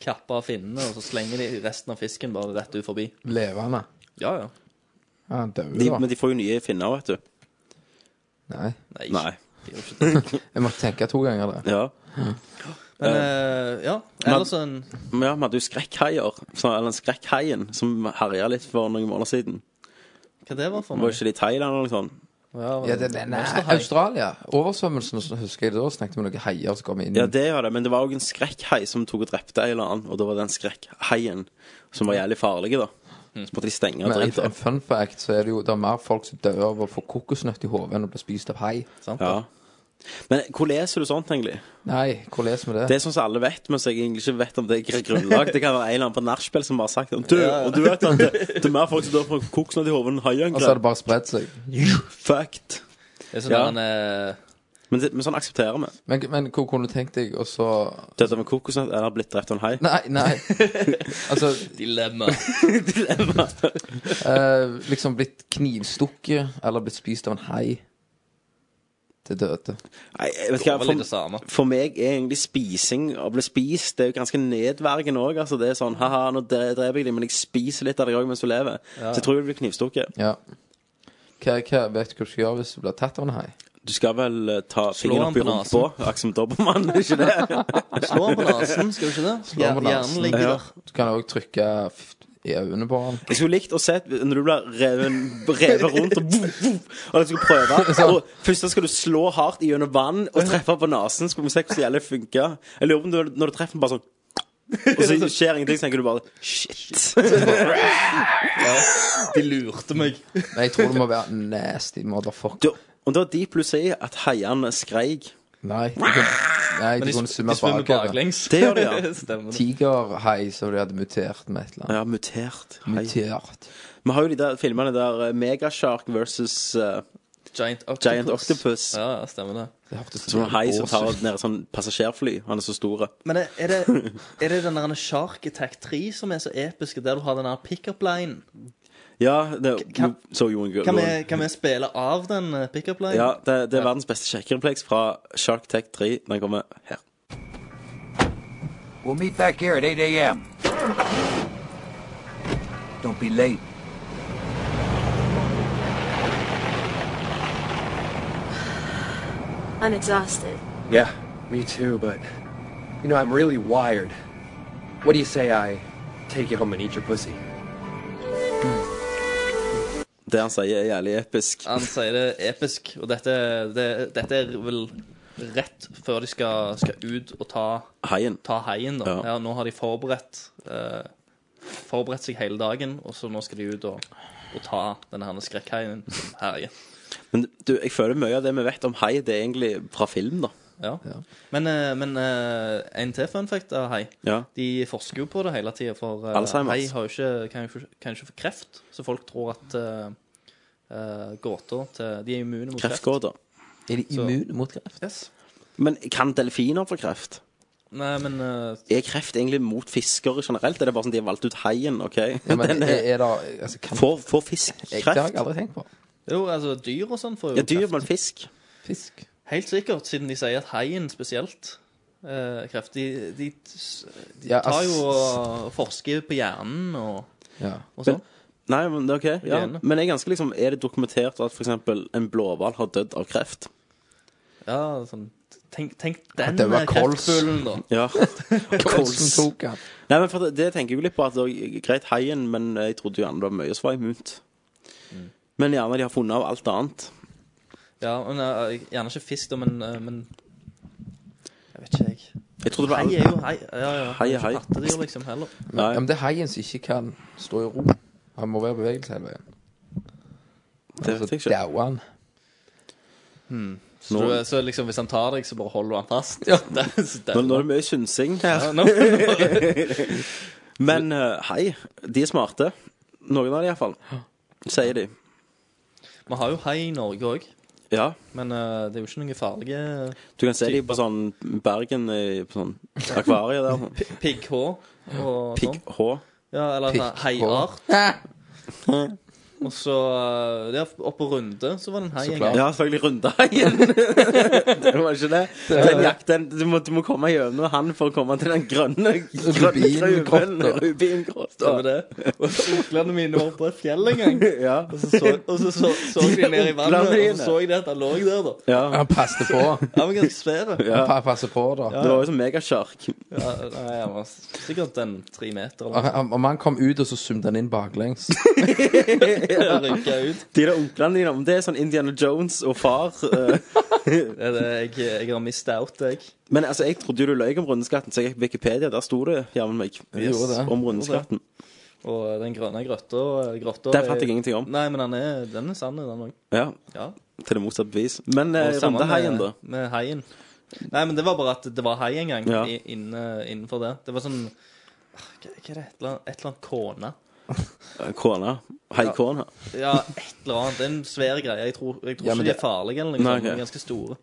kapper av finnene, og så slenger de resten av fisken bare rett ut forbi. Levende. Ja, ja. Ja, Han døde, De, da. men de får jo nye finner, vet du. Nei. Nei. Nei. det er jo ikke det. Jeg måtte tenke to ganger det. Ja. Men eh, ja, ellers en Men ja, vi hadde jo skrekkhaier. så- Eller Skrekkhaien, som herja litt for noen måneder siden. Hva det var for Var noe? ikke det i Thailand eller noe sånt? Ja, det, det, nei, Australia. Oversvømmelsen, så husker jeg det da snakket vi om noen heier som kom inn. Ja, det var det, men det var òg en skrekkhai som tok og drepte en eller annen. Og da var den skrekkhaien som var jævlig farlig, da. Så måtte de stenge og Men en, drite. en fun fact, så er det jo det er mer folk som dør av å få kokosnøtt i hodet enn å bli spist av hai. Sant? Ja. Men hvor leser du sånt, egentlig? Nei, hvor leser vi det? Det er sånn som alle vet, mens jeg egentlig ikke vet om det er grunnlag. Det kan være en eller annen på nachspiel som bare har sagt det. Du, og du vet at det, det er mer folk som dør fra kokosnøtt i hodet enn Og så har haiangrep. det bare spredt seg. Fucked. Det er sånn Ja. der en eh, Men, det, men sånn aksepterer vi. Men, men hvor kunne du tenkt deg å så Døde med kokosnøtt eller blitt drept av en hai. Nei, nei. Altså dilemma. eh, liksom blitt knivstukket eller blitt spist av en hai til døde. Nei, jeg vet Det hva, var litt det for, samme. for meg er egentlig spising å bli spist Det er jo ganske nedverdigende òg. Altså, det er sånn ha-ha, nå dre- dreper jeg deg, men jeg spiser litt av deg òg mens du lever. Så jeg tror jeg blir knivstukket. Ja. Hva, hva vet du hva du skal gjøre hvis du blir tatt av en hai? Du skal vel eh, ta fingeren han opp i på rumpa, akkurat som Dobermann, er ikke det? Slå han på nesen, skal du ikke det? han på Hjer- nesen. Hjernen ligger Ja. der. Du kan òg trykke f- i øynene på han. Jeg skulle likt å se når du blir revet, revet rundt og, vuff, vuff, og du skal prøve. Og først så skal du slå hardt gjennom vann og treffe på nesen. Skal vi se hvordan det funker. Jeg lurer på om du, når du treffer den, bare sånn Og så skjer ingenting, så tenker du bare shit. De lurte meg. Men jeg tror det må være nasty motherfucker. Du, og da de plutselig at haiene skreik Nei, de kunne, nei, de Men de kunne sp- svømme de svømmer bakere. baklengs. Det gjør de, ja. Stemmer det. Tigerhai som de hadde mutert med et eller annet. Ja, mutert. Hei. Mutert. Vi har jo de der filmene der eh, Megashark versus eh, Giant Octopus. Giant Octopus. Ja, ja, stemmer det. Det hørtes ut Som en hai som ås tar ut. ned et sånn passasjerfly. Han er så store. Men er er det, er det den der Shark Attack 3 som er så episk, der du har den der pickup-linen? Ja, det Kan- så Jon Kan, Gullvåg. vi- kan vi spille av den eh, pickup-linen? Ja, det, det er verdens beste sjekkereplex fra Shark Tech 3. Den kommer her. We'll meet back here at 8 a.m. Don't be late. I'm exhausted. Yeah, me too, but you know, I'm really wired. What do you say I take you home and eat your pussy? Det han sier, er jævlig episk. Han sier det er episk, og dette, det, dette er vel rett før de skal, skal ut og ta, Haien. ta heien. Da. Ja. Ja, nå har de forberedt, eh, forberedt seg hele dagen, og så nå skal de ut og, og ta denne her skrekkheien som herjer. Men du, jeg føler mye av det vi vet om hai, det er egentlig fra film, da. Ja. Men, eh, men eh, en til fun fact av hai. Ja. De forsker jo på det hele tida, for eh, Alzheimers. hai har jo ikke, kan, jo ikke, kan jo ikke få kreft. Så folk tror at uh, gåter til De er immune mot kreft. Kreftgåter. Er de immune mot kreft? Yes. Men kan delfiner få kreft? Nei, men eh, Er kreft egentlig mot fiskere generelt? Er det bare sånn de har valgt ut haien, OK? Ja, men Den er, er, er det altså, kan, får, får fisk jeg, Det har kreft? jeg aldri tenkt på. Jo, altså dyr og sånn får jo Ja, dyr, kreft. men fisk. Fisk. Helt sikkert, siden de sier at haien spesielt eh, kreft. De, de, de Ja, tar ass- jo og forsker på hjernen og, Ja. og sånn. Nei, men det er OK. Ja. Gjerne. Men jeg er ganske liksom Er det dokumentert at f.eks. en blåhval har dødd av kreft? Ja, sånn Tenk, tenk den det var eh, kols. kreftbullen, da. Ja. Kolsen tok han. Nei, men for det, det tenker jeg jo litt på at det er greit haien, men jeg trodde jo gjerne det var mye som var immunt. Men gjerne de har funnet av alt annet. Ja, men eh, Gjerne ikke fisk, da, men, eh, men Jeg vet ikke, jeg. Jeg trodde det var Hei er jo hei. Ja, ja. Hei er hei. Ikke pattedyr, liksom, heller. Nei, Ja, men det er haien som ikke kan stå i ro. Han må være i bevegelse hele veien. det vet jeg ikke. dauer han. Så, Nå- du- så liksom, hvis han tar deg, så bare holder du han fast? Det er- så det er- Nå, nå er det mye synsing her. Ja, nå- Men eh, hei, de er smarte. Noen av de iallfall. Sier de. Vi har jo hai i Norge òg, Ja. men eh, det er jo ikke noen farlige Du kan se de på sånn Bergen i på sånn akvariet der. sånn. pi- pigghå og sånn. Pigg H. Ja, eller sånn heiart. Og så eh, der oppe på Runde så var det en hai en gang. Ja, selvfølgelig Rundehaien. det var ikke det. Den jakten, du, må, du må komme gjennom han for å komme til den grønne Rubingrotta. Rubingrotta. Stemmer det. Og onklene mine var på et fjell en gang. Ja. Og så så, og så, så, så de ned i vannet, og så så jeg det at han lå der, da. ja. Han passet på. Han var ganske svær. Ja. Han pa- passet på, da. Det var jo som megasjark. Ja, nei, han var sikkert en tre meter Og eller noe. han- Om han kom ut, og så sumte han inn baklengs. Og rynka ut. De der onklene dine, om det er sånn Indiana Jones og far eh, Det er det jeg, jeg har mista out, jeg. Men altså, jeg trodde jo du løy om rundeskatten, så jeg gikk på Wikipedia, der sto det jammen meg gjorde det. om rundeskatten. Og den grønne grøtta grøtta Den fant er- jeg ingenting om. Nei, men den er, den er sann, den òg. Ja, Ja. til det motsatte bevis. Men eh, Og samme rundehaien, da? med, med haien. Nei, men det var bare at det var hai en gang Ja. i, inne, innenfor det. Det var sånn ah, Hva hva er det? Et eller annet, et eller annet kone? Eh, Kona. Haikona. Ja, et eller annet. Det er en svær greie. Jeg tror, jeg tror Ja, men ikke de det- er farlige eller noe. Nei, sånt, De ok. er ganske store.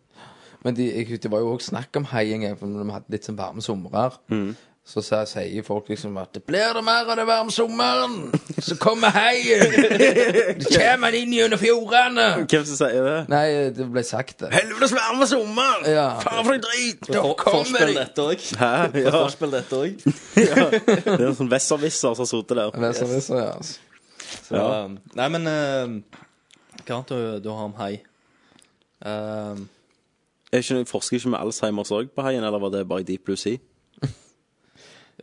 Men de, jeg, det var jo òg snakk om haiing, jeg, for når vi hadde litt sånn varme somrer. Mm. Så sa- sier folk liksom at 'Blir det mer av det varme sommeren, så kommer haien!' 'Så kommer han inn gjennom fjordene!' Hvem som sier det? Nei, det ble sagt, det. Helvetes varme sommer! Ja. Faen for en drit! For, forspill de! dette òg. Hæ? Ja, Forspill dette òg. det er en sånn besserwisser som har sittet der. Det er så, det er så, ja. altså. Så, Ja. um, Nei, men uh, Hva annet du, du har om hai? Um, Jeg skjønner, forsker ikke med Alzheimers òg på haien, eller var det bare i Deep Blue Sea?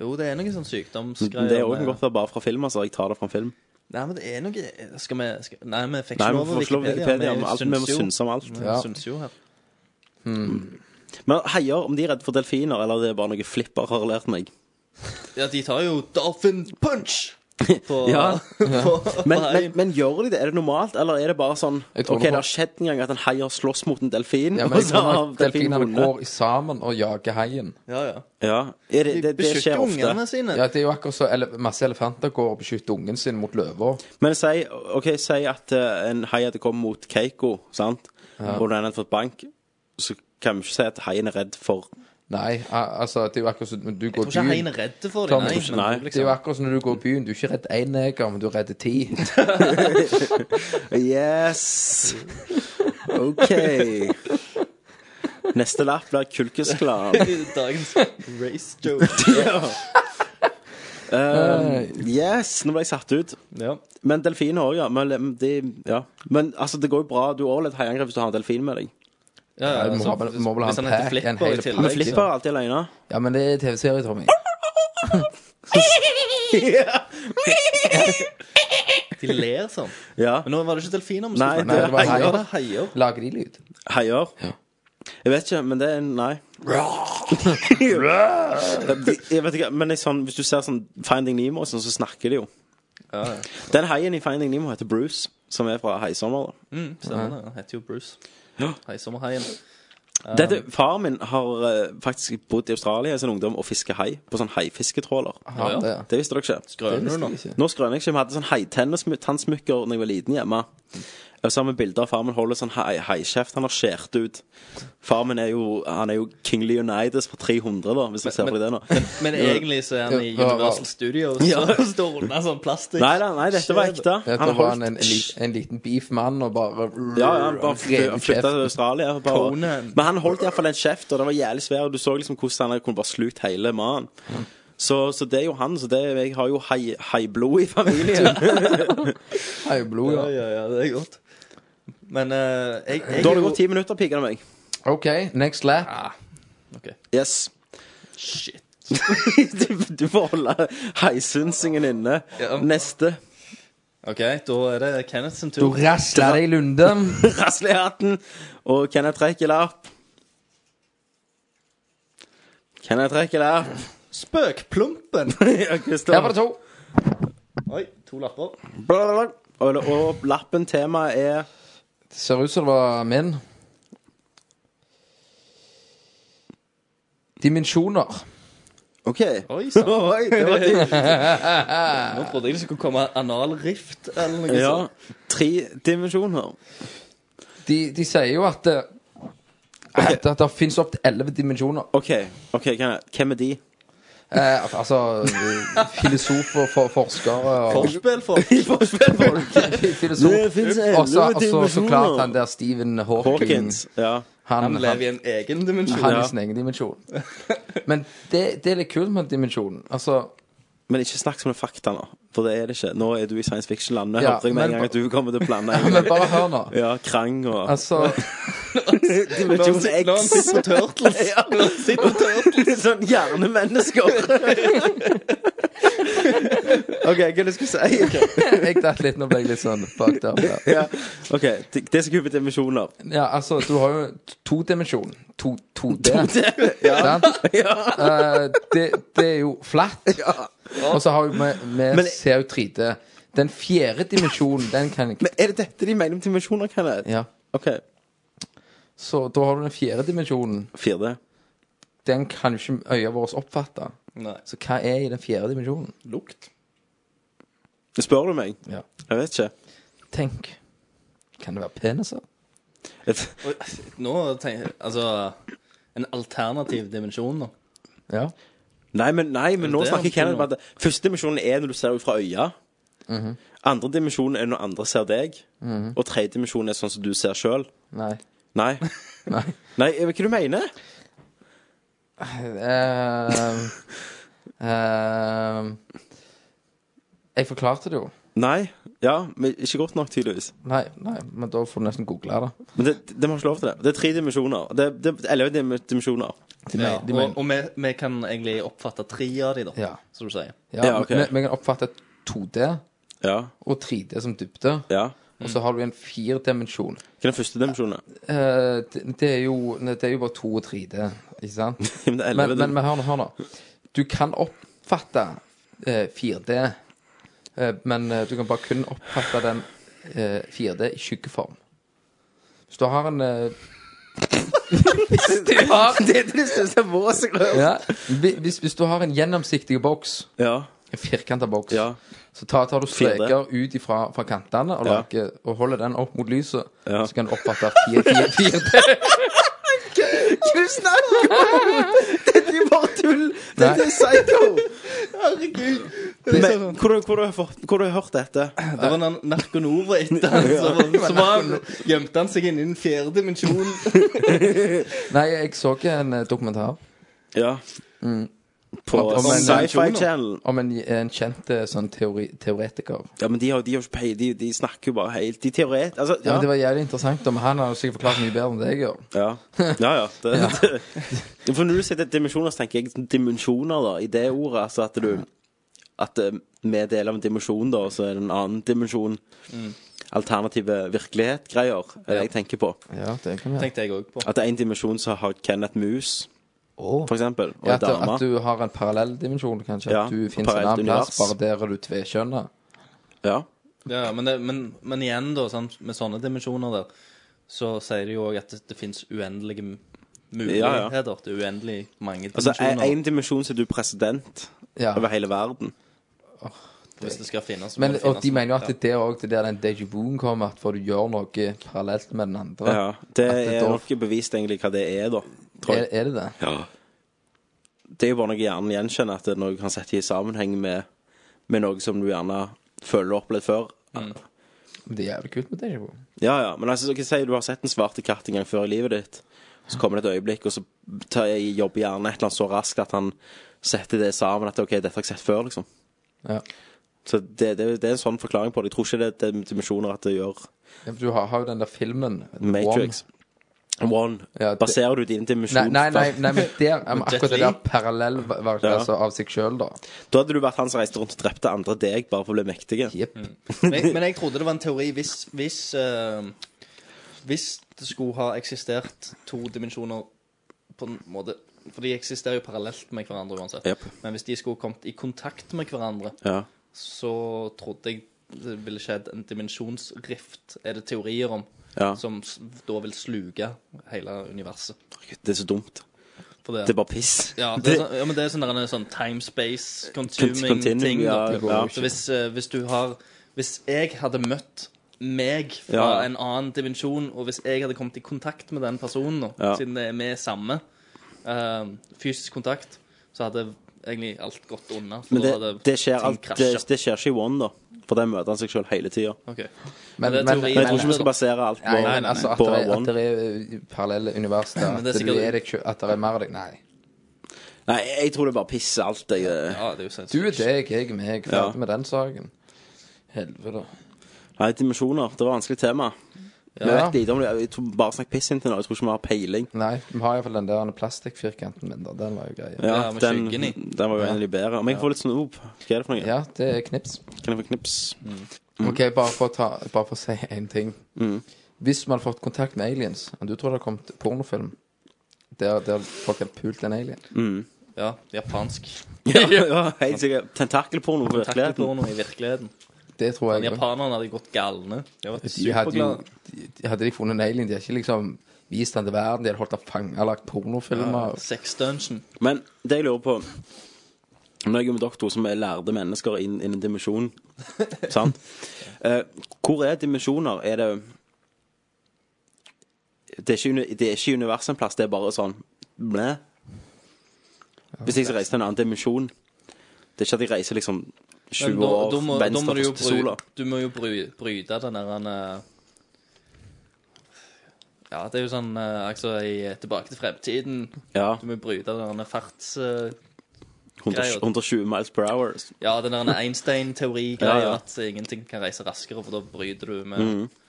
jo, det er noen sånn sykdomsgreier. Det er òg med- godt å bare fra film, altså. Jeg tar det fra film. Nei, men det er noe Skal vi skal, Nei, vi fikk Nei, ikke vi lov får av ikke lov til Wikipedia om alt. Vi må jo. synse om alt. Vi Ja. syns jo her. Men haier, om de er redde for delfiner, eller det er bare noe flipper har lært meg Ja, de tar jo Dolphin Punch! på, Ja. på, Men, men, men gjør de det? Er det normalt, eller er det bare sånn Jeg tror OK, det- det har skjedd en gang at en hai har slåss mot en delfin, Ja, men og jeg så tror har nok delfinen delfinene vunnet? går i sammen og jager haien. Ja, ja. Ja. Er det, De det, det beskytter skjer ofte. ungene sine. Ja, det er jo akkurat så ele masse elefanter går og beskytter ungen sin mot løver. Men si, ok, si at eh, en hai hadde kommet mot Keiko, sant? og den hadde fått bank, så kan vi ikke si at haien er redd for Nei, a- altså, det er jo akkurat som når du går Jeg tror ikke haien er redd for Tom, dem. jeg tror ikke- nei. Det er jo akkurat som når du går i byen. Du er ikke redd én neger, men du er redd ti. Yes! OK. Neste lapp blir Kulkesklan. Dagens race joke. Eh, Yes! Nå ble jeg satt ut. Ja. Men delfiner òg, ja. Men, eh, de, ja. Men altså, det går jo bra. Du overlever et haiangrep hvis du har en delfin med deg. Ja, ja, Ja, du må altså, ha- du må vel ha hvis en han heter pack, Flipper en hel i tillegg, pack. Men så- Flipper er alltid alene. Ja, men det er TV-serie, Tommy. De ler sånn. Ja. Men nå var det ikke delfiner vi Nei, skulle det Nei, det var snakke haier. om. Ja, det er haier. Lager de lyd? Haier. Jeg vet ikke, men det er Nei. De- jeg vet ikke, men jeg, sånn, hvis du ser sånn Finding Nemo, og sånn, så snakker de jo. Den haien i Finding Nemo heter Bruce, som er fra Haisommer. da. Mm, stemmer det. Han heter jo Bruce. Haisommerhaien. Dette, Faren min har eh, faktisk bodd i Australia i sin ungdom og fisker hai på sånn haifisketråler. Ja, ja. det. Det visste dere ikke. Grønner nå. Det visste jeg ikke. Nå skrøner jeg ikke, vi hadde sånn haitennisstannsmykker da jeg var liten hjemme. Og så har vi bilder av far min holder sånn hai- haikjeft. Han har skjært ut. Far min er jo Han er jo King Leonidas fra 300, da, hvis du ser på det nå. Men, men egentlig så er han i Ja, ja. Universal Studios Ja. og står unna sånn plastikk. Nei da, nei, dette var ekte. Dette Han var han holdt en, en, li- en liten beef-mann og bare Ja, ja, han bare rev ut flytta til kjeften. Australia. og Bare. Conan. Men han holdt iallfall en kjeft, og den var jævlig svær. Og du så liksom hvordan han kunne bare slukt hele mannen. Så, så det er jo han. Så det, jeg har jo hai- haiblod i familien. Hei, blod, Ja, ja. ja, ja, det er godt. Men eh, jeg, jeg da har det gått ti minutter, piker det meg. OK, next lap. Yes. Shit. Du, du får holde haisynsingen inne. Ja. Neste. OK, da er det Kenneth sin Du tur. rasler deg i lunde. Rasle i hatten. Og Kenneth trekker lapp. Kenneth trekker lapp. Spøkplumpen. Ja, Kristian. Her var det to. Oi, to lapper. Blablabla. Og, og lappen temaet er Det ser ut som det var min. Dimensjoner. OK. Oi sann. Oi, det var digg. Nå trodde jeg det skulle komme analrift eller noe Ja. sånt. Tre dimensjoner. De, de sier jo at eh, At, at det fins opptil elleve dimensjoner. OK, ok, Kenneth. hvem er de? Eh, al- altså eh, Filosofer, for, forskere og Forspill, folk. Det Filosof. finnes Og så elleve og så- så klart han dimensjoner. der Stephen Hawking. Hawkins. Ja. Han, Han han, lever i en egen dimensjon. han er Ja. i sin egen dimensjon. Men det, det er litt kult med dimensjonen. Altså Men ikke snakk som en fakta nå, for det er det ikke. Nå er du i science fiction-land. Jeg Ja, hørte jeg med men en gang ba- at du kommer til å blande Men inn bare hør nå. ja, krang og Altså Dimensjon Nå han sitter på Turtles. Nå han sitter på Turtles. Sånn hjernemennesker. OK, hva er det jeg skulle si? Jeg datt litt, nå ble jeg litt sånn fucked up. her. Ja. OK, det det er så kult dimensjoner. Ja, altså, du har jo todimensjon. To, 2D. Sant? Eh, det, det er jo flatt. Og så har jo vi, vi Men- ser jo 3D. Den fjerde dimensjonen, den kan ikke Men er det dette de mener om dimensjoner, Kenneth? Ja. OK, Så da har du den fjerde dimensjonen. 4D. Den kan jo ikke øya våre oppfatte. Nei. Så hva er i den fjerde dimensjonen? Lukt. Spør du meg? Ja. Jeg vet ikke. Tenk. Kan det være peniser? Et- Oi, Nå tenker jeg Altså En alternativ dimensjon, da. Ja. Nei, men, nei, men Er det nå det snakker han Kenneth om tror at første dimensjonen er når du ser ut fra øya. Andre dimensjonen er når andre ser deg. Og tredje dimensjonen er sånn som du ser sjøl. Nei. Nei. Nei. nei, jeg vet ikke hva du mener. Ehm, ehm, jeg forklarte det jo. Nei. Ja, men ikke godt nok, tydeligvis. Nei, nei, men da får du nesten google det. Men det, det, vi har ikke lov til det. Det er tre dimensjoner. Det, det, eller det er dimensjoner. De Ja, men- de men- og og vi, vi kan egentlig oppfatte tre av de, da, Ja. som du sier. ja, ja, ok. vi, vi kan oppfatte 2D Ja. og 3D som dybde, ja. og så har du en firedimensjon. Hva er den første dimensjonen? Eh, det, det, er jo- det er jo bare 2 og 3D, ikke sant? Men det er Men, elleve men, men hør nå, hør nå. Du kan oppfatte eh, 4D Eh, Men eh, du kan bare kun oppfatte den eh, 4D i skyggeform. Hvis du har en eh, Det er det største våset jeg har hørt. ja, hvi- hvis, hvis du har en gjennomsiktig boks, Ja. en firkanta boks, Ja. så tar, tar du 4D. streker ut ifra, fra kantene og, Ja. lager, og holder den opp mot lyset, Ja. så kan du oppfatte 4D. Hva snakker du om?! Dette er bare tull! Dette er psycho! Herregud. Men, hvor, hvor, har du fått- hvor har du hørt dette? Det var en narkonom var etter han, så, var- så var han, gjemte han seg inn i den fjerde dimensjonen. Nei, jeg så ikke en eh, dokumentar Ja. På Om- om en- Sci-Fi Channel. om en, en kjent eh, sånn teori, teoretiker. Ja, men de har de har jo ikke pei, de, de snakker jo bare helt De teoret... Altså, Ja. ja. men Det var jævlig interessant, og han har jo sikkert forklart mye bedre enn det jeg gjør. Ja, ja. ja, det, det. For når du sier dimensjoner, så tenker jeg dimensjoner, da, i det ordet. Altså at du At eh, vi er del av en dimensjon, da, og så er det en annen dimensjon. Mm. Alternative virkelighet-greier er det jeg tenker på. Ja, det kan vi gjøre. Tenkte jeg også på. At det er en dimensjon som har Kenneth Mus, for eksempel, og Ja, en at, du- dame. at du har en parallell dimensjon, kanskje. Ja, at du finnes en parallelt annen plass, univers. bare der er du tvekjønna. Ja. Ja, men, det, men, men igjen, da, sant, med sånne dimensjoner der, så sier de jo òg at det, det fins uendelige m- Ja, ja. muligheter. Det er uendelig mange Altså dimensjoner. én dimensjon så er du president Ja. over hele verden. hvis det skal finnes. så må Men, det og de finnes. mener jo at Ja. det er der òg, det er der den déjà vuen kommer, at for du gjør noe parallelt med den andre. Ja. Det At det er da- nok bevist egentlig hva det er, da. Tror Er, jeg. er det det? det er jo bare noe hjernen gjenkjenner, at det er noe du kan sette i sammenheng med, med noe som du gjerne føler opp litt før. Men Det er jævlig kult med déjà vu. Ja, ja, men altså, okay, si du har sett en svarte katt en gang før i livet ditt, så kommer det et øyeblikk, og så tar jeg jobber hjernen et eller annet så raskt at han setter det sammen, at ok, dette har jeg sett før, liksom. Ja. Så det, det, det er en sånn forklaring på det. Jeg tror ikke det er dem- dimensjoner at det gjør Ja, for Du har, har jo den der filmen Matrix. One. One. Ja, det- Baserer du din Nei, dimensjon nei, nei, nei, men der er akkurat det Lee. der parallell Ja. altså, av seg sjøl, da. Da hadde du vært han som reiste rundt og drepte andre deg bare for å bli mektige. Jepp. Mm. men, jeg- men jeg trodde det var en teori hvis hvis, eh, hvis det skulle ha eksistert to dimensjoner på en måte For de eksisterer jo parallelt med hverandre uansett. Jep. Men hvis de skulle kommet i kontakt med hverandre, Ja. så trodde jeg det ville skjedd en dimensjonsrift, er det teorier om, Ja. som s- da vil sluke hele universet. Det er så dumt. For det, Det er bare piss. ja, det er sånn, ja, men det er sånn, der en sånn time-space-consuming Continuing, ting. da. ja, det går jo Så hvis, eh, hvis du har Hvis jeg hadde møtt meg fra Ja. en annen dimensjon, og hvis jeg hadde kommet i kontakt med den personen, da, Ja. siden det er vi er samme, eh, fysisk kontakt, så hadde egentlig alt gått unna. For Men da det, hadde det, skjer ting alt, det, krasjet. det skjer ikke i One, da. For der møter han seg sjøl hele tida. Ok. Men- det er men- Men teori- jeg tror ikke vi det, skal basere alt Nei, på, men altså, at på det, er, at One. det er uh, parallelle univers der. Men At, det er du sikkert- er deg, sjøl- at det er mer av deg. Nei. Nei, jeg tror det bare pisser alt. Jeg, da. Ja, det er jo Du er sinnssykt. deg, jeg er meg. Ferdig Ja. med den saken. Helvete. Nei, dimensjoner. Det var et vanskelig tema. Vi Ja. vet lite om det. Jeg tror bare snakk piss inntil nå. Jeg tror ikke vi har peiling. Nei, vi har iallfall den der plastikkfirkanten min, da. Den var jo grei. Ja. Ja, Ja, med den, skyggen i. den var jo en av de bedre. Om jeg får litt snop, hva er det for noe? det er knips. Kan jeg få knips? OK, bare for å, ta, bare for å si én ting. Hvis man hadde fått kontakt med aliens og Du tror det hadde kommet pornofilm der, der folk hadde pult en alien? Ja, japansk. Ja, ja, helt sikkert. Tentakelporno på virkeligheten. Takkeporno i virkeligheten. Det tror jeg. også. Japanerne hadde gått galne. De hadde vært De hadde jo superglade. de, de- Hadde de funnet en alien, de hadde ikke liksom vist den til verden, de hadde holdt den fanget, lagt pornofilmer Sex dungeon. Men det jeg lurer på Når jeg er med dere to som er lærde mennesker inn inn i en dimensjon Sant? Eh, hvor er dimensjoner? Er det Det er ikke, uni- det er ikke universet en plass, det er bare sånn Blæ. Hvis jeg skal reise til en annen dimensjon Det er ikke at jeg reiser liksom 20 Men da- år da må- da må venstre du jo først til sola. bry- Du må jo bry, bryte den der han eh, Ja, det er jo sånn eh, altså, i eh, Tilbake til fremtiden. Ja. Du må bryte den der farts... eh, 100, 120 miles per hour. ja, den der Einstein-teori-greia. Ja, ja. Mm. At ingenting kan reise raskere, for da bryter du med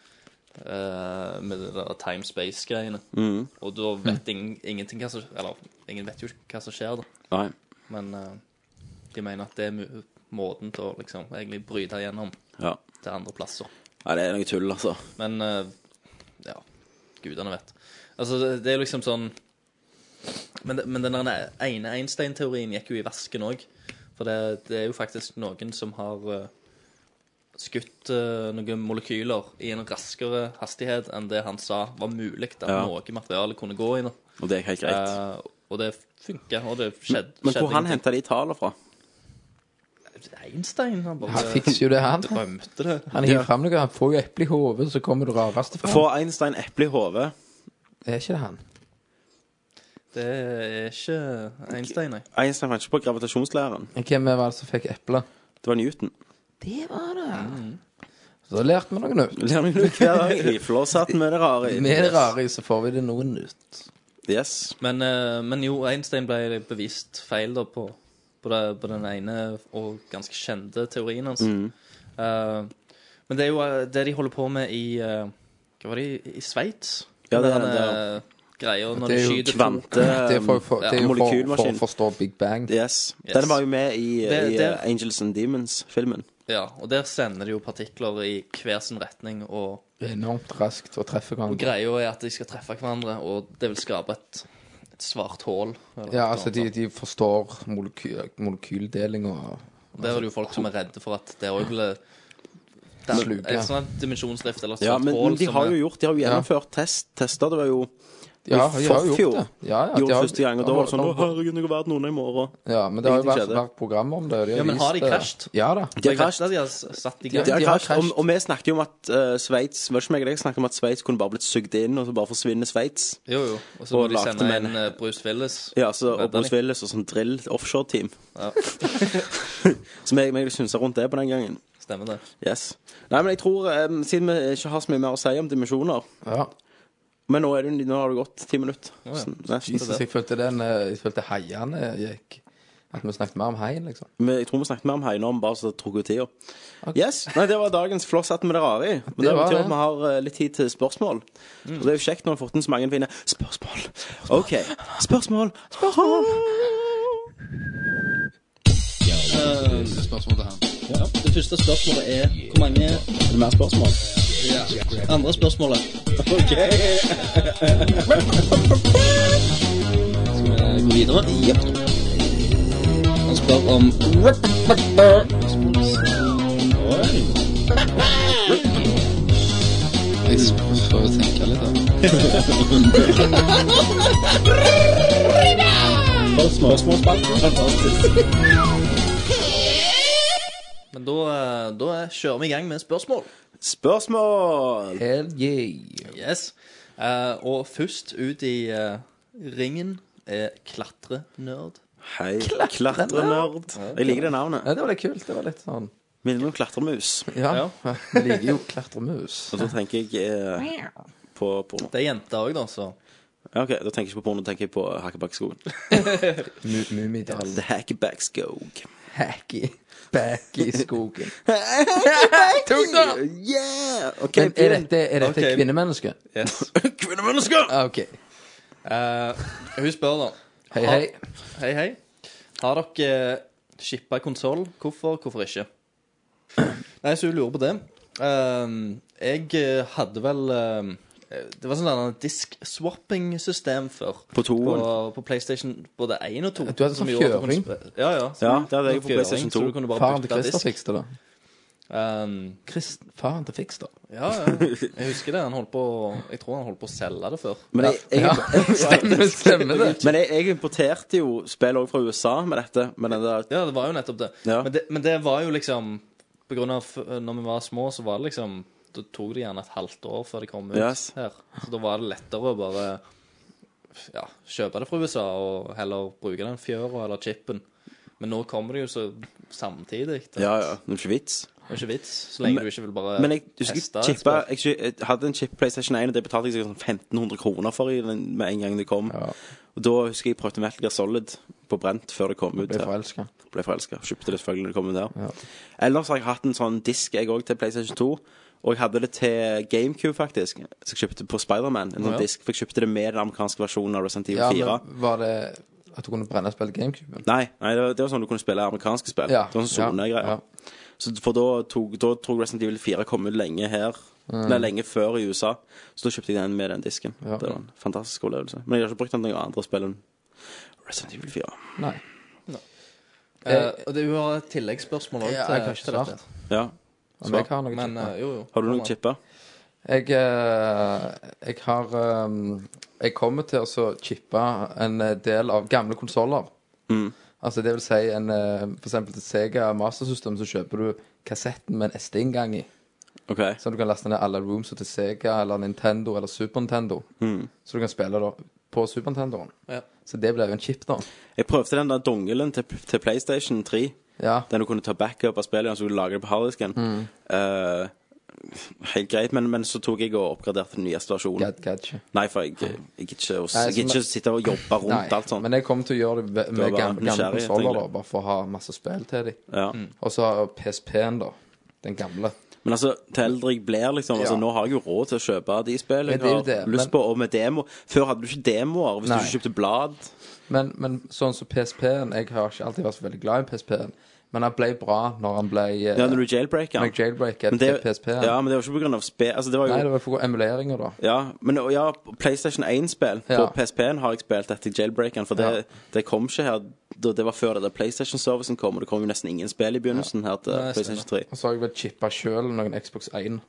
eh, med det der time-space-greiene. Mm. Og da vet ingen, ingenting hva som Eller ingen vet jo hva som skjer, da. Nei. Men eh, de mener at det er mu- måten til å liksom, egentlig bryte igjennom Ja. til andre plasser. Nei, det er noe tull, altså. Men eh, ja, gudene vet. Altså, det, det er jo liksom sånn Men, det- men den der ene Einstein-teorien gikk jo i vasken òg. For det, det er jo faktisk noen som har eh, skutt eh, noen molekyler i en raskere hastighet enn det han sa var mulig at Ja. noe materiale kunne gå i. nå. Og det er helt greit. Eh, og det funka, og det skjedde. Men hvor han henta de tallene fra? Einstein, han bare Han fikser jo det, han. Drømte det. Han hiver fram noe, han får jo eple i hodet, så kommer det rareste fram. Får Einstein eple i hodet? Er ikke det han? Det er ikke Einstein, nei. Einstein fant ikke på gravitasjonslæren. Hvem var det som fikk eplet? Det var Newton. Det var det. Mm. Så da lærte vi noe nytt. Lærer meg noe hver dag. Rifler satt med det rare i. Med det rare i så får vi det noe nytt. Yes. Men, eh, men jo, Einstein ble bevist feil da på, på, det, på den ene og ganske kjente teorien hans. Mm. Eh, men det er jo eh, det de holder på med i eh, Hva var det? i- I Sveits? Ja, det er Den, det, eh, greia når Det er du jo skyter kvante- to- Det er for, for, det er jo for, for molekylmaskin. å forstå Big Bang. Yes. Yes. Den var jo med i, Det- i det- eh, Angels and Demons-filmen. Ja, og der sender de jo partikler i hver sin retning, og, Enormt raskt å treffe og hverandre. greia er at de skal treffe hverandre, og det vil skape et, et svart hull. eller Ja, et altså, de, eller annet. de forstår moleky molekyldeling og Der er det jo folk som er redde for at det òg blir det er Sluke. En sånn dimensjonsdrift eller et Ja, svart men, hull men de som har er- jo gjort De har jo gjennomført test, tester. Det var jo Ja, de har jo gjort det. Ja, ja, de gjorde har- første gang, og de da har- var det sånn de Å, har- herregud, nå går verden under i morgen. Ja, men det har jo Ingenting vært, skjedde. vært program om det. og De har Ja, men har vist de det. krasjet? Ja da. De har Jeg vet krasjet. at de har s- satt i De- gang. De har har krasjet. krasjet. Og, og vi snakket jo om at uh, Sveits Var det ikke meg og deg snakket om at Sveits kunne bare blitt sugd inn, og så bare forsvinner Sveits? Jo, jo. Og så Og må de lagde sende med en en- eh, Bruce Willis. Ja, så, og Redder Bruce de. Willis og sånn drill offshore-team. Ja. Så meg og deg synsa rundt det på den gangen. Stemmer det. Yes. Nei, men jeg tror, eh, siden vi ikke har så mye mer å si om dimensjoner Ja. Men nå, er det, jo- nå har det gått ti minutter. ja. Så nesten. Jesus, jeg følte den eh, Jeg følte heiene gikk At vi snakket mer om heien, liksom. Men Jeg tror vi snakket mer om Heine om bare så det trukket ut tida. Yes. Nei, det var dagens flosshatt med det rare i. Men det, var betyr det. at vi har eh, litt tid til spørsmål. Og det er jo kjekt når vi har fått inn så mange fine spørsmål. OK. Spørsmål. Spørsmål. Det første spørsmålet er hvor mange Er det mer spørsmål? Andre spørsmålet. Ok. Skal vi gå videre? Jepp. Han spør om Men da, eh, da eh, kjører vi i gang med spørsmål. Spørsmål. Hell yeah. Yes. Eh, og først ut i eh, ringen er klatrenerd. Hei, klatrenerd. Jeg liker det navnet. Ja, det var litt kult. Det var litt sånn Minner meg om klatremus. Ja. Vi liker jo klatremus. Og så tenker jeg eh, på porno. Det er jenter òg, da, så Ja, OK, da tenker jeg ikke på porno, da tenker jeg på Hakkebakkeskogen. Mu- Mummidal. The Hackbackskog. Hacky. Back i skogen. Yeah! OK, Men er dette, er dette Ok. kvinnemenneske? yes. kvinnemennesker? Ah, OK. Eh, hun spør, da. Hei, hei. Hei, hei. Har dere shippa konsoll? Hvorfor, hvorfor ikke? Nei, så hun lurer på det. Ehm, jeg eh, hadde vel ehm, Det var sånn disk-swapping-system før. På toen. På, på PlayStation både 1 og 2. Du hadde sånn kjøring. Ja, ja. Ja, det hadde jeg på Kjøring, PlayStation 2. Så du kunne bare Faren til bytte Christer disk. fikste det. Ehm, Christ, faren til Fikster. ja, ja. Jeg husker det. Han holdt på Jeg tror han holdt på å selge det før. Men jeg, jeg, Ja, stemmer, stemmer det. men jeg, jeg importerte jo spill òg fra USA med dette. Men den der Ja, det var jo nettopp det. Ja. Men, det men det var jo liksom På grunn av eh, når vi var små, så var det liksom Da tok det gjerne et halvt år før det kom ut Yes. her. Så da var det lettere å bare ja, kjøpe det fra USA og heller bruke den fjøra eller chipen. Men nå kommer det jo så samtidig. at Ja, ja. Det er ikke vits. Det er ikke vits, så lenge Men- du ikke vil bare Men jeg husker teste jeg et chippa spill. jeg, sy- jeg hadde en chip PlayStation 1, og det betalte jeg sånn 1500 kroner for i den, med en gang det kom. Og da husker jeg jeg prøvde Metal Gear Solid på brent før det kom ut. Ble her. forelska. Ble forelska. Kjøpte det selvfølgelig når det kom ut der. Ellers har jeg hatt en sånn disk jeg òg til PlayStation 2. Og jeg hadde det til GameCube, faktisk. Så jeg kjøpte på Spiderman. En sånn Ja. disk. For jeg kjøpte det med den amerikanske versjonen av Resident Evil Ja, 4. men var det at du kunne brenne og spille GameCube? Nei, nei det, var, det var sånn du kunne spille amerikanske spill. Ja, Det var sånn ja, sonegreier. ja. Så For da tok, da tok Resident Evil 4 kom ut lenge her. Nei, lenge før i USA. Så da kjøpte jeg den med den disken. Mm. Ja. Det var en fantastisk opplevelse. Men jeg har ikke brukt den til noen andre spill enn Resident Evil 4. Nei. Eh, og det, hun har et tilleggsspørsmål òg. Ja, jeg har ikke svart. Ja. Om jeg har noe Men, chipper. eh, jo, jo. Har du noen chipper? Jeg, eh, jeg har ehm, Jeg kommer til å så chippe en eh, del av gamle konsoller. Mm. Altså det vil si en eh, For eksempel til Sega Master System så kjøper du kassetten med en SD-inngang i. OK. Så du kan laste ned alle rooms til Sega eller Nintendo eller Super Nintendo. Hmm. Så du kan spille da på Super Nintendoen. Ja. Så det blir jo en chip, da. Jeg prøvde den der dongelen til, til PlayStation 3. Ja. Den du kunne ta backup av spillet, og så kunne du lage det på harddisken. Eh, helt greit, men, men så tok jeg og oppgraderte den nyeste versjonen. Gad, gadget. Nei, for jeg jeg gidder ikke, å- Nei, jeg gidder så- ikke å sitte og jobbe rundt alt sånt. Men jeg kommer til å gjøre det med Du har med bare gamle, gamle nysgjerrighet, konsoller, da, egentlig. bare for å ha masse spill til dem. Mm. Ja. Og så har jeg PSP-en, da. Den gamle. Men altså, til eldre jeg blir, liksom altså, Ja. Nå har jeg jo råd til å kjøpe de spillene Men det er jo jeg har det, lyst men- på, og med demo. Før hadde du ikke demoer hvis Nei. du ikke kjøpte blad. Men, men sånn som PSP-en Jeg har ikke alltid vært så veldig glad i PSP-en, men han ble bra når han ble eh, Ja, når du jailbreaker. når jeg jailbreaker Men det, til PSP-en. ja, men det var ikke på grunn av spe... Altså, det var jo Nei, det var for emuleringer, da. Ja, men og ja, PlayStation 1-spill Ja. på PSP-en har jeg spilt etter jailbreakeren, for det, Ja. det kom ikke her da det var før det der PlayStation-servicen kom, og det kom jo nesten ingen spill i begynnelsen her til PlayStation 3. Og så har jeg vel chippa sjøl noen Xbox 1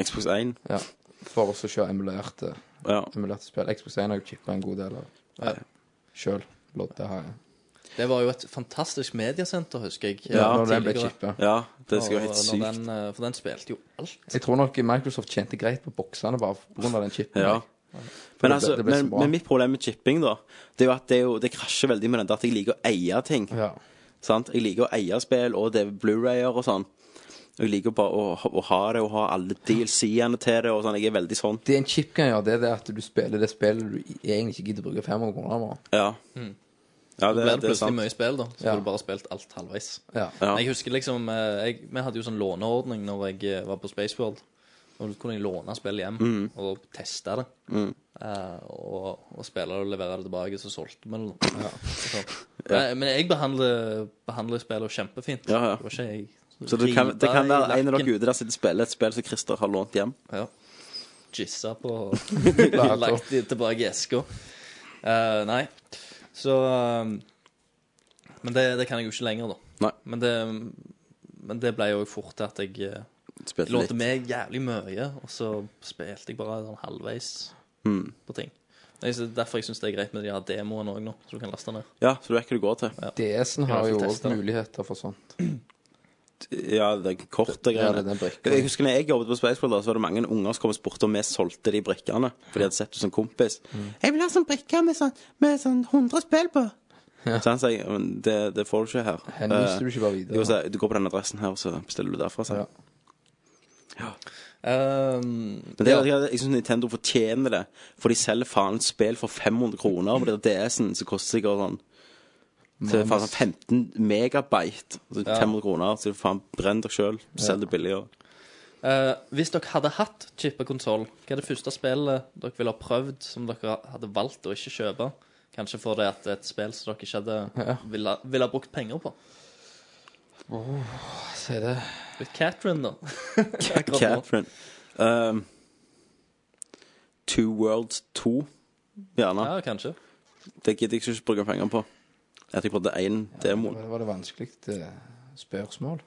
Xbox 1. ja, for også å kjøre emulerte, Ja. emulerte spill. Xbox 1 har jeg chippa en god del av Ja. sjøl. Det har jeg. Det var jo et fantastisk mediesenter, husker jeg. Ja, Ja, når den ble tidligere. chippa. ja, det skal Og være helt når sykt. Den, eh, for den spilte jo alt. Jeg tror nok Microsoft tjente greit på boksene bare pga. den chipen. Ja. Men, det altså, ble så men, bra. men mitt problem med chipping, da, det er jo at det, er jo, det krasjer veldig med den der at jeg liker å eie ting. Ja. Sant? Jeg liker å eie spill og det er Blu-rayer og sånn. Og jeg liker bare å, å ha det og ha alle DLC-ene til det og sånn. Jeg er veldig sånn. Det en chip kan gjøre, det er det at du spiller det spillet du egentlig ikke gidder å bruke 500 kroner på. Ja. Mm. Ja, Det det, ble det det er plutselig sant. mye spill, da. Så Ja. ja. du bare spilt alt halvveis. Ja. Ja. Jeg husker liksom eh, jeg, Vi hadde jo sånn låneordning når jeg eh, var på Spaceworld. Og Da kunne jeg låne spill hjem Mm. og teste det. Eh, og, og spille det og levere det tilbake, så solgte vi det. da. Så- Nei, Men jeg behandler, behandler spillene kjempefint. Ja, ja. Det var ikke jeg Så det kan, det kan riva i være en av lakken. dere ute der sitter og spiller et spill som Christer har lånt hjem. Ja. Gissa på og lagt de tilbake i eska. Eh, nei. Så um, Men det, det kan jeg jo ikke lenger, da. Nei. Men det, men det ble jo fort til at jeg eh, Spilte lånte litt. meg jævlig mye, og så spilte jeg bare sånn halvveis Hmm. på ting. Det er derfor jeg syns det er greit med de her demoene òg nå, så du kan laste ned. Ja, så du vet hva du går til. DS-en har Ja, jo for òg tester. muligheter for sånt. Ja, det er korte Ja, greiene. det er den brikken. jeg husker når jeg jobbet på Spaceworld, da, så var det mange unger som kom og spurte om vi solgte de brikkene. For de hadde sett oss som kompis. 'Jeg vil ha sånn brikke med sånn, med sånn 100 spill på.' Så han sier men det, det får du ikke her. Henviser Eh, du ikke bare videre? Jo, så, du går på den adressen her, og så bestiller du derfra. Så. Ja. Um, Men det, er- jeg syns Nintendo fortjener det, for de selger faen et spill for 500 kroner. Og det er DS-en som koster sikkert sånn Så det er faen sånn 15 megabyte. Altså 500 kroner. Så det er faen brenn dere sjøl. Selg det billigere. Eh, hvis dere hadde hatt chippa konsoll, hva er det første spillet dere ville ha prøvd som dere hadde valgt å ikke kjøpe? Kanskje fordi at det er et spill som dere ikke hadde ville, ville ha brukt penger på? Si Ah, det. Litt Catherine, da. Akkurat nå. Catherine. Um, Two Worlds 2, gjerne. Ja, kanskje. Det gidder jeg ikke å bruke penger på. Jeg tenker på det én demoen. Det var det vanskelig eh, spørsmål.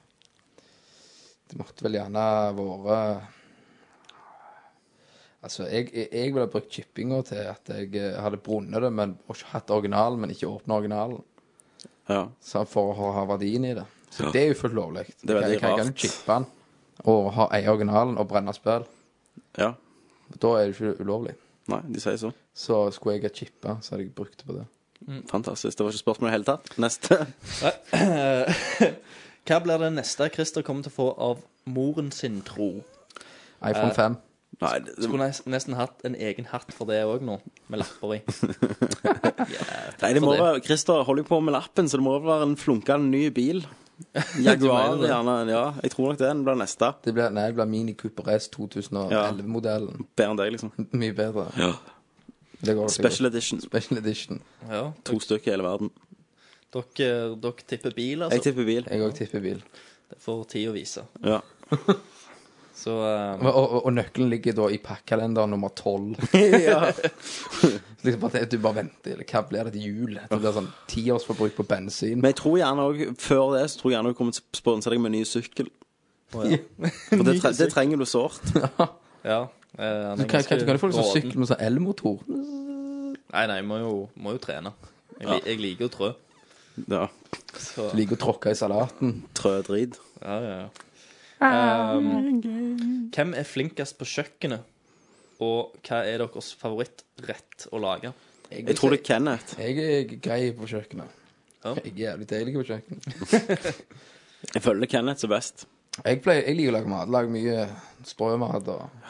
Det måtte vel gjerne vært Altså, jeg, jeg- jeg ville brukt chippinga til at jeg eh, hadde brunnet det, men og ikke hatt originalen, men ikke åpna originalen. Ja. sant, for å ha- ha verdien i det. Så Ja. det er jo fullt lovlig. er veldig Jeg kan- Jeg kan rart. jo chippe den og ha eie originalen og brenne spill. ja. Da er det ikke ulovlig. Nei, de sier så. Så skulle jeg ha chippa, så hadde jeg brukt det på det. Fantastisk. Det var ikke spørsmål i det hele tatt. Neste. Hva blir det neste Christer kommer til å få av moren sin tro? Eh. iPhone 5. Nei, det, det, Skulle nes- nesten hatt en egen hatt for det òg nå, med lapper i. nei, det må for det. være Christer holder jo på med lappen, så det må vel være en flunkende ny bil. Jaguar, Du mener det? gjerne. Ja, jeg tror nok det. Den blir neste. Det ble, nei, det ble Mini Cooper S 2011-modellen. Bedre enn deg, liksom. Mye bedre. Ja. Det går, det Special går. edition. Special edition. Ja. To stykker i hele verden. Dere, dere tipper bil, Jeg altså. tipper bil. Jeg òg tipper bil. Det får tid å vise. Ja. Så eh, Og, og, og nøkkelen ligger da i pakkalender nummer 12. liksom bare, det- du bare venter. Eller hva blir det til jul? Det blir sånn tiårsforbruk på bensin. Men jeg tror gjerne også, før det, så tror jeg gjerne du kommer til å sponse deg med en ny sykkel. ja. For det, tre det trenger du sårt. Ja. eh, han er Kan, kan, kan du få litt sånn råden. sykkel med sånn elmotor? Nei, nei, jeg må jo, må jo trene. Jeg, li- jeg liker å trø. Ja. Så, Du liker å tråkke i salaten. Trø drit. ja, ja, ja. Um, hvem er flinkest på kjøkkenet, og hva er deres favorittrett å lage? Jeg tror det er Kenneth. Jeg er grei på kjøkkenet. Ja. Jeg er jævlig deilig på kjøkkenet. Jeg føler Kenneth er best. Jeg, pleier, jeg liker å lage mat. Lager mye sprø mat. Og,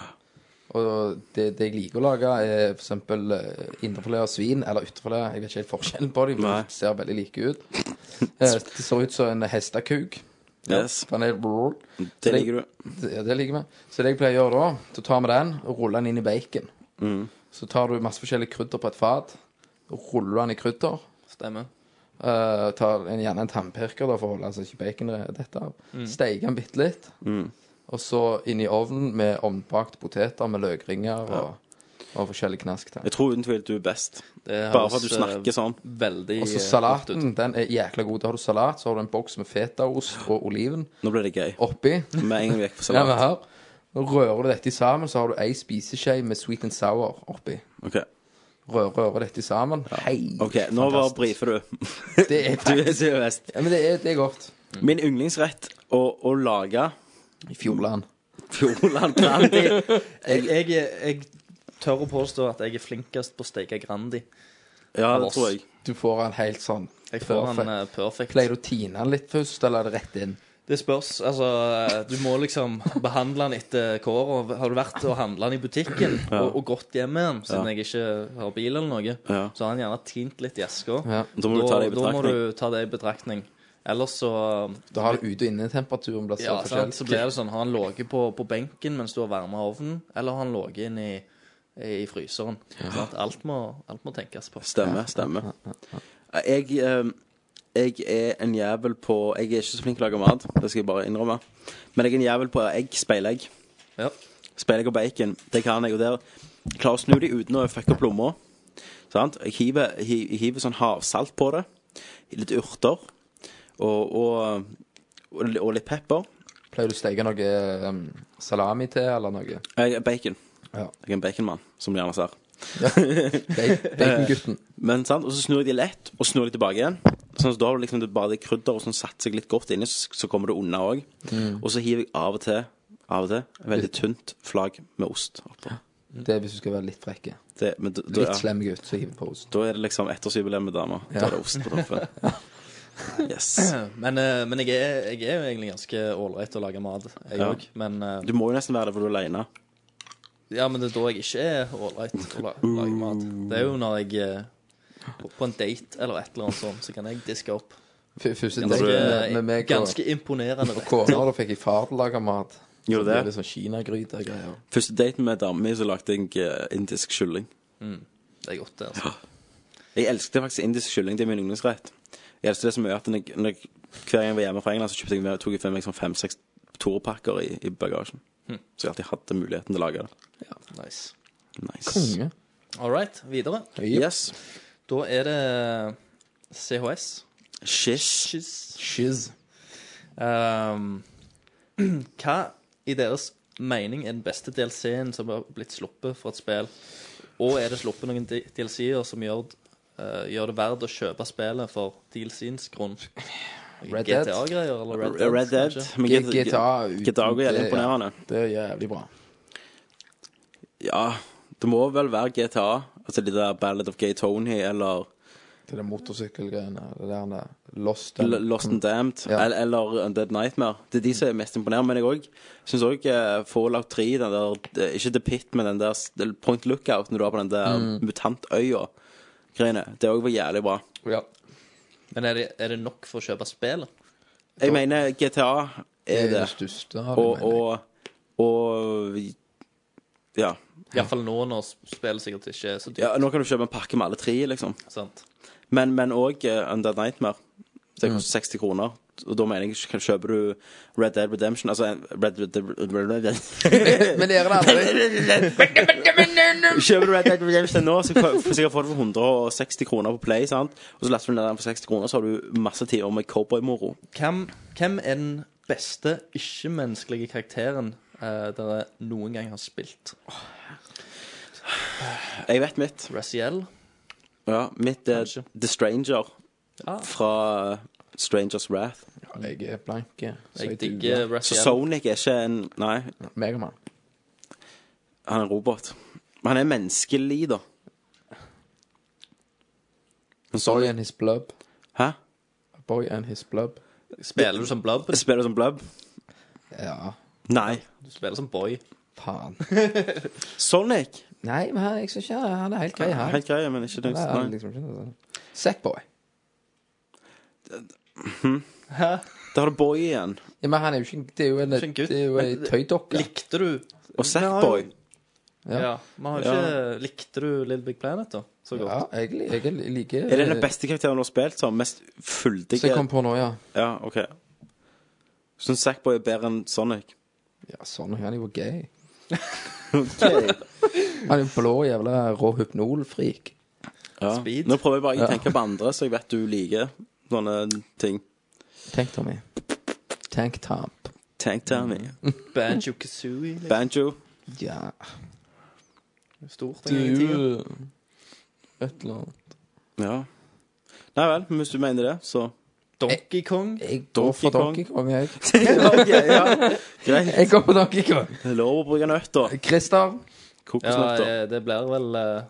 og det, det jeg liker å lage, er f.eks. indrefilet av svin eller ytrefilet. Jeg vet ikke helt forskjellen på dem, Nei. men de ser veldig like ut. Eh, Det ser ut som en hestekuk. Yes. Den er Det liker du. Ja, det liker vi. Så det jeg pleier å gjøre da, så tar vi den og ruller den inn i bacon. Så tar du masse forskjellige krydder på et fat, og ruller den i krydder. Stemmer. Eh, tar en, gjerne en tannpirker da, for å holde altså ikke bacon dette av. Steiker den bitte litt. Mm. Og så inn i ovnen med ovnbakte poteter med løkringer og, og forskjellig knask til. Jeg tror uten tvil du er best. Det Bare for at du høres, eh, snakker sånn. Veldig Og så eh, godt ut. salaten. Den er jækla god. Da har du salat, så har du en boks med fetaost og oliven Nå ble det gøy. oppi. Med en gang vi gikk på Ja, men salat. her. Nå rører du dette sammen, så har du ei spiseskje med sweet and sour oppi. Ok, Rører, rører dette sammen. Hei! ok, Nå bare briefer du. Det er Du er så best. Ja, men det er, det er godt. Min yndlingsrett å, å lage I Fjordland. Fjordland Grandi. Jeg, jeg, jeg tør å påstå at jeg er flinkest på å steke Grandi. Ja, det tror jeg. Du får en helt sånn Jeg får perfekt. han eh, perfect. Pleier du å tine den litt først, eller er det rett inn? Det spørs. Altså, eh, du må liksom behandle den etter kåra. Har du vært og handla den i butikken og, og gått hjem med den, siden jeg ikke har bil eller noe, Ja. så har han gjerne tint litt i eska. Ja. Da må du ta det i Da må betraktning. du ta det i betraktning. Ellers så Da har du ute- og innetemperaturen blir så ja, sant, forskjellig. så blir det sånn Har han ligget på, på benken mens du har varma ovnen, eller har han ligget inne i, i fryseren? Sant? Alt, må, alt må tenkes på. Stemmer. stemmer Jeg, eh, jeg er en jævel på Jeg er ikke så flink til å lage mat, det skal jeg bare innrømme. Men jeg er en jævel på egg, speilegg. Ja. Speilegg og bacon. Det kan jeg. Og der jeg klarer å snu de uten å fucke opp lomma. Sant? Jeg hiver, hi- jeg hiver sånn havsalt på det. Litt urter. Og, og, og, og litt pepper. Pleier du å steke noe um, salami til, eller noe? Jeg er Eh, bacon. Ja. Jeg er en baconmann, som du gjerne ser. Ba- Bacongutten. Men sant, Og så snur jeg de lett, og snur de tilbake igjen. Sånn at Da har du liksom det- bare det krydderet, og sånn satser jeg litt godt inni, så, så kommer det unna òg. Og så hiver jeg av og til av og til et veldig tynt flagg med ost oppå. Det er hvis du skal være litt frekk. Det, men da, da, Litt ja, slem gutt, så hiver du på ost. da er det liksom ettårsjubileum med dama. Da er det ost på toppen. Yes. Men, eh, men jeg, er, jeg er jo egentlig ganske ålreit til å lage mat, jeg Ja. òg. Men, eh, Du må jo nesten være det, for du er aleine. ja, men det er da jeg ikke er ålreit til å la- lage mat. Det er jo når jeg eh, på- på en date eller et eller annet sånt, så kan jeg diske opp. F- Første du- date med, Eh, med meg og Ganske imponerende. og kona, da fikk jeg far til å lage mat. Gjorde det? det? Litt sånn kinagryte og greier. Første daten med dama mi, så lagde jeg eh, indisk kylling. Det er godt, det. altså. Jeg elsket faktisk indisk kylling. Det er min yndlingsrett. Jeg elsket det så mye at når jeg, når jeg, hver gang jeg var hjemme fra England, så kjøpte jeg, med- tok jeg for meg sånn fem-seks Toro-pakker i, i bagasjen. Hm. Så jeg alltid hadde muligheten til å lage det. Nice. Nice. Konge. All right, videre. Yes. Da er det CHS. Shish. Shiz. Ehm, hva i deres mening er den beste DLC-en som har blitt sluppet fra et spill? Og er det sluppet noen D- DLC-er som gjør, eh, gjør det verdt å kjøpe spillet for DLC-ens grunn? Red Dead. GTA-greier eller Red Dead? Red Dead. kanskje? Men G- G- GTA uten GTA er det, jævlig imponerende. Ja, det er jævlig bra. Ja, det må vel være GTA. Altså de der Ballad of Gay Tony eller Det der motorsykkelgreiene, det der det Lost L- Lost and Damned Mm. Ja. el- eller Undead Nightmare. Det er de som er mest imponerende. Men jeg òg syns òg uh, Fallout 3, den der eh, Ikke The Pit, men den der s- del- Point Lookout når du er på den der Mm. mutantøya. Greiene. Det òg var jævlig bra. Ja. Men er det, er det nok for å kjøpe spillet? Jeg mener GTA Det er er det det. største. har Og, jeg mening. og, og ja. Iallfall nå når spillet sikkert ikke er så dyrt. ja. Nå kan du kjøpe en pakke med alle tre, liksom. sant? Men, men også eh, Undead Nightmare. Det Mm. koster 60 kroner. Og da mener jeg kan- kjøper du Red Dead Redemption Altså en- Red Red- Red- Red Dead Men det er det aldri. Kjøper du Red Dead Redemption nå, så kan så sikkert får du for 160 kroner på Play, sant? og så laster du ned den for 60 kroner, så har du masse timer med cowboymoro. Hvem, hvem er den beste ikke-menneskelige karakteren eh, dere noen gang har spilt? Jeg vet mitt. Raziel? Ja, mitt er The Stranger Ah. fra eh, Strangers Wrath. Jeg er blank. ja. Så Jeg duger. digger Så Raziel. Sonic er ikke en Nei, Megaman. han er en robot. Men han er menneskelig, da. Men Boy Sonic and his blub. Hæ? Boy and his blub. Spiller du som Blub? Spiller du som Blub? Ja, Nei. Du spiller som Boy. faen. Sonic Nei, men han, jeg synes ikke han er helt grei her. Helt grei, men ikke det. Han er- han er Nei. liksom ikke noe sånn. Sackboy. Da har du Boy igjen. Ja, men han er jo ikke Det er jo en, Ikke en gutt, det er jo en men- tøydokke. Likte du Og har Sackboy. jo- Ja. Vi har jo ikke Likte du Little Big Planet, da? Så godt. Ja, jeg, li- jeg liker Er det den beste karakteren du har spilt som? Mest Så jeg fyldige? kom på nå, ja. Ja, OK. Syns Sackboy er bedre enn Sonic? Ja, sånn. Han er jo gay. Okay. Han er jo blå jævla rå hypnolfrik. Ja. Speed. Nå prøver jeg bare ikke å Ja. tenke på andre, så jeg vet du liker sånne ting. Tenk, Tommy. Tenk, Tamp. Tank Tommy. Banjo Kazooie. Liksom. Banjo. Ja. Stort. en gang i tiden. Du Et eller annet. Ja. Nei vel, men hvis du mener det, så Donkey Kong. Jeg går Donkey for Kong. Donkey Kong, jeg. Ok, ja. Greit. Jeg går for Donkey Kong. Det er lov å bruke nøtter. Christer. Ja, Kokosnøtter. eh, det blir vel eh,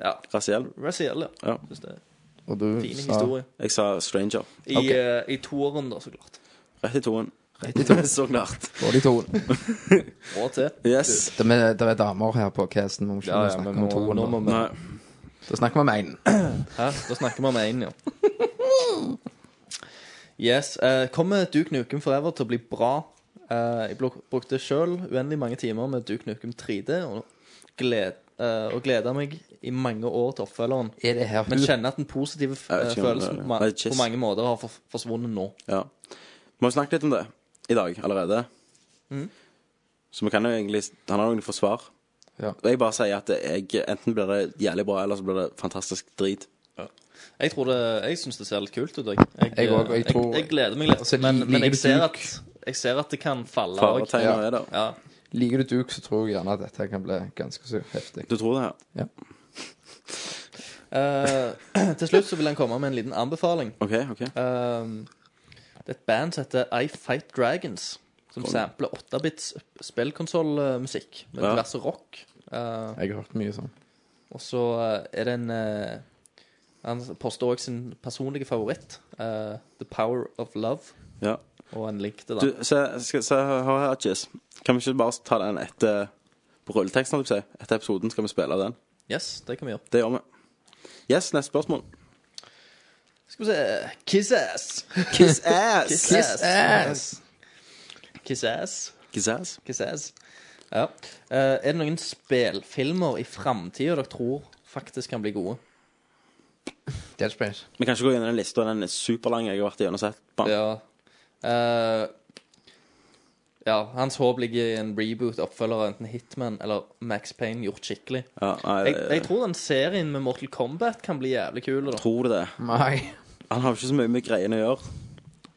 Ja. Rasiell. Raziel, ja. Ja. Synes det er en Og du fin sa historie. Jeg sa Stranger. I, Mm. Ok. eh, i toeren, da, så klart. Rett i toen. Rett i to. så klart. Både i to. Og til. Yes. Det er, det er damer her på casten. Vi må ikke Ja, ja, snakke men om må- toen. nå må nå. vi Nei. Da snakker vi om én. Hæ? Da snakker vi om én, ja. Yes. eh, kommer Duke Nukem Forever til å bli bra? Eh, jeg blok- brukte sjøl uendelig mange timer med Duke Nukem 3D og, gled, eh, og gleda meg i mange år til oppfølgeren. Er det her Men hun- kjenner at den positive f- eh, Jeg vet ikke om det er følelsen det. på ma- Nei, just- på mange måter har for, forsvunnet nå. Ja. Vi har jo snakket litt om det i dag allerede. Mm. Så vi kan jo egentlig Han har noen forsvar. Ja. Og jeg bare sier at jeg, enten blir det jævlig bra, eller så blir det fantastisk drit. Jeg tror det, jeg syns det ser litt kult ut. Jeg, jeg, eh, Jeg også, og jeg tror- jeg gleder meg litt, Altså, men, liker men du jeg, ser Duke? at, jeg ser at det kan falle Farer òg. tegner er det. Ja. Liker du Duke, så tror jeg gjerne at dette kan bli ganske så heftig. Du tror det? ja? Eh, til slutt så vil han komme med en liten anbefaling. OK, OK. Ehm, det er et band som heter I Fight Dragons, som sampler 8-bits spillkonsollmusikk med Ja. diverse rock. Eh, Jeg har hørt mye sånn. og så eh, er det en eh, Han poster også sin personlige favoritt, eh, The Power of Love, Ja. og en link til Du, den. se, skal, se hør her, Jess. Kan vi ikke bare ta den etter på rulleteksten, holdt jeg på å si? Etter episoden skal vi spille den. Yes, det kan vi gjøre. Det gjør vi. Yes, neste spørsmål. Skal vi se Kiss ass. Kiss ass! Kiss ass. Kiss ass. Kiss ass. Kiss ass. Ja. Eh, er det noen spillfilmer i framtida dere tror faktisk kan bli gode? Dead Space. Vi kan ikke gå gjennom den lista, den er superlang. Jeg har vært igjennom sett. Bam. Ja. Eh, ja, hans håp ligger i en reboot, oppfølger av enten Hitman eller Max Payne gjort skikkelig. Ja, nei, Jeg, jeg tror den serien med Mortal Kombat kan bli jævlig kul. da. tror du det. Nei. Han har jo ikke så mye med greiene å gjøre.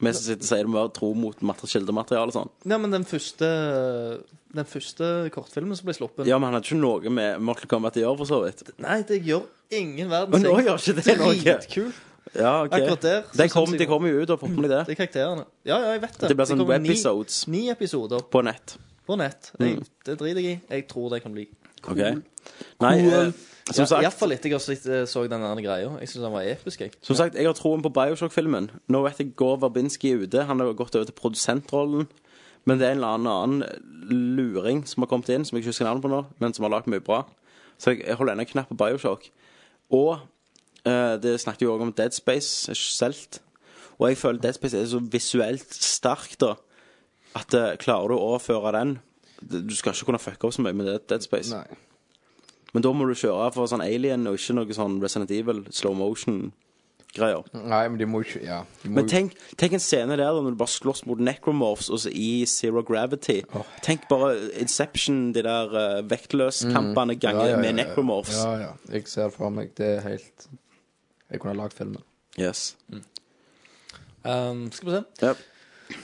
Vi som sitter og sier det må være tro mot mater- kildemateriale og sånn. Nei, men den første Den første kortfilmen som ble sluppet Ja, men han hadde ikke noe med Mortal Kombat å gjøre, for så vidt. Nei, det gjør ingen Men verdens nå ting. gjør ikke det noe. Dritkult. Ja, ok. Akkurat der, så De synes kom, jeg- de kom jo ut, og poppet med Det det. er karakterene. Ja, ja, jeg vet det. Det blir sånn kommer ni- webisodes Ni episoder på nett. på nett. Mm. Jeg, Det driter jeg i. Jeg tror det kan bli Ok. Nei, eh, som ja, sagt, Iallfall etter jeg har sett- så den der greia. Jeg syns den var episk. Jeg. som sagt, jeg har troen på Bioshock-filmen. Nå vet jeg går Verbinski er ute. Han har gått over til produsentrollen. Men det er en eller annen annen luring som har kommet inn, som jeg ikke husker navnet på nå, men som har lagd mye bra. Så jeg jeg holder ennå knapp på Bioshock. Og eh, det snakket jo også om Dead Space er ikke solgt. Og jeg føler Dead Space er så visuelt sterk, da, at eh, klarer du å overføre den Du skal ikke kunne fucke opp så mye med det- Dead Space. Nei. Men da må du kjøre for sånn Alien og ikke noe sånn Resident Evil, slow motion-greier. Nei, men de må ikke Ja. De må Men tenk, tenk en scene der da, når du bare slåss mot necromorphs og så i zero gravity. Tenk bare Inception, de der uh, Mm. vektløskampene Ja, ganger ja, ja, med ja. necromorphs. Ja, ja. Jeg ser det for meg. Det er helt Jeg kunne ha lagd filmen. Yes. Um, skal vi se. Yep.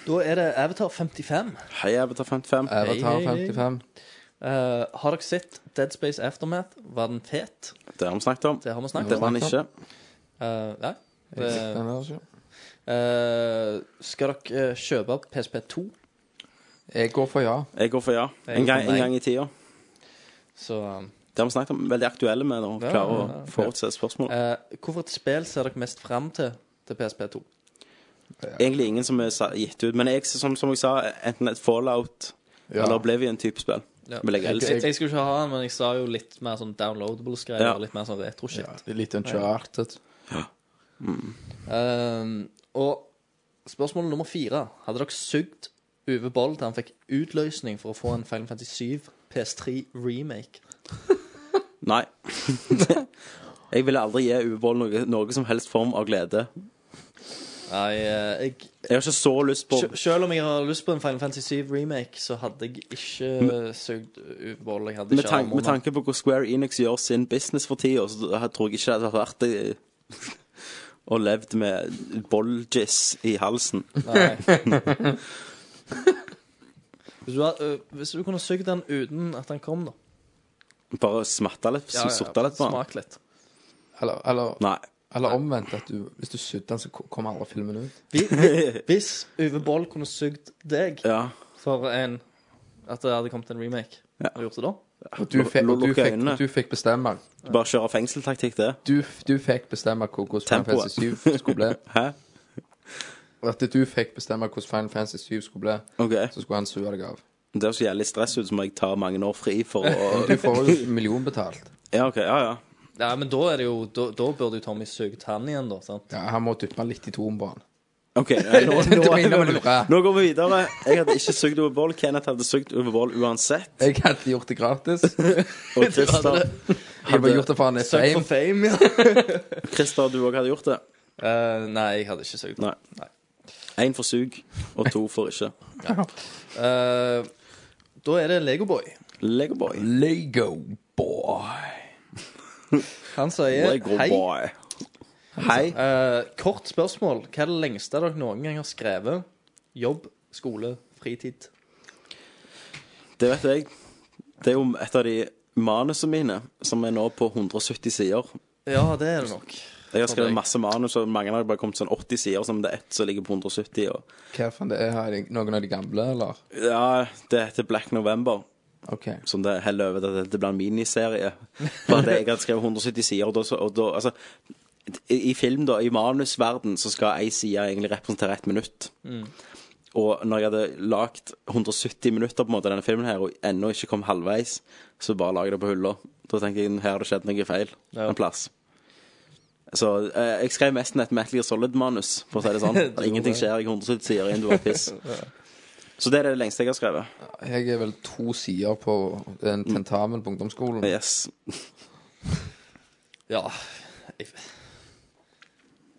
Da er det Avatar 55. Hei, Avatar 55. Avatar Hei, hei, hei. 55. Eh, har dere sett Dead Space Aftermath? Var den fet? Det har vi snakket om. Det har vi snakket Det om. var han ikke. Eh, nei. Det, Den er også- eh, skal dere eh, kjøpe PSP2, Jeg går for ja. Jeg går for ja. En gang, en gang i tida. så eh, Det har vi snakket om. Veldig aktuelle med å Ja, klare å ja, ja. forutse spørsmål. eh, Hvorfor et spill ser dere mest fram til til PSP2? Egentlig ingen som er sa- gitt ut. Men jeg, som, som jeg sa, enten et Fallout Ja. eller Oblivion-type spill. Ja. Vil jeg Jeg, helst. jeg, jeg skulle ikke ha den, men jeg sa jo litt mer sånn downloadable-greier. Ja. og Litt mer sånn retro-shit. Det er Litt uncharted. Ehm, og spørsmål nummer fire. Hadde dere sugd Uwe Boll til han fikk utløsning for å få en Final Fantasy 7 PS3 remake? Nei. jeg ville aldri gi Uvold noe, noe som helst form av glede. Nei, eh, jeg, Jeg har ikke så lyst på sj- selv om jeg har lyst på en Final Fantasy 7 remake, så hadde jeg ikke sugd Uwe Boll. Jeg hadde med, ikke tan armer med om han. tanke på hvor Square Enix gjør sin business for tida, så jeg tror jeg ikke det hadde vært verdt det å levd med bolljizz i halsen. Nei. Hvis du, had, øh, hvis du kunne sugd den uten at den kom, da. Bare smatta litt, ja, sotta litt på den. Smak litt. Eller, eller, Nei. eller omvendt, at du, hvis du sydde den, så ko- kommer aldri filmen ut. Vi- vi- Hvis Uwe Boll kunne sugd deg Ja. for en At det hadde kommet en remake, Ja. og gjort det da? Og du, fikk- og du, Lukke fikk, øynene. du fikk bestemme. Bare kjøre fengseltaktikk, det. Du, du fikk bestemme hvor- hvordan Final Tempoet. Fantasy 7 skulle bli. Hæ? At du fikk bestemme hvordan Final Fantasy 7 skulle bli, OK. så skulle han sue deg av. Det høres jævlig stress ut, så må jeg ta mange år fri for å Du får jo en million betalt. Ja, OK. Ja, ja. Ja, men da er det jo Da, da burde jo Tommy sugd han igjen, da. sant? Ja, han må dyppe litt i toen på han. OK. Nei, nå, Du nå, må innom og lure. nå går vi videre. Jeg hadde ikke sugd over boll. Kenneth hadde sugd over boll uansett. Jeg hadde gjort det gratis. Og Christer, Jeg bare gjort det for han er Sugd fame. for fame, ja. Christer du òg hadde gjort det. Eh, nei, jeg hadde ikke sugd. Nei. Nei. Én for sug, og to for ikke. Eh, da er det Legoboy. Legoboy. Lego boy. Han sier hei. Legoboy. Hei. Eh, kort spørsmål. Hva er det lengste dere noen gang har skrevet? Jobb, skole, fritid? Det vet jeg. Det er jo et av de manusene mine som er nå på 170 sider. Ja, det er det nok. Jeg har skrevet Hadde jeg. masse manus, og mange har bare kommet sånn 80 sider, som det er ett som ligger på 170. Og... Hva faen det er her? Er det Noen av de gamle, eller? Ja, det heter Black November, OK. som det heller over til at det blir en miniserie. Bare det jeg hadde skrevet 170 sider, og da, så- og da altså i, I film, da, i manusverden, så skal ei side egentlig representere ett minutt. Og når jeg hadde lagd 170 minutter på en måte denne filmen her, og ennå ikke kom halvveis, så bare la jeg det på hylla. Da tenkte jeg her har det skjedd noe feil en plass. Så eh, jeg skrev mest et Metal Gear Solid-manus, for å si det sånn. At Ingenting skjer, jeg 170 sider inn, du var piss. Så det er det lengste jeg har skrevet. Jeg er vel to sider på en tentamen på ungdomsskolen. Yes. Ja Jeg,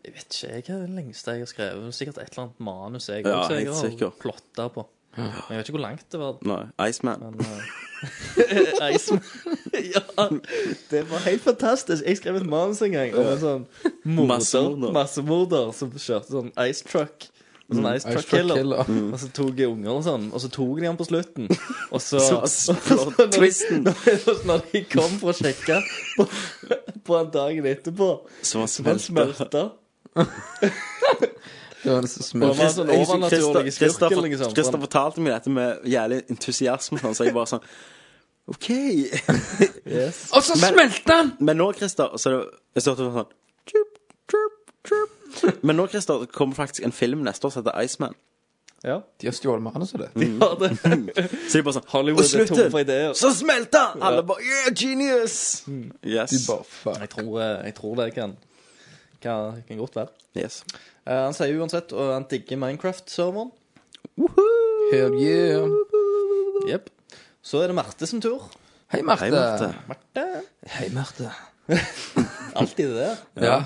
jeg vet ikke jeg hva er det lengste jeg har skrevet. Sikkert et eller annet manus jeg Ja, også, jeg helt har sikkert. plotta på. Men jeg vet ikke hvor langt det var. Nei. Iceman. Men eh, Iceman Ja, det var helt fantastisk. Jeg skrev et manus en gang om en sånn morder, Massemorder. massemorder som kjørte sånn ice truck. Og sånn ice truck killer. Mm. Og så tok jeg unger og sånn, og så tok de han på slutten. Og så, Så- og så plot når de- twisten. når, når de kom for å sjekke på, på han dagen etterpå, Som var så var han smelta. smelta. Det var en som Og han smelte. var sånn overnaturlig skurk, liksom. Christer fortalte meg dette med jævlig entusiasme, sånn, så jeg bare sånn OK. Yes. Og så smelte han! Men nå, Christer, så er det, jeg står til sånn tjup, tjup, tjup. Men nå, Christer, det kommer faktisk en film neste år som heter Iceman. Ja, De har stjålet manuset ditt. de har det. Så de bare sånn Mm. Og Hollywood er tom slutten, for ideer. Så smelter han! Alle bare Yeah, genius! Yes. De bare fuck. Jeg tror, eh, jeg tror det kan, kan, kan godt være. yes. Eh, han sier uansett, og han digger Minecraft-serveren. Hell yeah. Jep. Så er det Marte sin tur. Hei, Marte. Hei, Marte. Marte. Hei, Marte. Alltid det. Ja.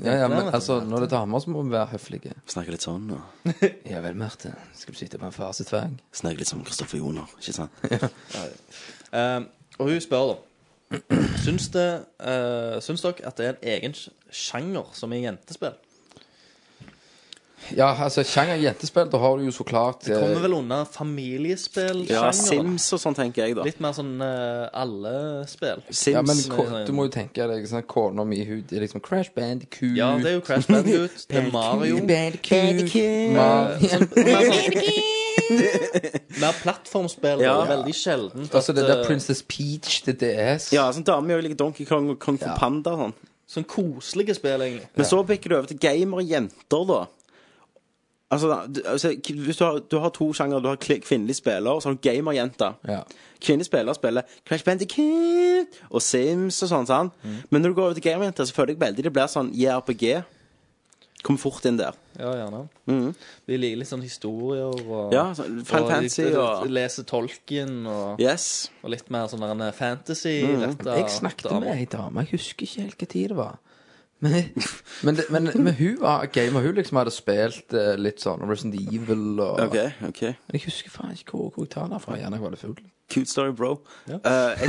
Ja, ja, men altså, når det er damer, så må vi være høflige. Snakker litt sånn, og Ja vel, Marte. Skal du sitte på en far sitt fang? snakker litt som Kristoffer Joner, ikke sant? Eh, og hun spør, da. Syns, det, eh, syns dere at det er en egen sj- sjanger som er jentespill? Ja, altså, sjanger jentespill, da har du jo så klart eh, Det kommer vel under familiespill? Ja, Sims og sånn, tenker jeg, da. Litt mer sånn eh, alle spill. Ja, men ko- du må jo tenke deg sånn, kona mi hun er liksom Crash Bandicoot. Ja, det er jo Crash Bandicoot, det er Mario. Bandicoot. Mario. sånn- Mer plattformspill. Ja. Det er veldig sjeldent. Altså det at, der eh, Princess Peach til DS. Ja, sånn dame gjør jo like Donkey Kong og Kong for Panda og sånn. Sånn koselige spill, egentlig. Men så bikker du over til gamere jenter, da. Altså, da- du- altså k- hvis du har, du har to sjanger. Du har kli- kvinnelig spiller, og så har du gamerjenter. Ja. Kvinnelige spillere spiller Crash Bandicoot og Sims og sånn. sånn. Mm. Men når du går over til gamerjenter, så føler jeg veldig det blir sånn JRPG. Kom fort inn der. Ja, gjerne. Vi liker litt sånn historier og Ja, sånn Final og Fantasy litt- eh, og- Lese Tolkien og, Yes. og litt mer sånn der en fantasy. Dette, Jeg snakket med ei dame, jeg husker ikke helt hva tid det var. Men, men, det- men, men hun var gamer. Hun liksom hadde spilt eh, litt sånn Resident Evil og OK. ok Men jeg husker faen ikke hvor, hvor jeg tar den fra. Gjerne jeg var litt full. Cute story, bro. Eh, jeg,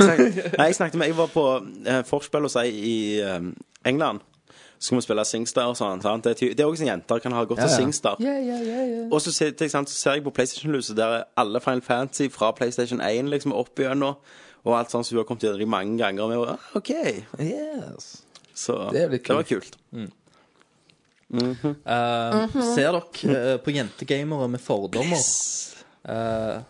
snakket, nei, jeg snakket med Jeg var på uh, forspill hos ei i eh, England. Så skulle vi spille Singstar og sånn. sant? Det er ty- det er også sånn jenter kan ha godt av Singstar. Ja, ja, ja, ja. Og så, sitter jeg, sant, så ser jeg på PlayStation-huset, der er alle Final Fantasy fra PlayStation 1 liksom opp igjennom. Og alt sånt som hun har kommet gjennom de mange ganger. Og vi var, ah, ok Yes. Så Det er litt var kult. Eh, Ser dere eh, på jentegamere med fordommer eh,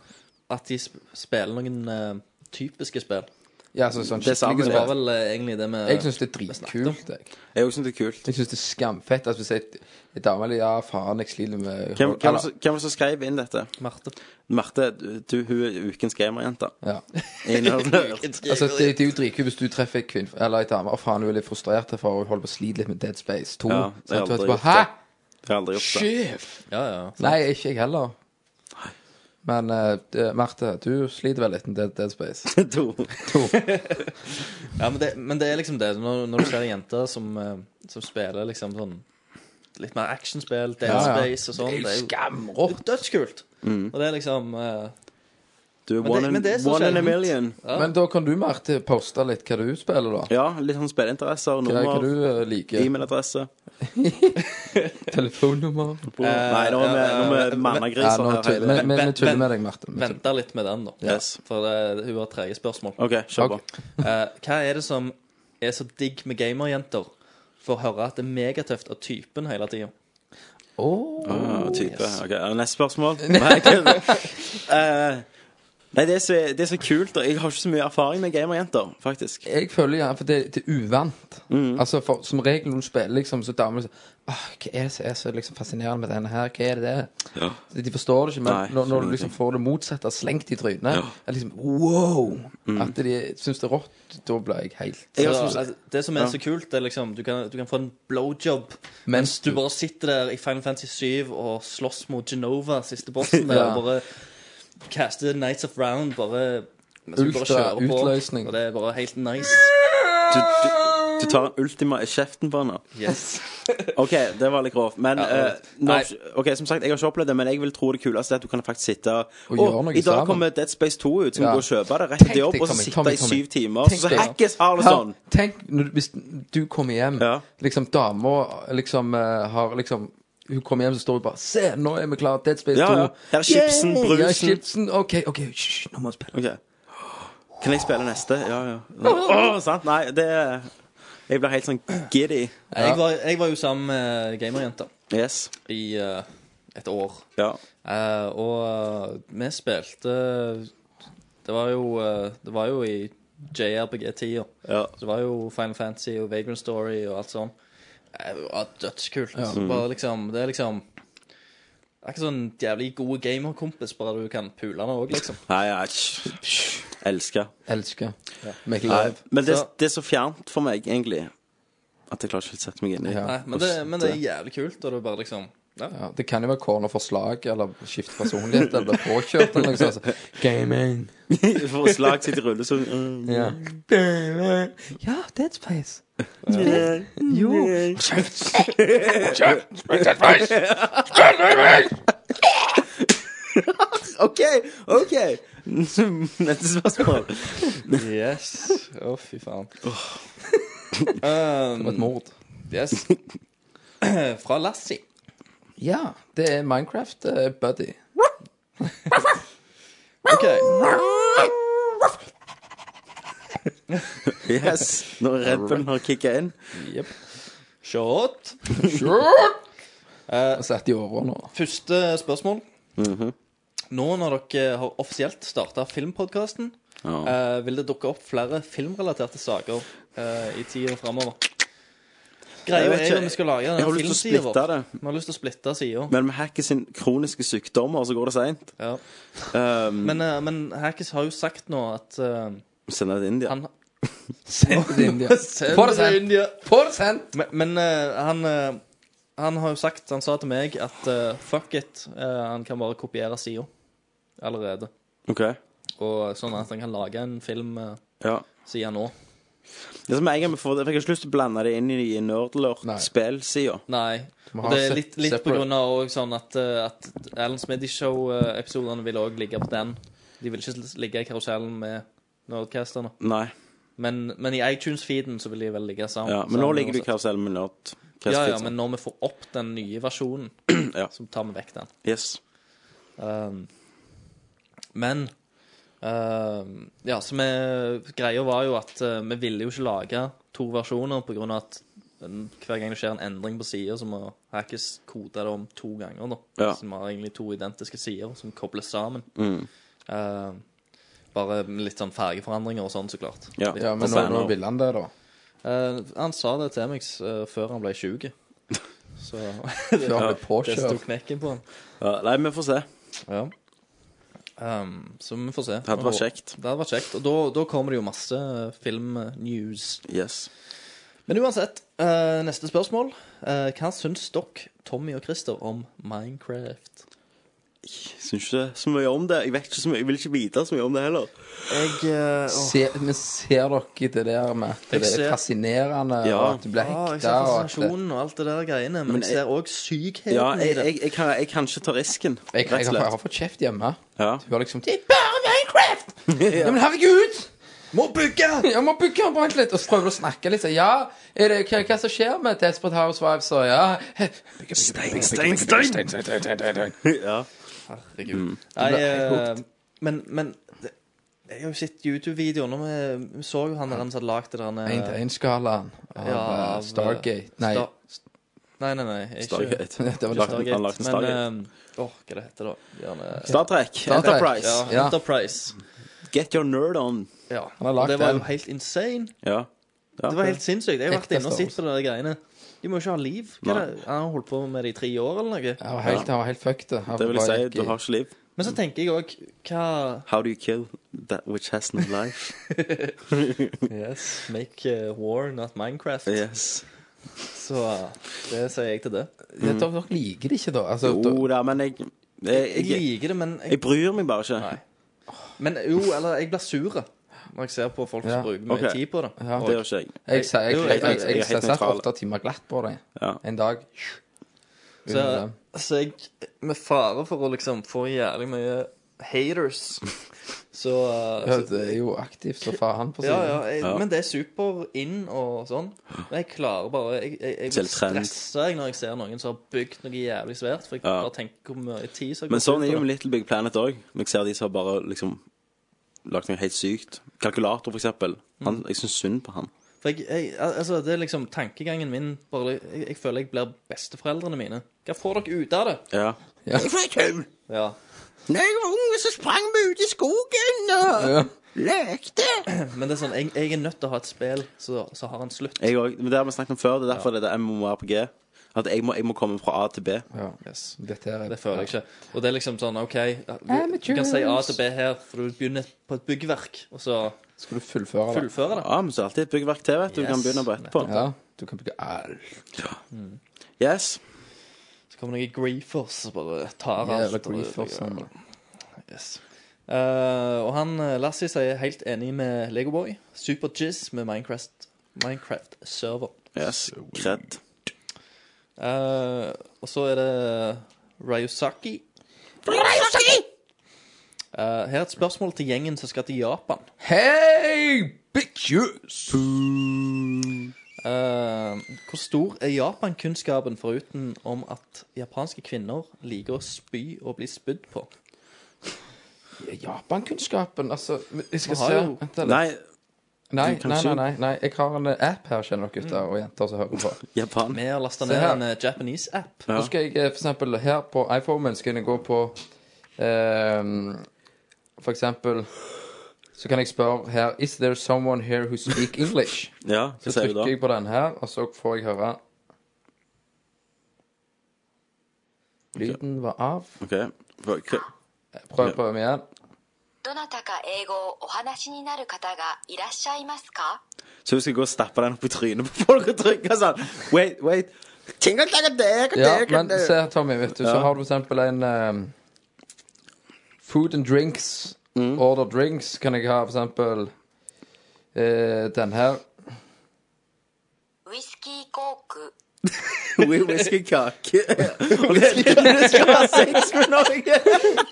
at de sp spiller noen eh, typiske spill? Ja, så, sånn Det samme skikkelig Det var spill. vel eh, egentlig det med Jeg syns det er vi snakket om. dritkult. Jeg, Jeg også synes det er kult. jeg syns det er skamfett. Altså, hvis jeg en dame eller ja, faen, jeg sliter med Hvem, hvem, var Eller- det som- hvem var det som skrev inn dette? Marte. Marte, du, du- hun er ukens gamerjente. ja. I Nerdlurt. Altså, det, det er jo dritkult hvis du treffer en kvinne Eller en dame. Å, faen, hun er litt frustrert her, for hun holder på å slite litt med Dead Space 2. Ja, Sant? det har jeg Du aldri bare, gjort Hæ? det. Jeg har aldri gjort det. Sjef! Ja, ja. Nei, ikke jeg heller. Men eh, det- Marte, du sliter vel litt med Dead, Dead Space. to. Ja, men det, men det er liksom det. Når, når du ser jenter som, eh, som spiller liksom sånn litt mer actionspill, Dead Ja, Mm. ja. Space og sånn, det er jo skamrått. dødskult. Og det er liksom eh, Du er Men one, det- in, men det er så one in a sjeldent. million. Men da kan du, Marte, poste litt hva du spiller, da. Ja, litt sånn spilleinteresser, Hva, hva nummer, du eh, liker. e-mailadresse Telefonnummer. Nei, nå er vi, nå er eh, vi Ja, mannegriser nå her. tuller hele- men- men vi Vent, tuller vent. med deg, Marte. Vi tuller. Venter litt med den, da. Yes. For eh, hun har trege spørsmål. OK, kjør på. Eh, hva er det som er så digg med gamerjenter? For å høre at det er megatøft av typen hele tida. Ah, type. Ok, er det Neste spørsmål. Nei, jeg kødder. Eh, Nei, det er, så, det er så kult. og Jeg har ikke så mye erfaring med gamerjenter, faktisk. Jeg føler gjerne For det, det er uvant. Mm. Altså for, Som regel når du spiller, liksom, så damer sier Åh, Hva er det som er så liksom, fascinerende med denne her? Hva er det det er? Så De forstår det ikke, men Nei, når, når du skjønner liksom ingenting. får det motsatte slengt i trynet, er det liksom wow! Mm. At de syns det er rått. Da blir jeg helt Jeg har Så, som- altså, det som er så kult, det er liksom du kan, du kan få en blowjob mens du bare sitter der i Final Fantasy 7 og slåss mot Genova, siste bossen der, Ja. og bare caster Nights of Round, bare mens du bare Ultra kjører på, utløsning. Og det er bare helt nice. Du, du, du tar Ultima i kjeften på henne. Yes. OK, det var litt grovt. Men Ja, det var eh, litt- når, Ok, som sagt, jeg har ikke opplevd det, men jeg vil tro det kuleste er at du kan faktisk sitte Og Å, gjøre noe I dag sammen. kommer Dead Space 2 ut, så kan Ja. du gå og kjøpe det rett Tenk til jobb, deg, og så Tommy, sitte Tommy, i Tommy. syv timer, Tenk så deg, ja. hackes har det Her, sånn. Tenk når, du- hvis du kommer hjem, Ja. liksom dama liksom eh, har liksom hun kommer hjem, så står hun bare Se, nå er vi klare. Dead Space 2. Ja, ja. Her er chipsen, Yay! Ja, brusen. chipsen. OK, ok, hysj, nå må vi spille. Ok Kan jeg spille neste? Ja, ja Åh, sant? Nei, det Jeg blir helt sånn giddy Jeg, var, jeg var jo sammen med gamerjenter Yes i eh, et år. Ja Eh, og eh, vi spilte Det var jo, eh, det var jo i JRPG-tida. Ja Så det var jo Final Fantasy og Vagrant Story og alt sånn. Eh, Det var dødskult. Så Bare liksom, det er liksom Akkurat sånn jævlig gode gamerkompis, bare du kan pule han òg, liksom. Nei, ja tsk, tsk. Elsker Elsker. Make Nei, love. Men det, Så- det er så fjernt for meg, egentlig At jeg klarer ikke helt å sette meg inn i Ja. Nei, men, det, men det er jævlig kult, og du bare liksom ja. Ja, det kan jo være corner for slag, eller skifte personlighet, eller bli påkjørt. Eller noe sånt. altså. Gaming. For slag sitt i rulle så mm. Ja. ja, Dead Space. Jo. Ok, ok Neste spørsmål Yes. Å, fy faen. Um, Et mord. Yes. Fra Lassie. Ja, det er Minecraft eh, Buddy. OK. Yes, når Red Bull har kicka inn. Yep. Shot. Eh, Jeg satt i åra nå. Første spørsmål. Nå når dere har offisielt starta filmpodkasten, eh, vil det dukke opp flere filmrelaterte saker eh, i tida framover? Greia Jeg vet er ikke. jo om vi skal lage Jeg har den lyst til å filmsida splitte vår. det. Vi har lyst til å splitte sida. Men med Hackers sin kroniske sykdommer så går det seint. Ja. Um, Men, eh, men Hackis har jo sagt nå at eh, Sender det til India. han Send det til India. Få det sendt. India. Få det sendt! Men, men eh, han eh, Han har jo sagt, han sa til meg at eh, fuck it, eh, han kan bare kopiere sida allerede. Ok. Og sånn at han kan lage en film eh, Ja. sida nå. Det er som en gang vi får det, for Jeg har ikke lyst til å blande det inn i i Nei. nerdlurt-spillsida. Nei. må Og ha det er se- litt, litt på separate. grunn av også sånn at, eh, at Alan Smitty Show-episodene vil òg ligge på den. De vil ikke ligge i karusellen med Nerdcasterne. Nei. Men, men i iTunes-feeden så vil de vel ligge sammen. Ja, men nå sammen ligger du i uansett. karusell med nerd. Ja, ja, men når vi får opp den nye versjonen, Ja. så tar vi vekk den. Yes. Um, men um, Ja, så vi Greia var jo at eh, vi ville jo ikke lage to versjoner pga. at den- hver gang det skjer en endring på sida, så må Hackes kode det om to ganger. da Ja. Så vi har egentlig to identiske sider som kobles sammen. Mm. Eh, bare med litt sånn fargeforandringer og sånn, så klart. Ja. Ja, men nå, Banner. nå ville han det, da. Eh, han sa det til meg s- eh, før han ble 20. Så Før han ble det sto påkjørt. knekken på han. Ja, nei, vi får se. Ja. Um, så vi får se. Det hadde vært kjekt. Det hadde vært kjekt. Og da, da kommer det jo masse filmnews. Yes. Men uansett, eh, neste spørsmål. Eh, hva syns dere, Tommy og Christer, om Minecraft? Jeg syns ikke så mye om det. Jeg vet ikke så mye, jeg vil ikke vite så mye om det heller. Jeg eh, Se, men ser dere det der med at det ser- er fascinerende, Ja. og at du blir Ja, Ah, jeg hekta ser og at det- fascinasjonen og alt det der greiene, men, Men jeg jeg- ser òg sykheten Ja, i jeg, det. jeg, jeg, kan, jeg kan ikke ta risken, jeg, jeg, rett og har, jeg slett. har fått kjeft hjemme. Ja. Hun har liksom Det er bare Minecraft! ja. Men herregud! Må bygge! Jeg må bygge og vent litt. Og så prøver du å snakke litt. så, Ja, er det, hva, hva som skjer med Desperate Housewives og ja Stein, stein, stein! Ja. Mm. Nei, eh, men, men det- jeg har jo sett YouTube-videoer. Når vi, vi så jo han der han som hadde lagd det der eh, 1-til-1-skalaen av Ja, eh, Stargate. Nei, Star- Nei, nei, nei. Ikke, Stargate. det var Ikke lagt Stargate. Han lagde Stargate, Stargate. men eh, Åh, hva det heter det da? Gjerne Star Trek, Trek. Enterprise. ja, Ja. Enterprise. Get your nerd on. Ja. Han har Og lagt det var jo den. helt insane. Ja. ja. Det var helt sinnssykt. Jeg har vært Ekte inne og Star sett på de der greiene. De må jo ikke ha liv. Hva er det? Han har holdt på med det i tre år eller noe. Han var helt, han var helt fucked. det. Han Det vil bare jeg gikk si, du i- har ikke liv. Men så tenker jeg òg hva How do you kill that which has no life? Make eh, war, not Minecraft. Yes. Så eh, det sier jeg til det. Ja, Dere dere liker det ikke, da? Altså, Jo da, men jeg jeg, Jeg jeg, liker det, men jeg, jeg bryr meg bare ikke. Nei. Men jo, eller jeg blir sur når jeg ser på folk som Ja. bruker mye Ok. tid på det. Ja. Det gjør ikke jeg. Jeg sier jeg, Jo, jeg, jeg, jeg- jeg er jeg, helt satt nøytral. åtte timer glatt på det Ja. en dag. Så, Under dem. så Altså, jeg, med fare for å liksom få jævlig mye haters, så, uh, Ja, så det er jo aktivt, så far han på ja, siden. ja, jeg, Ja. Men det er super in og sånn. Men jeg klarer bare Jeg, jeg, jeg blir Selv trend. stressa jeg, når jeg ser noen som har bygd noe jævlig svært. For jeg Ja. bare tenker hvor mye tid som har Men gått sånn er ut jo på med det. Little Big Planet òg. Jeg ser de som har bare liksom lagt noe helt sykt. Kalkulator, for eksempel. Han, jeg syns synd på han. For jeg, jeg, al- altså, det er liksom tankegangen min. Bare, jeg, jeg føler jeg blir besteforeldrene mine. Hva får dere ut av det? Ja. Ja. Ja. Men det er sånn, jeg, jeg er nødt til å ha et spill som så, har en slutt. Jeg òg. Men det har vi snakket om før. Det er derfor det er MMORPG. At jeg må, jeg må komme fra A til B. Ja. Dette her er Det føler jeg ikke. Og det er liksom sånn OK, vi- du kan si A til B her, for du begynner på et byggverk, og så Skal du fullføre det? fullføre det. Ja, men så er det alltid et byggverk til, vet du. Du kan Yes. begynne på etterpå. Ja. Du kan bygge alt. Yes. Så kommer noen griefers og bare tar Jævla altså. alt. og- griefers. sånn. ja, yes. Eh, og han eh, Lassie sier helt enig med Legoboy. Super-Jizz med Minecraft, Minecraft server. Yes. Kred. Eh, og så er det Ryosaki. Eh, her er et spørsmål til gjengen som skal til Japan. Hei, bitches! Eh, hvor stor er Japan-kunnskapen foruten om at japanske kvinner liker å spy og bli spydd på? Japankunnskapen, altså Jeg skal Vi har se jo- Vent litt. Nei, Nei, Du kan nei, ikke- nei, nei, nei. Jeg har en app her, skjønner dere gutter og jenter som hører på. Japan. Vi har lasta Se ned her. en eh, Japanese-app. Nå skal jeg eh, for eksempel her på iPhone-en skal jeg gå på eh, For eksempel så kan jeg spørre her Is there someone here who speak English? Ja, Så hva sier du da? trykker jeg på den her, og så får jeg høre Lyden var av. OK. Hva- hva- Prøv, prøv igjen. どなたか英語をお話しになる方がいらっしゃいますか Så du skal gå og stappe den opp i trynet på folk og trykke sånn? Wait, wait. Ja, Ja, men se her, Tommy, vet du, så Ja. har du for eksempel en eh, Food and drinks. Order drinks kan jeg ha, for eksempel eh, den her. ウイスキーコーク We whisky kake. Og det er det du skal ha sex med Norge!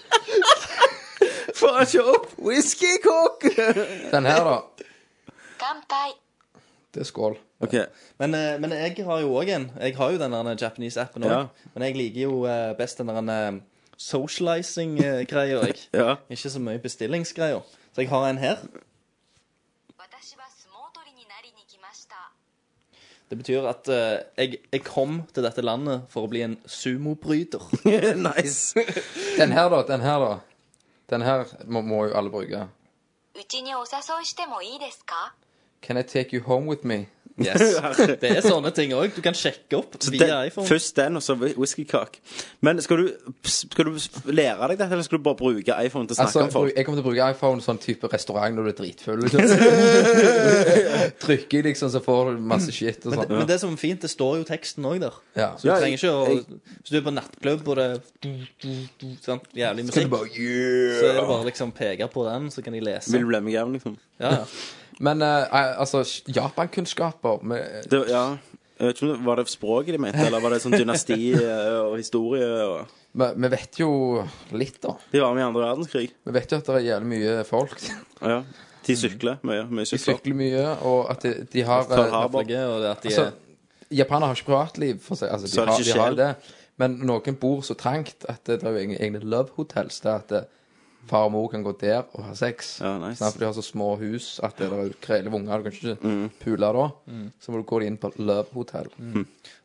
For å se opp whisky kake. Den her, da. 乾杯 Det er skål. OK. Men, eh, men jeg har jo òg en. Jeg har jo den der eh, Japanese-appen òg. Ja. Men jeg liker jo eh, best den der socializing-greia, jeg. Ja. Ikke så mye bestillingsgreier. Så jeg har en her. 私は相撲取りになりに来ました Det betyr at eh, jeg, jeg kom til dette landet for å bli en sumobryter. nice. Den her, da. Den her, da. Den her må, må jo alle bruke. うちにお誘いしてもいいですか Can I take you home with me? Yes. Det er sånne ting òg. Du kan sjekke opp Så via den, iPhone. først den, og så whisky kake. Men skal du, skal du lære deg dette, eller skal du bare bruke iPhone til å snakke Altså, om folk? Jeg kommer til å bruke iPhone sånn type restaurant når du er dritfull. Liksom. Trykker liksom, så får du masse shit og Men, det- sånn. men det som er fint, det står jo teksten òg der. Ja. Så du Ja, trenger ikke å jeg- Hvis du er på nattklubb og det er du- du- du- sant, jævlig musikk, så er det bare liksom peke på den, så kan de lese. Vil du bli med hjem, liksom? Ja, ja. Men eh, altså, Japankunnskaper med- Det, ja. Jeg vet ikke om det, Var det språket de mente, eller var det sånn dynasti eh, og historie? Og... Vi vi vet jo litt, da. De var med i andre verdenskrig. Vi vet jo at det er jævlig mye folk. Ja. De sykler mye. mye De sykler. sykler mye, og at de, de har Pearl eh, Harbor. Flagget, og det at de altså, er Japanere har ikke privatliv, for seg. Altså, Så er de, det har, ikke de har sjel. det. Men noen bor så trangt at det er jo egne, egne love hotels der at eh, far og mor kan gå der og ha sex. Ja, nice. Sånn, for de har så små hus at det er krele unger. Du kan ikke Mm. pule da. Så må du gå inn på love hotel.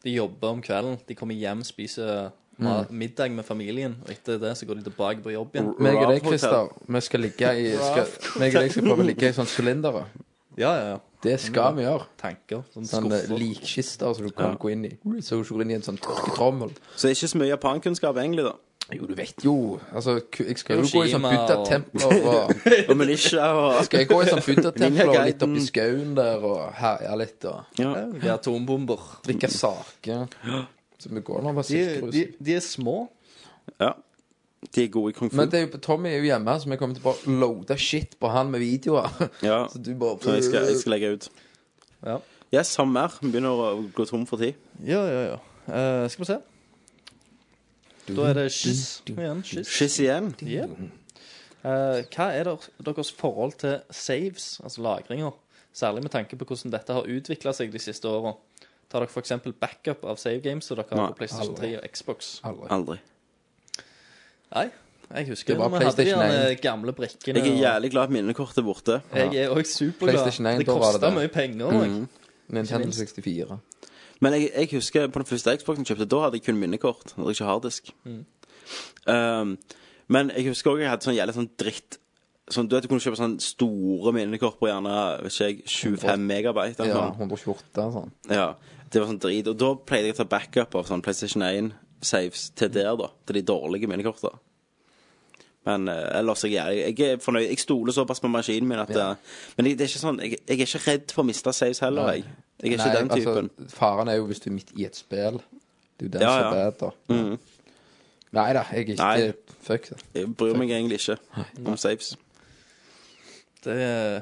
De jobber om kvelden. De kommer hjem, spiser ma- middag med familien, og etter det så går de tilbake på jobb igjen. Meg og deg, Rav Hotel. Christer, vi skal ligge i skal, meg og deg skal prøve å ligge i sånn sylindere. Ja, ja, ja. Det skal vi gjøre. Tanker. Sånn Sånn eh, skuffer. likkister som du kan gå inn i. Så du går inn i en sånn tørketrommel. Så det er ikke så mye japankunnskap, egentlig, da. Jo, du vet jo Altså, ku- jeg skal jo gå i sånn Hiroshima og- buddha-templer og Og Manisha og Skal jeg gå i sånn buddha-templer og litt oppi Ninja-guiden. skauen der og herje litt og ja. De er atombomber. drikke sake? Så vi går nå bare De, de, sikkerhus. de er små. ja. De er gode i kung fu. Men det er jo, Tommy er jo hjemme, så vi kommer til å bare loade shit på han med videoer. ja. Så du bare Så jeg skal, jeg skal legge ut. Ja. Yes, han mer. Vi begynner å gå tom for tid. Ja, ja, ja. Eh, skal vi se. Da er det skyss igjen. Skyss. Skiss igjen. Ja. Eh, hva er der, deres forhold til saves, altså lagringer? Særlig med tanke på hvordan dette har utvikla seg de siste åra. Tar dere f.eks. backup av save games som dere har Nei, på PlayStation 3 og Xbox? Aldri. Aldri. Nei, jeg Det husker var når vi hadde de PlayStation der gamle brikkene. Jeg er og- jævlig glad at minnekortet er borte. jeg er òg PlayStation 1, superglad. Det da var det kosta det. mye penger òg. Mm. Nintendo 64. Men jeg, jeg husker på den første Xboxen jeg kjøpte, da hadde jeg kun minnekort. Jeg hadde ikke harddisk. Um, men jeg husker også jeg hadde sånn jævlig sånn dritt sånn, Du vet du kunne kjøpe sånn store minnekort på gjerne vet ikke jeg, 25 megabyte. eller Ja, noe. 128 og sånn. Ja, det var sånn drit. Og da pleide jeg å ta backup av sånn PlayStation 1-saves til der, da. Til de dårlige minnekortene. Men eh, ellers jeg er jeg er fornøyd. Jeg stoler såpass på maskinen min at eh, Men jeg, det er ikke sånn, jeg, jeg er ikke redd for å miste saves heller, jeg. Jeg er ikke den typen. Altså, faren er jo hvis du er midt i et spill. Det er jo den Ja, som ja. Mm. er bedre. Nei da, jeg er ikke Nei. Fuck det. Jeg bryr meg egentlig ikke om saves. Det eh,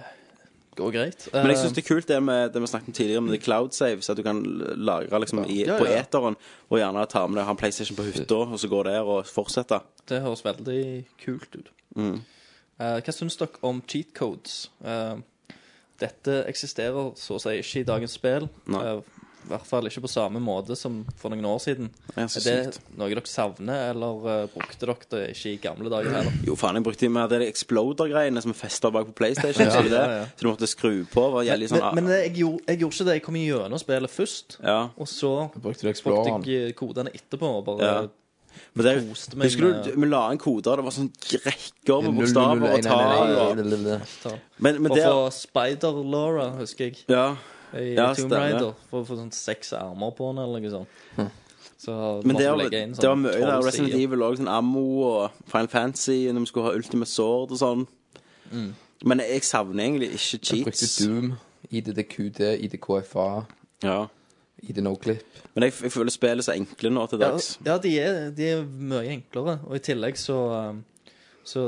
går greit. Men jeg syns det er kult det med det vi snakket om tidligere, med det cloud saves. At du kan lagre liksom i, Ja, på ja. eteren, og gjerne ta med deg ha en PlayStation på hytta, og så gå der og fortsette. Det høres Mm. veldig kult ut. Eh, hva syns dere om cheat codes? Eh, Dette eksisterer så å si ikke i dagens spill. Nei. Eh, I hvert fall ikke på samme måte som for noen år siden. Ja, så er det noe dere savner, eller eh, brukte dere det ikke i gamle dager heller? Jo, faen, jeg brukte de med de Exploder-greiene som er festa bak på PlayStation. så, Ja, det, ja, ja. så du måtte skru på. Var Men, jævlig sånn men jeg, gjorde, jeg gjorde ikke det. Jeg kom gjennom spillet først, ja. og så brukte du Exploreren. brukte jeg kodene etterpå. og Bare Ja. Men det, koste meg husker du, med- vi la inn koder, det var sånn rekker med bokstaver og tall. og- bokstaver. Men, men og det for Spider-Laura, husker jeg. Ja. I Ja, stemmer. Tomb Hm. Raider. For å få sånn seks armer på henne, eller noe sånt. Så Men måtte det jeg var, legge inn det var mye der. 12 Resident sider. Evil òg. Sånn ammo og Final Fantasy når vi skulle ha Ultimate Sword og sånn. Mm. Men jeg savner egentlig ikke Jeg brukte cheats. Doom, IDDQD, IDKFA, Ja. IDNoclip. Men jeg, jeg føler spillet så enkle nå til Ja, dags. ja de, er, de er mye enklere. Og i tillegg så, um, så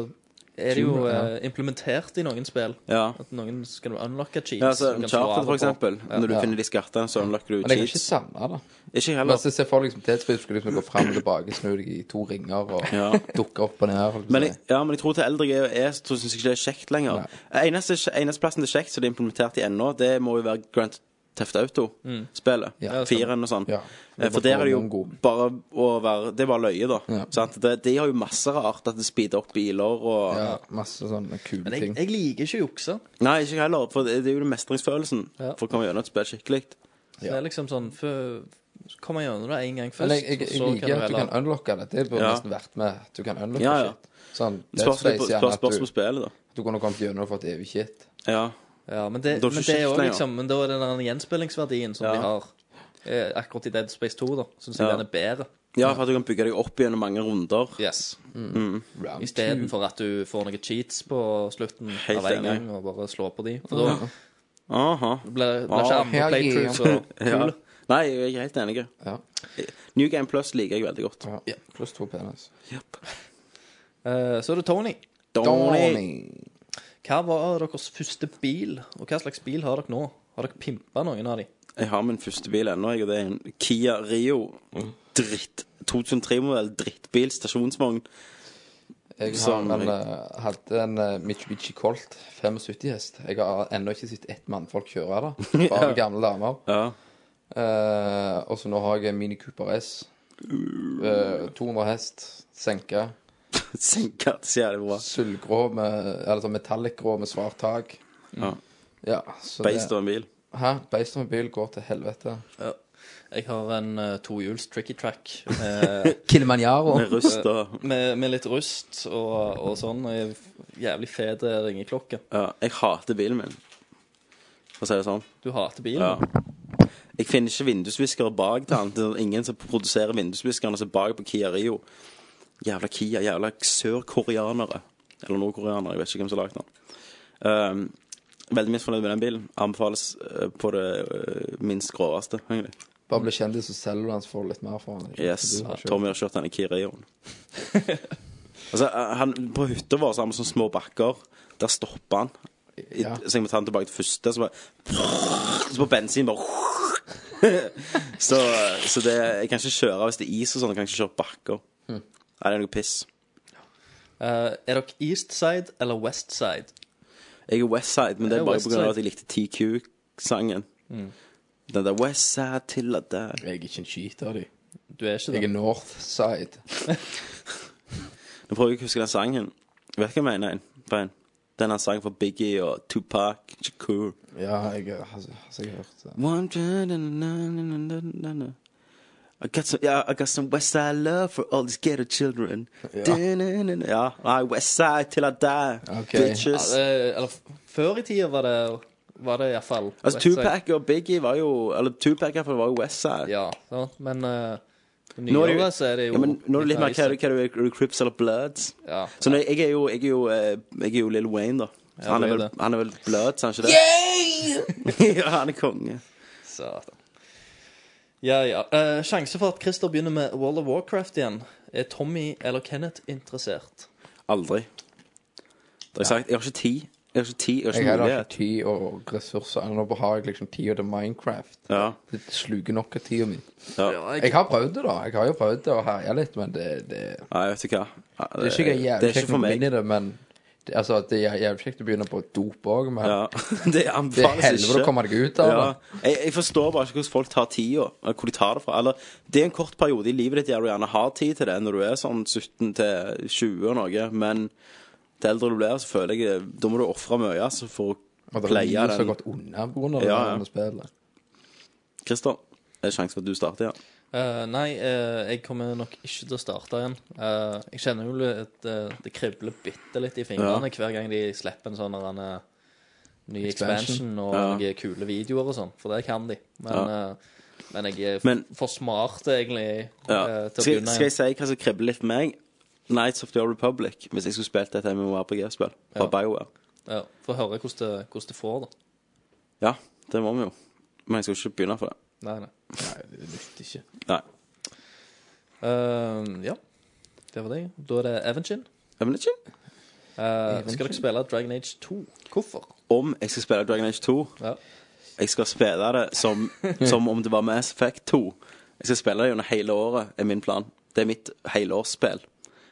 er det jo Tomb Raider, eh, implementert i noen spill. Ja. At noen skal du unlocke cheats. Ja, altså, som du kan slå Uncharted, av for og på. eksempel. Ja. Når du Ja. finner de skattene, så unlocker du Men jeg kan ikke cheats. savne det. Ikke Men heller. altså, se for deg liksom, det er et spill skulle liksom gå fram og tilbake, snu deg i to ringer og Ja. dukke opp og ned. holdt på å Men si. jeg, ja, men jeg tror til eldre jeg er, så tror- synes jeg ikke det er kjekt lenger. Eneste, eneste plassen det er kjekt, så det er implementert i ennå, det må jo være Grand Theft Mm. Auto-spillet. Ja, det stemmer. Fireren og sånn. Ja. Eh, For der er det jo bare å være Det er bare løye, da. Sant? Det, de har jo masse rart, at det speeder opp biler og Ja, masse sånne kule Men jeg, ting. jeg liker ikke å jukse. Nei, ikke heller, for det det er jo den mestringsfølelsen Ja. for å komme gjennom et spill skikkelig. Så Det er liksom sånn før- så Kommer jeg gjennom det én gang først. Men jeg, jeg, jeg, så liker at du heller- kan unlocke det. Det burde Ja. nesten vært med at du kan unlocke Ja, ja. shit. Sånn, Dead Spørs litt Space, på- gjerne spørs- at du- spørs på spillet, da. Du kunne kommet gjennom og fått evig shit. Ja. Ja, men det, Da er det men ikke det er kjekt også lenger. liksom Men da er det den gjenspillingsverdien som Ja. de har eh, akkurat i Dead Space 2, da. Syns jeg Ja. den er bedre. Ja, for at du kan bygge deg opp gjennom mange runder. Yes. Mm. Istedenfor at du får noen cheats på slutten Helt av enig. en gang og bare slår på de. For da Aha. blir blir ikke Ah, andre playthroughs så ja. kule. Nei, jeg er helt enig. New Game Plus liker jeg veldig godt. Ja. Pluss to penis. Eh, Så er det Tony. Donny. Hva var deres første bil, og hva slags bil har dere nå? Har dere pimpa noen av de? Jeg har min første bil ennå, jeg, og det er en Kia Rio. Dritt. 2003-modell, drittbil, stasjonsvogn. Jeg har, Som- men, eh, hadde en eh, Mitsubishi Colt 75 hest. Jeg har ennå ikke sett ett mannfolk kjøre det. Bare Ja. gamle damer. Ja. Eh, og så nå har jeg en Mini Cooper S. Eh, 200 hest. Senka. Senka til så jævlig bra. Sølvgrå med Eller sånn metallic-grå med svart tak. Ja. Ja, så Beist det- av en bil. Hæ? Beist av en bil går til helvete. Ja. Jeg har en eh, tohjuls tricky track. eh, Kilimanjaro. Med rust og med, med litt rust og, og sånn. Og en jævlig fet ringeklokke. ja, Jeg hater bilen min, for å si det sånn. Du hater Ja. bilen. Jeg finner ikke vindusviskere bak til han. Det er ingen som produserer vindusviskerne som er bak på Kia Rio. Jævla Kia. Jævla sørkoreanere. Eller nordkoreanere. Jeg vet ikke hvem som har lagd den. Ehm, veldig misfornøyd med den bilen. Anbefales eh, på det eh, minst groveste, egentlig. Bare bli kjendis, så selger du den, så får du litt mer for den. Ikke Yes. sant? Du har kjøpt- Tommy har kjørt denne Kia Rioen. altså, eh, han, på hytta vår så har vi sånne små bakker. Der stopper han. I, Ja. Så jeg må ta han tilbake til første. Så, bare, så på bensin bare Så, eh, så det, jeg kan ikke kjøre hvis det er is og sånn. Jeg kan ikke kjøre bakker. Mhm. Nei, det er noe piss. Eh, er dere Eastside eller Westside? Jeg er Westside, men det er Jeg er bare på grunn av at Westside. jeg likte TQ-sangen. Den der Westside til at der Jeg er ikke en cheater, de. Du er ikke Jeg er det. Northside. Nå prøver jeg å huske den sangen. Vet du hva jeg mener? Brian? Den er sangen for Biggie og Tupac Shakur. Ja, jeg har har sikkert hørt det. One dun- dun- dun- dun- dun- dun- dun. I got some, yeah, I got some West Side love for all these ghetto children. Ja. Dun- dun- dun- Ja, I West Side till I die, Ok. Ja, bitches. det eller f- før i tida var det, var det iallfall Altså, Tupac og Biggie var jo Eller Tupac i hvert fall var jo West Side. Ja, ja, men Nå er uh, det jo- nyere så er det jo Ja, men nå er det litt mer hva du- hva du er, er du Crips eller Bloods. Ja. Så nå, jeg er jo, jeg er jo, eh, jeg er jo Lil Wayne, da. Så Ja, han, du er er vel, det. han er vel Bloods, er han ikke det? ja, han er konge. Satan. Ja, ja. Eh, sjanse for at Christer begynner med World of Warcraft igjen. Er Tommy eller Kenneth interessert? Aldri. Det har jeg sagt. Jeg har ikke tid. Jeg har ikke tid, jeg har Jeg ikke har heller mulighet. ikke tid og ressurser. Eller Nå har jeg liksom tida til Minecraft. Ja, Det sluker nok av tida mi. ja. Jeg har prøvd det, da. Jeg har jo prøvd det og herja litt, men det, det, Nei, vet du hva. det er ikke Det jævlig er ikke kjekt for å komme meg. inn i det, men Det- Altså, det er jævlig kjekt å begynne på dop òg, men Ja, det Det anbefales er helvete å komme deg ut av ja. det. jeg, jeg forstår bare ikke hvordan folk tar tida, eller hvor de tar det fra. Eller, det er en kort periode i livet ditt der du gjerne har tid til det, når du er sånn 17 til 20 og noe, men det eldre du blir, så føler jeg det- Da må du ofre mye altså, for å Og det er pleie mye den. som har gått unna på grunn av det Ja, der ja. med spillet. Christer, er det sjanse for at du starter? Ja. Eh, nei, eh, jeg kommer nok ikke til å starte igjen. Eh, jeg kjenner jo at eh, det kribler bitte litt i fingrene Ja. hver gang de slipper en sånn en, eh, ny Expansion. expansion, og Ja. noen kule videoer og sånn, for det kan de. Men, Ja. eh, men jeg er f- Men- for smart, egentlig, eh, Ja. til å Skal, begynne skal jeg si hva som kribler litt for meg? Nights of the Old Republic, hvis jeg skulle spilt dette MMORPG-spill fra Ja. BioWare. Ja, for å høre hvordan det, hvordan det får, da. Ja, det må vi jo. Men jeg skal ikke begynne for det. Nei, nei. nei det nytter ikke. Nei. Eh, ja, det var det. Da er det Evengine. Evenitchen? Eh, Evengine? skal dere spille Dragon Age 2? Hvorfor? om jeg skal spille Dragon Age 2 Jeg skal spille det som, som om det var Mass Effect 2 Jeg skal spille det gjennom hele året, er min plan Det er mitt helårsspill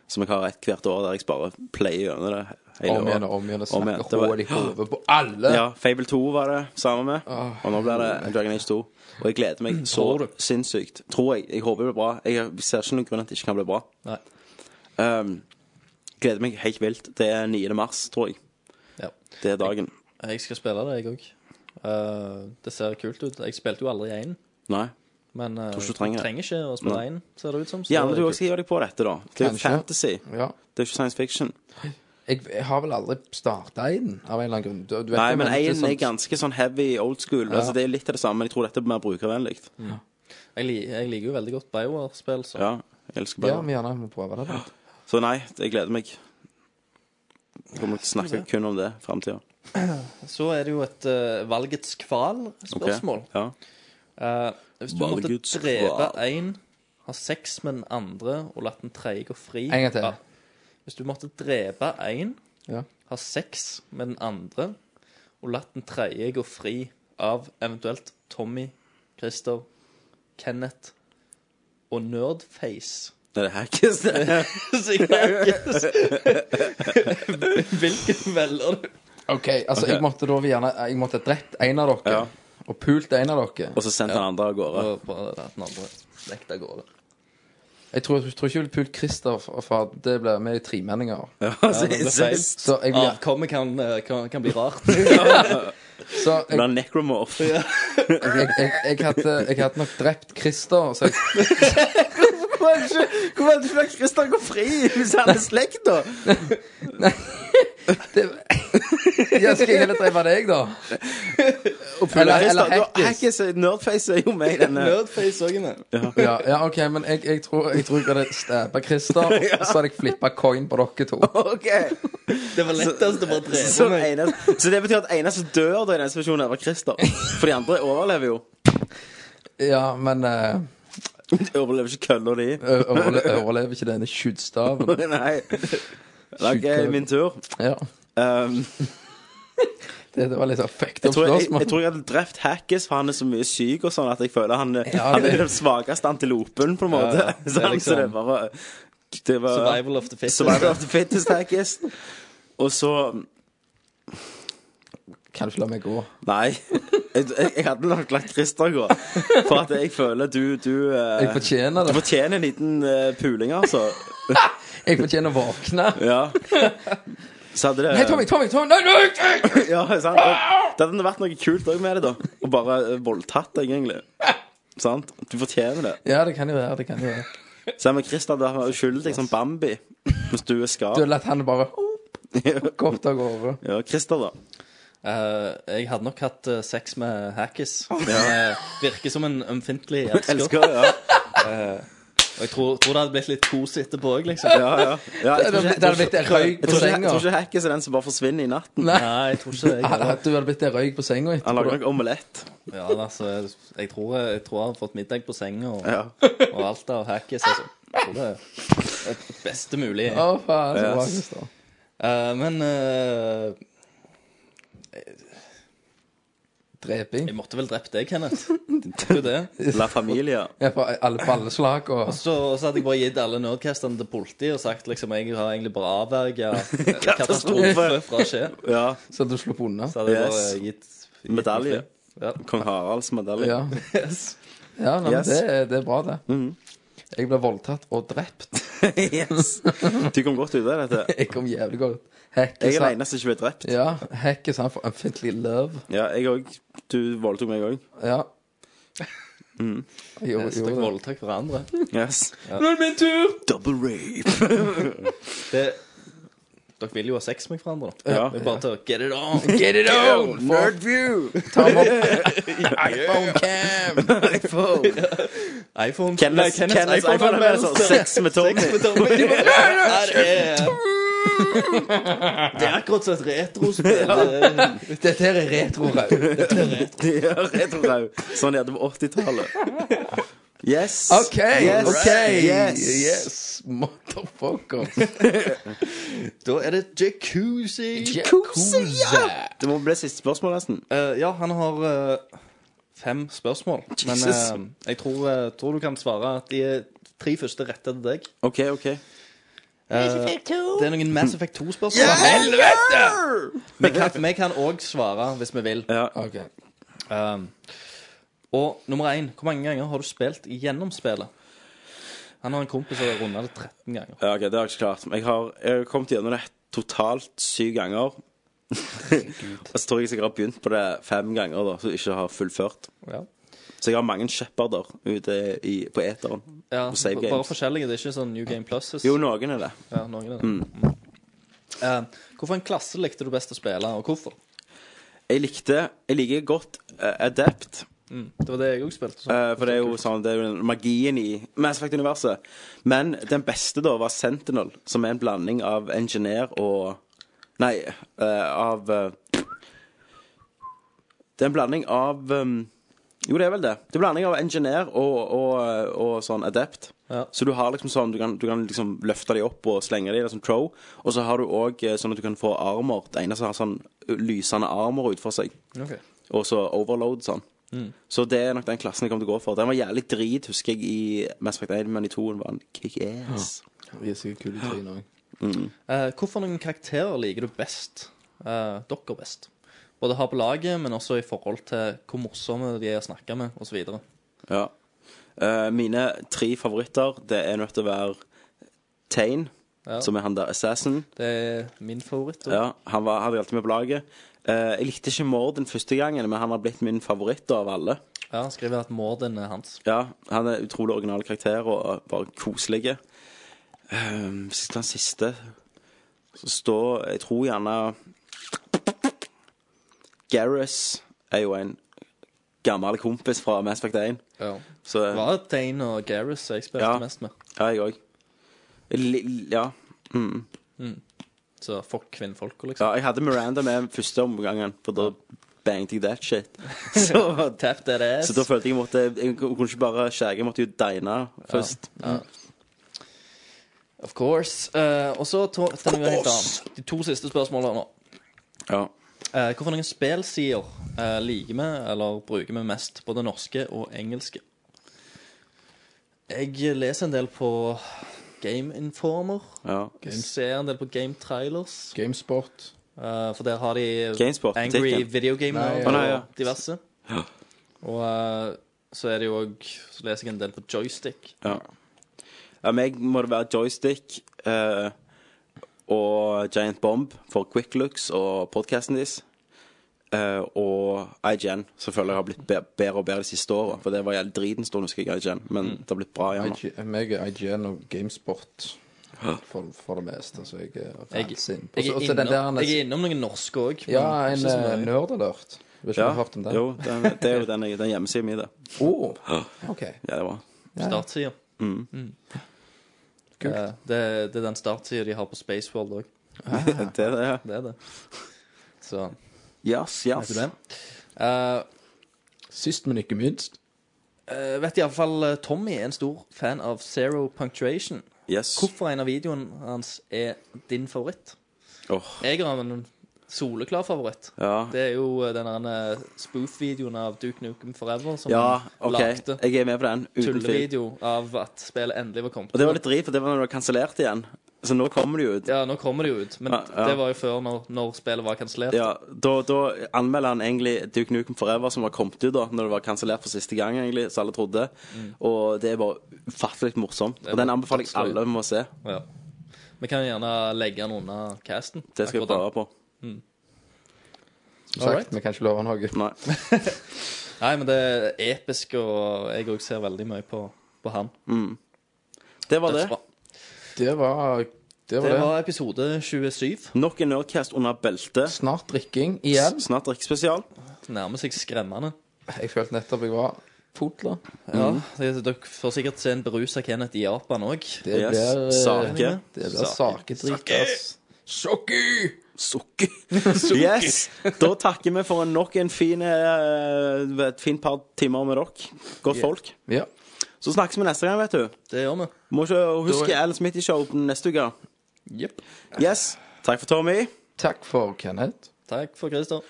Som jeg har et hvert år der jeg bare player gjennom det hele Om igjen året. og om igjen og Om igjen. snakke Det var- hull i hodet på alle. Ja, Fable 2 var det sammen med Ah. Og nå blir det Dragon Age 2 Og jeg gleder Mm. meg så sinnssykt Tror jeg, jeg håper det blir bra Jeg ser ikke noen grunn til at det ikke kan bli bra Nei. um, Gleder meg helt vilt Det er 9. mars, tror jeg Ja. Det er dagen Jeg skal spille det, jeg òg. det ser kult ut. Jeg spilte jo aldri én, Nei men eh, Tror ikke du trenger det. trenger ikke å spille Nei. én, ser det ut som. så Gjerne det er du kult. også skal gjøre deg på dette, da. Det er jo Kanskje. fantasy. Ja. Det er ikke science fiction. Jeg, jeg har vel aldri starta en, av en eller annen grunn. Du, du vet Nei, jo, men det er én sånn- er ganske sånn heavy old school. Ja. Altså, det er litt av det samme, men jeg tror dette er mer brukervennlig. Mm. Jeg, li jeg liker jo veldig godt BioWare-spill, så Ja, jeg elsker Ja, bare vi gjerne må prøve det. da. Så nei, jeg gleder meg. Jeg kommer til å snakke kun om det i framtida. Så er det jo et eh, valgets kval-spørsmål. Ja. Eh, hvis du Valgets måtte drepe kval. én, ha sex med den andre og latt den tredje gå fri En gang til. Ja. Hvis du måtte drepe én, Ja. ha sex med den andre og latt den tredje gå fri av eventuelt Tommy, Christer, Kenneth og Nerdface Det er det hackes, det. Sier Hackes. Hvilken velger du? OK, altså, Ok. jeg måtte da gjerne Jeg måtte drept en av dere. Og pult en av dere. Og så sendt den andre av gårde. Og på den andre nekta gå, da. Jeg tror, jeg tror ikke jeg vil pult Christer, for- for det blir med i tremenninger. altså, Ja, det ble feil. Så jeg vil Avkommet kan, eh, kan, kan bli rart. så Det jeg, blir necromorph. jeg, jeg, jeg, hadde, jeg hadde nok drept Christer, så jeg Hvorfor hadde du latt Christer gå fri hvis han er slekt, da? Ja, skal jeg heller drepe deg, da? Og pule- Eller, eller Christer, du- hackes. hackes. Nerdface er jo med i denne. Nerdface-øyene. Ja, ja, OK, men jeg, jeg, tror, jeg tror jeg hadde stabba Christer, og så hadde jeg flippa coin på dere to. Ok Det var lettest å bare Så, drepe meg. eneste, så det betyr at eneste som dør da i den situasjonen, her var Christer. For de andre overlever jo. Ja, men eh, De overlever ikke kølla di. ø- overle- overlever ikke denne skuddstaven. Nei. Da er min tur. Ja, Um, det, det var litt sånn fucked jeg, up tror jeg, jeg, spørsmål. tror jeg hadde drept Hackis, for han er så mye syk og sånn at jeg føler han, Ja, han det- er den svakeste antilopen, på en måte. Ja, ja. Det er Sånn, liksom- Så det var, det var Survival of the fittest. Survival of the fittest, Hackis. Og så Kan du ikke la meg gå? Nei. Jeg, jeg, jeg hadde nok lagt Christer gå. For at jeg føler du, du eh, Jeg fortjener Du det. fortjener en liten eh, puling, altså. Jeg fortjener å våkne. Ja. Så hadde det Hei, Tommy, Tommy, Tommy! Nei, nei, nei! Ja, sant? Og Det hadde vært noe kult òg med det, da. Og bare eh, voldtatt deg, egentlig. Sant? Du fortjener det. Ja, det kan jo være. det kan jo være Sammen med Christer, du er uskyldig som Bambi. Mens du er Du har skad. latt han bare gått av gårde. Ja, Christer, da. Eh, jeg hadde nok hatt eh, sex med Hackis. Eh, virker som en ømfintlig elsker. Elsker det, ja. Og jeg tror, tror det hadde blitt litt kos etterpå òg, liksom. ja, ja. ja jeg, Det tror ikke, hadde blitt en røyk jeg, på tror ikke, jeg senga. tror ikke Hackis er den som bare forsvinner i natten. Nei, Nei, jeg tror ikke det. Jeg, Du hadde- hadde blitt en røyk på senga Han lager etterpå. nok omelett. ja, altså, jeg, tror, jeg tror jeg hadde fått middag på senga og, Ja. og alt av Hackis. Altså. Jeg tror det er det beste mulig. Å, faen. Så bra, Yes. Christer. Eh, men eh, Dreping. Jeg måtte vel drept deg, Kenneth. Det er jo det. La familia. Ja, for alle balleslag og Og så, og så hadde jeg bare gitt alle nerdcastene til politiet og sagt liksom jeg har egentlig bare avverga katastrofe fra å skje. Ja. Så du slapp unna. Så hadde jeg bare gitt, gitt Medalje. beskjed. Ja. Kong Haralds medalje. Ja, Yes. ja nei, men Yes. Mm. det, er- det er bra, det. Jeg ble voldtatt og drept. yes. Du kom godt ut av dette. Jeg kom jævlig godt. Hekke Jeg er sa- den eneste som ikke ble drept. Ja, Hekke sa for unfintly love. Ja, jeg òg. Du voldtok meg òg. Ja. Mm. Jo, Så jo, det. dere voldtok hverandre. Yes. Nå er det min tur! Double rape. Det, dere vil jo ha sex med hverandre. da. Ja. Det er bare til å get it on. Get it on! Nerd view. Ta dem opp. iPhone cam. iPhone Nei, Kenneth, Kenneths Kenneths iPhone altså. iPhone-anmeldelser. altså. Sex med Tommy. Sex med Tommy. Her er Det er akkurat som et retrospill. Dette her er retro Raul. Ja, retrorau. Sånn de hadde på 80-tallet. Yes. OK. Yes. OK. Yes. yes. Motherfucker. Da er det jacuzzi. Jacuzzi. Det må bli siste spørsmål, nesten. Eh, ja, han har eh, fem spørsmål. Men Jesus. eh, jeg tror, eh, tror du kan svare at de er tre første rette til deg. OK, OK. Eh, det er noen Mass Effect 2-spørsmål. Helvete! Vi kan- Vi kan òg svare hvis vi vil. Ja. OK. Um, og nummer én, hvor mange ganger har du spilt gjennom spillet? Han har en kompis som har runda det 13 ganger. ja, ok, Det har jeg ikke klart. Men Jeg har, jeg har kommet gjennom det totalt syv ganger. Og så tror jeg sikkert jeg har begynt på det fem ganger, da, så jeg ikke har fullført. Ja. Så jeg har mange shepherder ute i, på eteren. Ja, Og save ba- bare games. forskjellige. Det er ikke sånn New Game Pluses. Jo, Mm. noen er det. Ja, noen er det. Um, hvorfor en klasse likte du best å spille, og hvorfor? Jeg likte Jeg liker godt eh, Adept. Det var det jeg òg spilte. så. eh, for det er jo sånn, det er jo magien i Mass Effect-universet. Men den beste da var Sentinel, som er en blanding av engineer og Nei, eh, av eh, Det er en blanding av um, Jo, det er vel det. Det er en blanding av engineer og, og, og sånn adept. Ja. Så du har liksom sånn Du kan, du kan liksom løfte de opp og slenge de, liksom trow. Og så har du òg sånn at du kan få armer. Det ene som har sånn lysende armer utfor seg Ok. og så overload sånn. Så det er nok den klassen jeg kommer til å gå for. Den var jævlig drit, husker jeg, i Mass Effect 1, men i 2 var den kick-ass. Mm. Vi er sikkert kule i trynet òg. Eh, hvorfor noen karakterer liker du best? eh, dere best? Både her på laget, men også i forhold til hvor morsomme de er å snakke med, osv. Ja. Eh, mine tre favoritter, det er nødt til å være Tane, Ja. som er han der assassin. Det er min favoritt. og- Ja, han var, hadde alltid med på laget. Eh, jeg likte ikke Morden første gangen, men han har blitt min favoritt av alle. Ja, han skriver at morden er hans. Ja, han er utrolig original karakter og bare koselig. Um, hvis jeg skal ha en siste, så står Jeg tror gjerne Garrus er jo en gammel kompis fra Mass Effect 1. Ja. Så Det var Dane og Gareth jeg spilte Ja. mest med. ja, jeg òg. Li- Ja. Mm. Så fuck kvinnfolka, liksom. ja. Jeg hadde Miranda med første omgangen, for da banget jeg that shit. Så, Tap that ass. så da følte jeg jeg måtte Jeg kunne ikke bare skjære, jeg måtte jo dine først. Of course. Eh, og så to- til noe helt annet. De to siste spørsmålene nå. Ja. Uh, Hvorfor noen spillsider eh, liker vi eller bruker vi mest, både norske og engelske? Jeg leser en del på Game Informer. ja. Jeg ser en del på Game Trailers. Gamesport. eh, for der har de Gamesport, Angry butikken. Video Game Nei, Nerd ja. Å, nei, ja. og diverse. Og eh, så er det jo òg Så leser jeg en del på joystick. Ja. ja meg må det være joystick eh, og Giant Bomb for Quick Looks og podcasten deres. Eh, og IGN, som føler jeg har blitt be bedre og bedre de siste åra. For det var jævlig driten stund, husker jeg, IGN. Men det har blitt bra igjen. nå. IG, meg er IGN og Gamesport for, for det meste, så jeg er Jeg, rett inn. jeg, Også- er, også den innom, der- jeg er innom noen norske òg. Ja, en eh, nerdalert. Hvis du Ja, har hørt om den. Jo, den, det er jo den, jeg- den hjemmesiden min, det. Å, OK. Ja, det Mm. var Startsida. Kult. Eh, Det, det er den startsida de har på Spaceworld òg. det. er det. Det er det. Så Yes, yes. vet du det. Eh, Sist, men ikke minst. eh, vet iallfall Tommy er en stor fan av Zero Punctuation. Yes. Hvorfor en av videoene hans er din favoritt? Åh, Jeg har en soleklar favoritt. Ja. Det er jo eh, den derne spoof-videoen av Duke Nukem Forever som Ja, han OK. lagde. Jeg er med på den. Uten tvil. sånn Tullevideo av at spillet endelig var kommet. Og det var litt drit, for det var når det var kansellert igjen. Så nå kommer det jo ut. Ja, nå kommer det jo ut, men Ja, ja. det var jo før når, når spillet var kansellert. Ja, da, da anmelder han egentlig Duke Nukem Forever, som var kommet ut da Når det var kansellert for siste gang, egentlig, som alle trodde. Og det er bare ufattelig morsomt. Mm. Det er Og den bare anbefaler jeg dødsgøy. alle må se. Ja. Vi kan gjerne legge den unna casten. Det skal jeg akkurat prøve den. på. Mm. Som sagt, vi kan ikke love noe. Nei. Nei, men det er episk, og jeg òg ser veldig mye på, på han. Det var det. Dødsbra. Det var det. Var Det det. var episode 27. Nok en Nerdcast under beltet. Snart drikking igjen. S- Snart drikkespesial. Nærmer seg skremmende. Jeg følte nettopp jeg var fotla. Ja, det, Dere får sikkert se en berusa Kenneth i Japan òg. Det Yes. blir eh, Sake. Det blir sakedrikk, ass. Sake! Sukker. Yes. Da takker vi for en- nok en fin, eh, et fint par timer med dere. Godt folk. Ja. Så snakkes vi neste gang, vet du. Det gjør vi. Må ikke huske Da Alan Smith i show neste uke. Jepp. Yes. Takk for Tommy. Takk for Kenneth. Takk for Christer.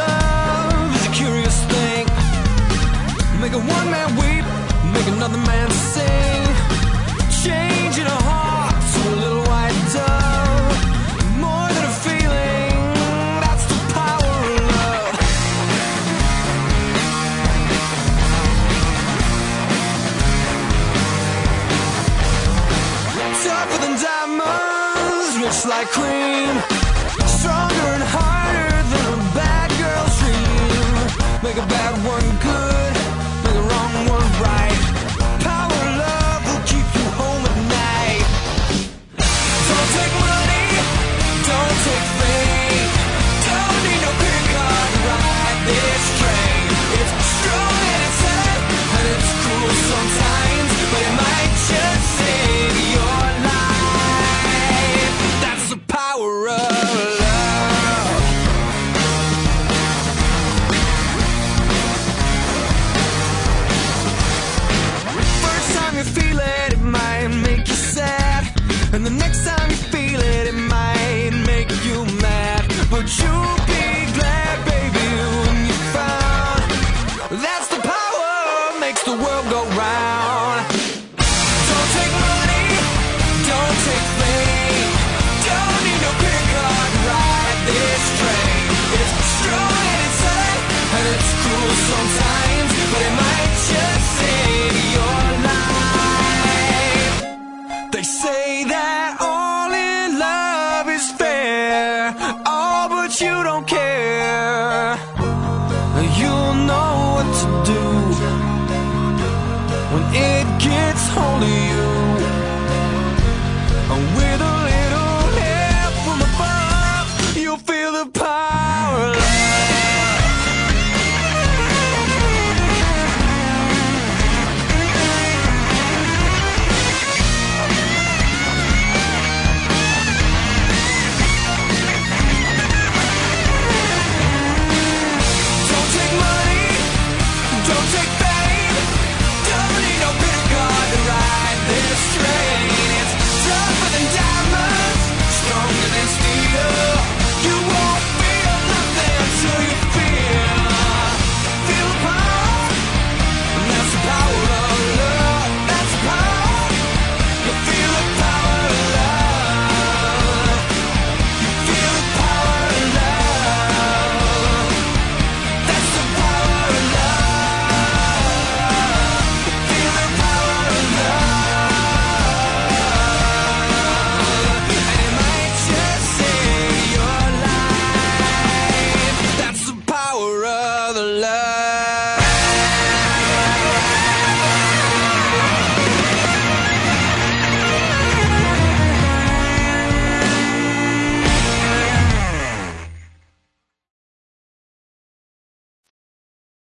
Love's a curious thing. Make a one man weep, make another man sing. Changing a heart to a little white dove. More than a feeling, that's the power of love. Tougher than diamonds, rich like cream. Stronger and harder.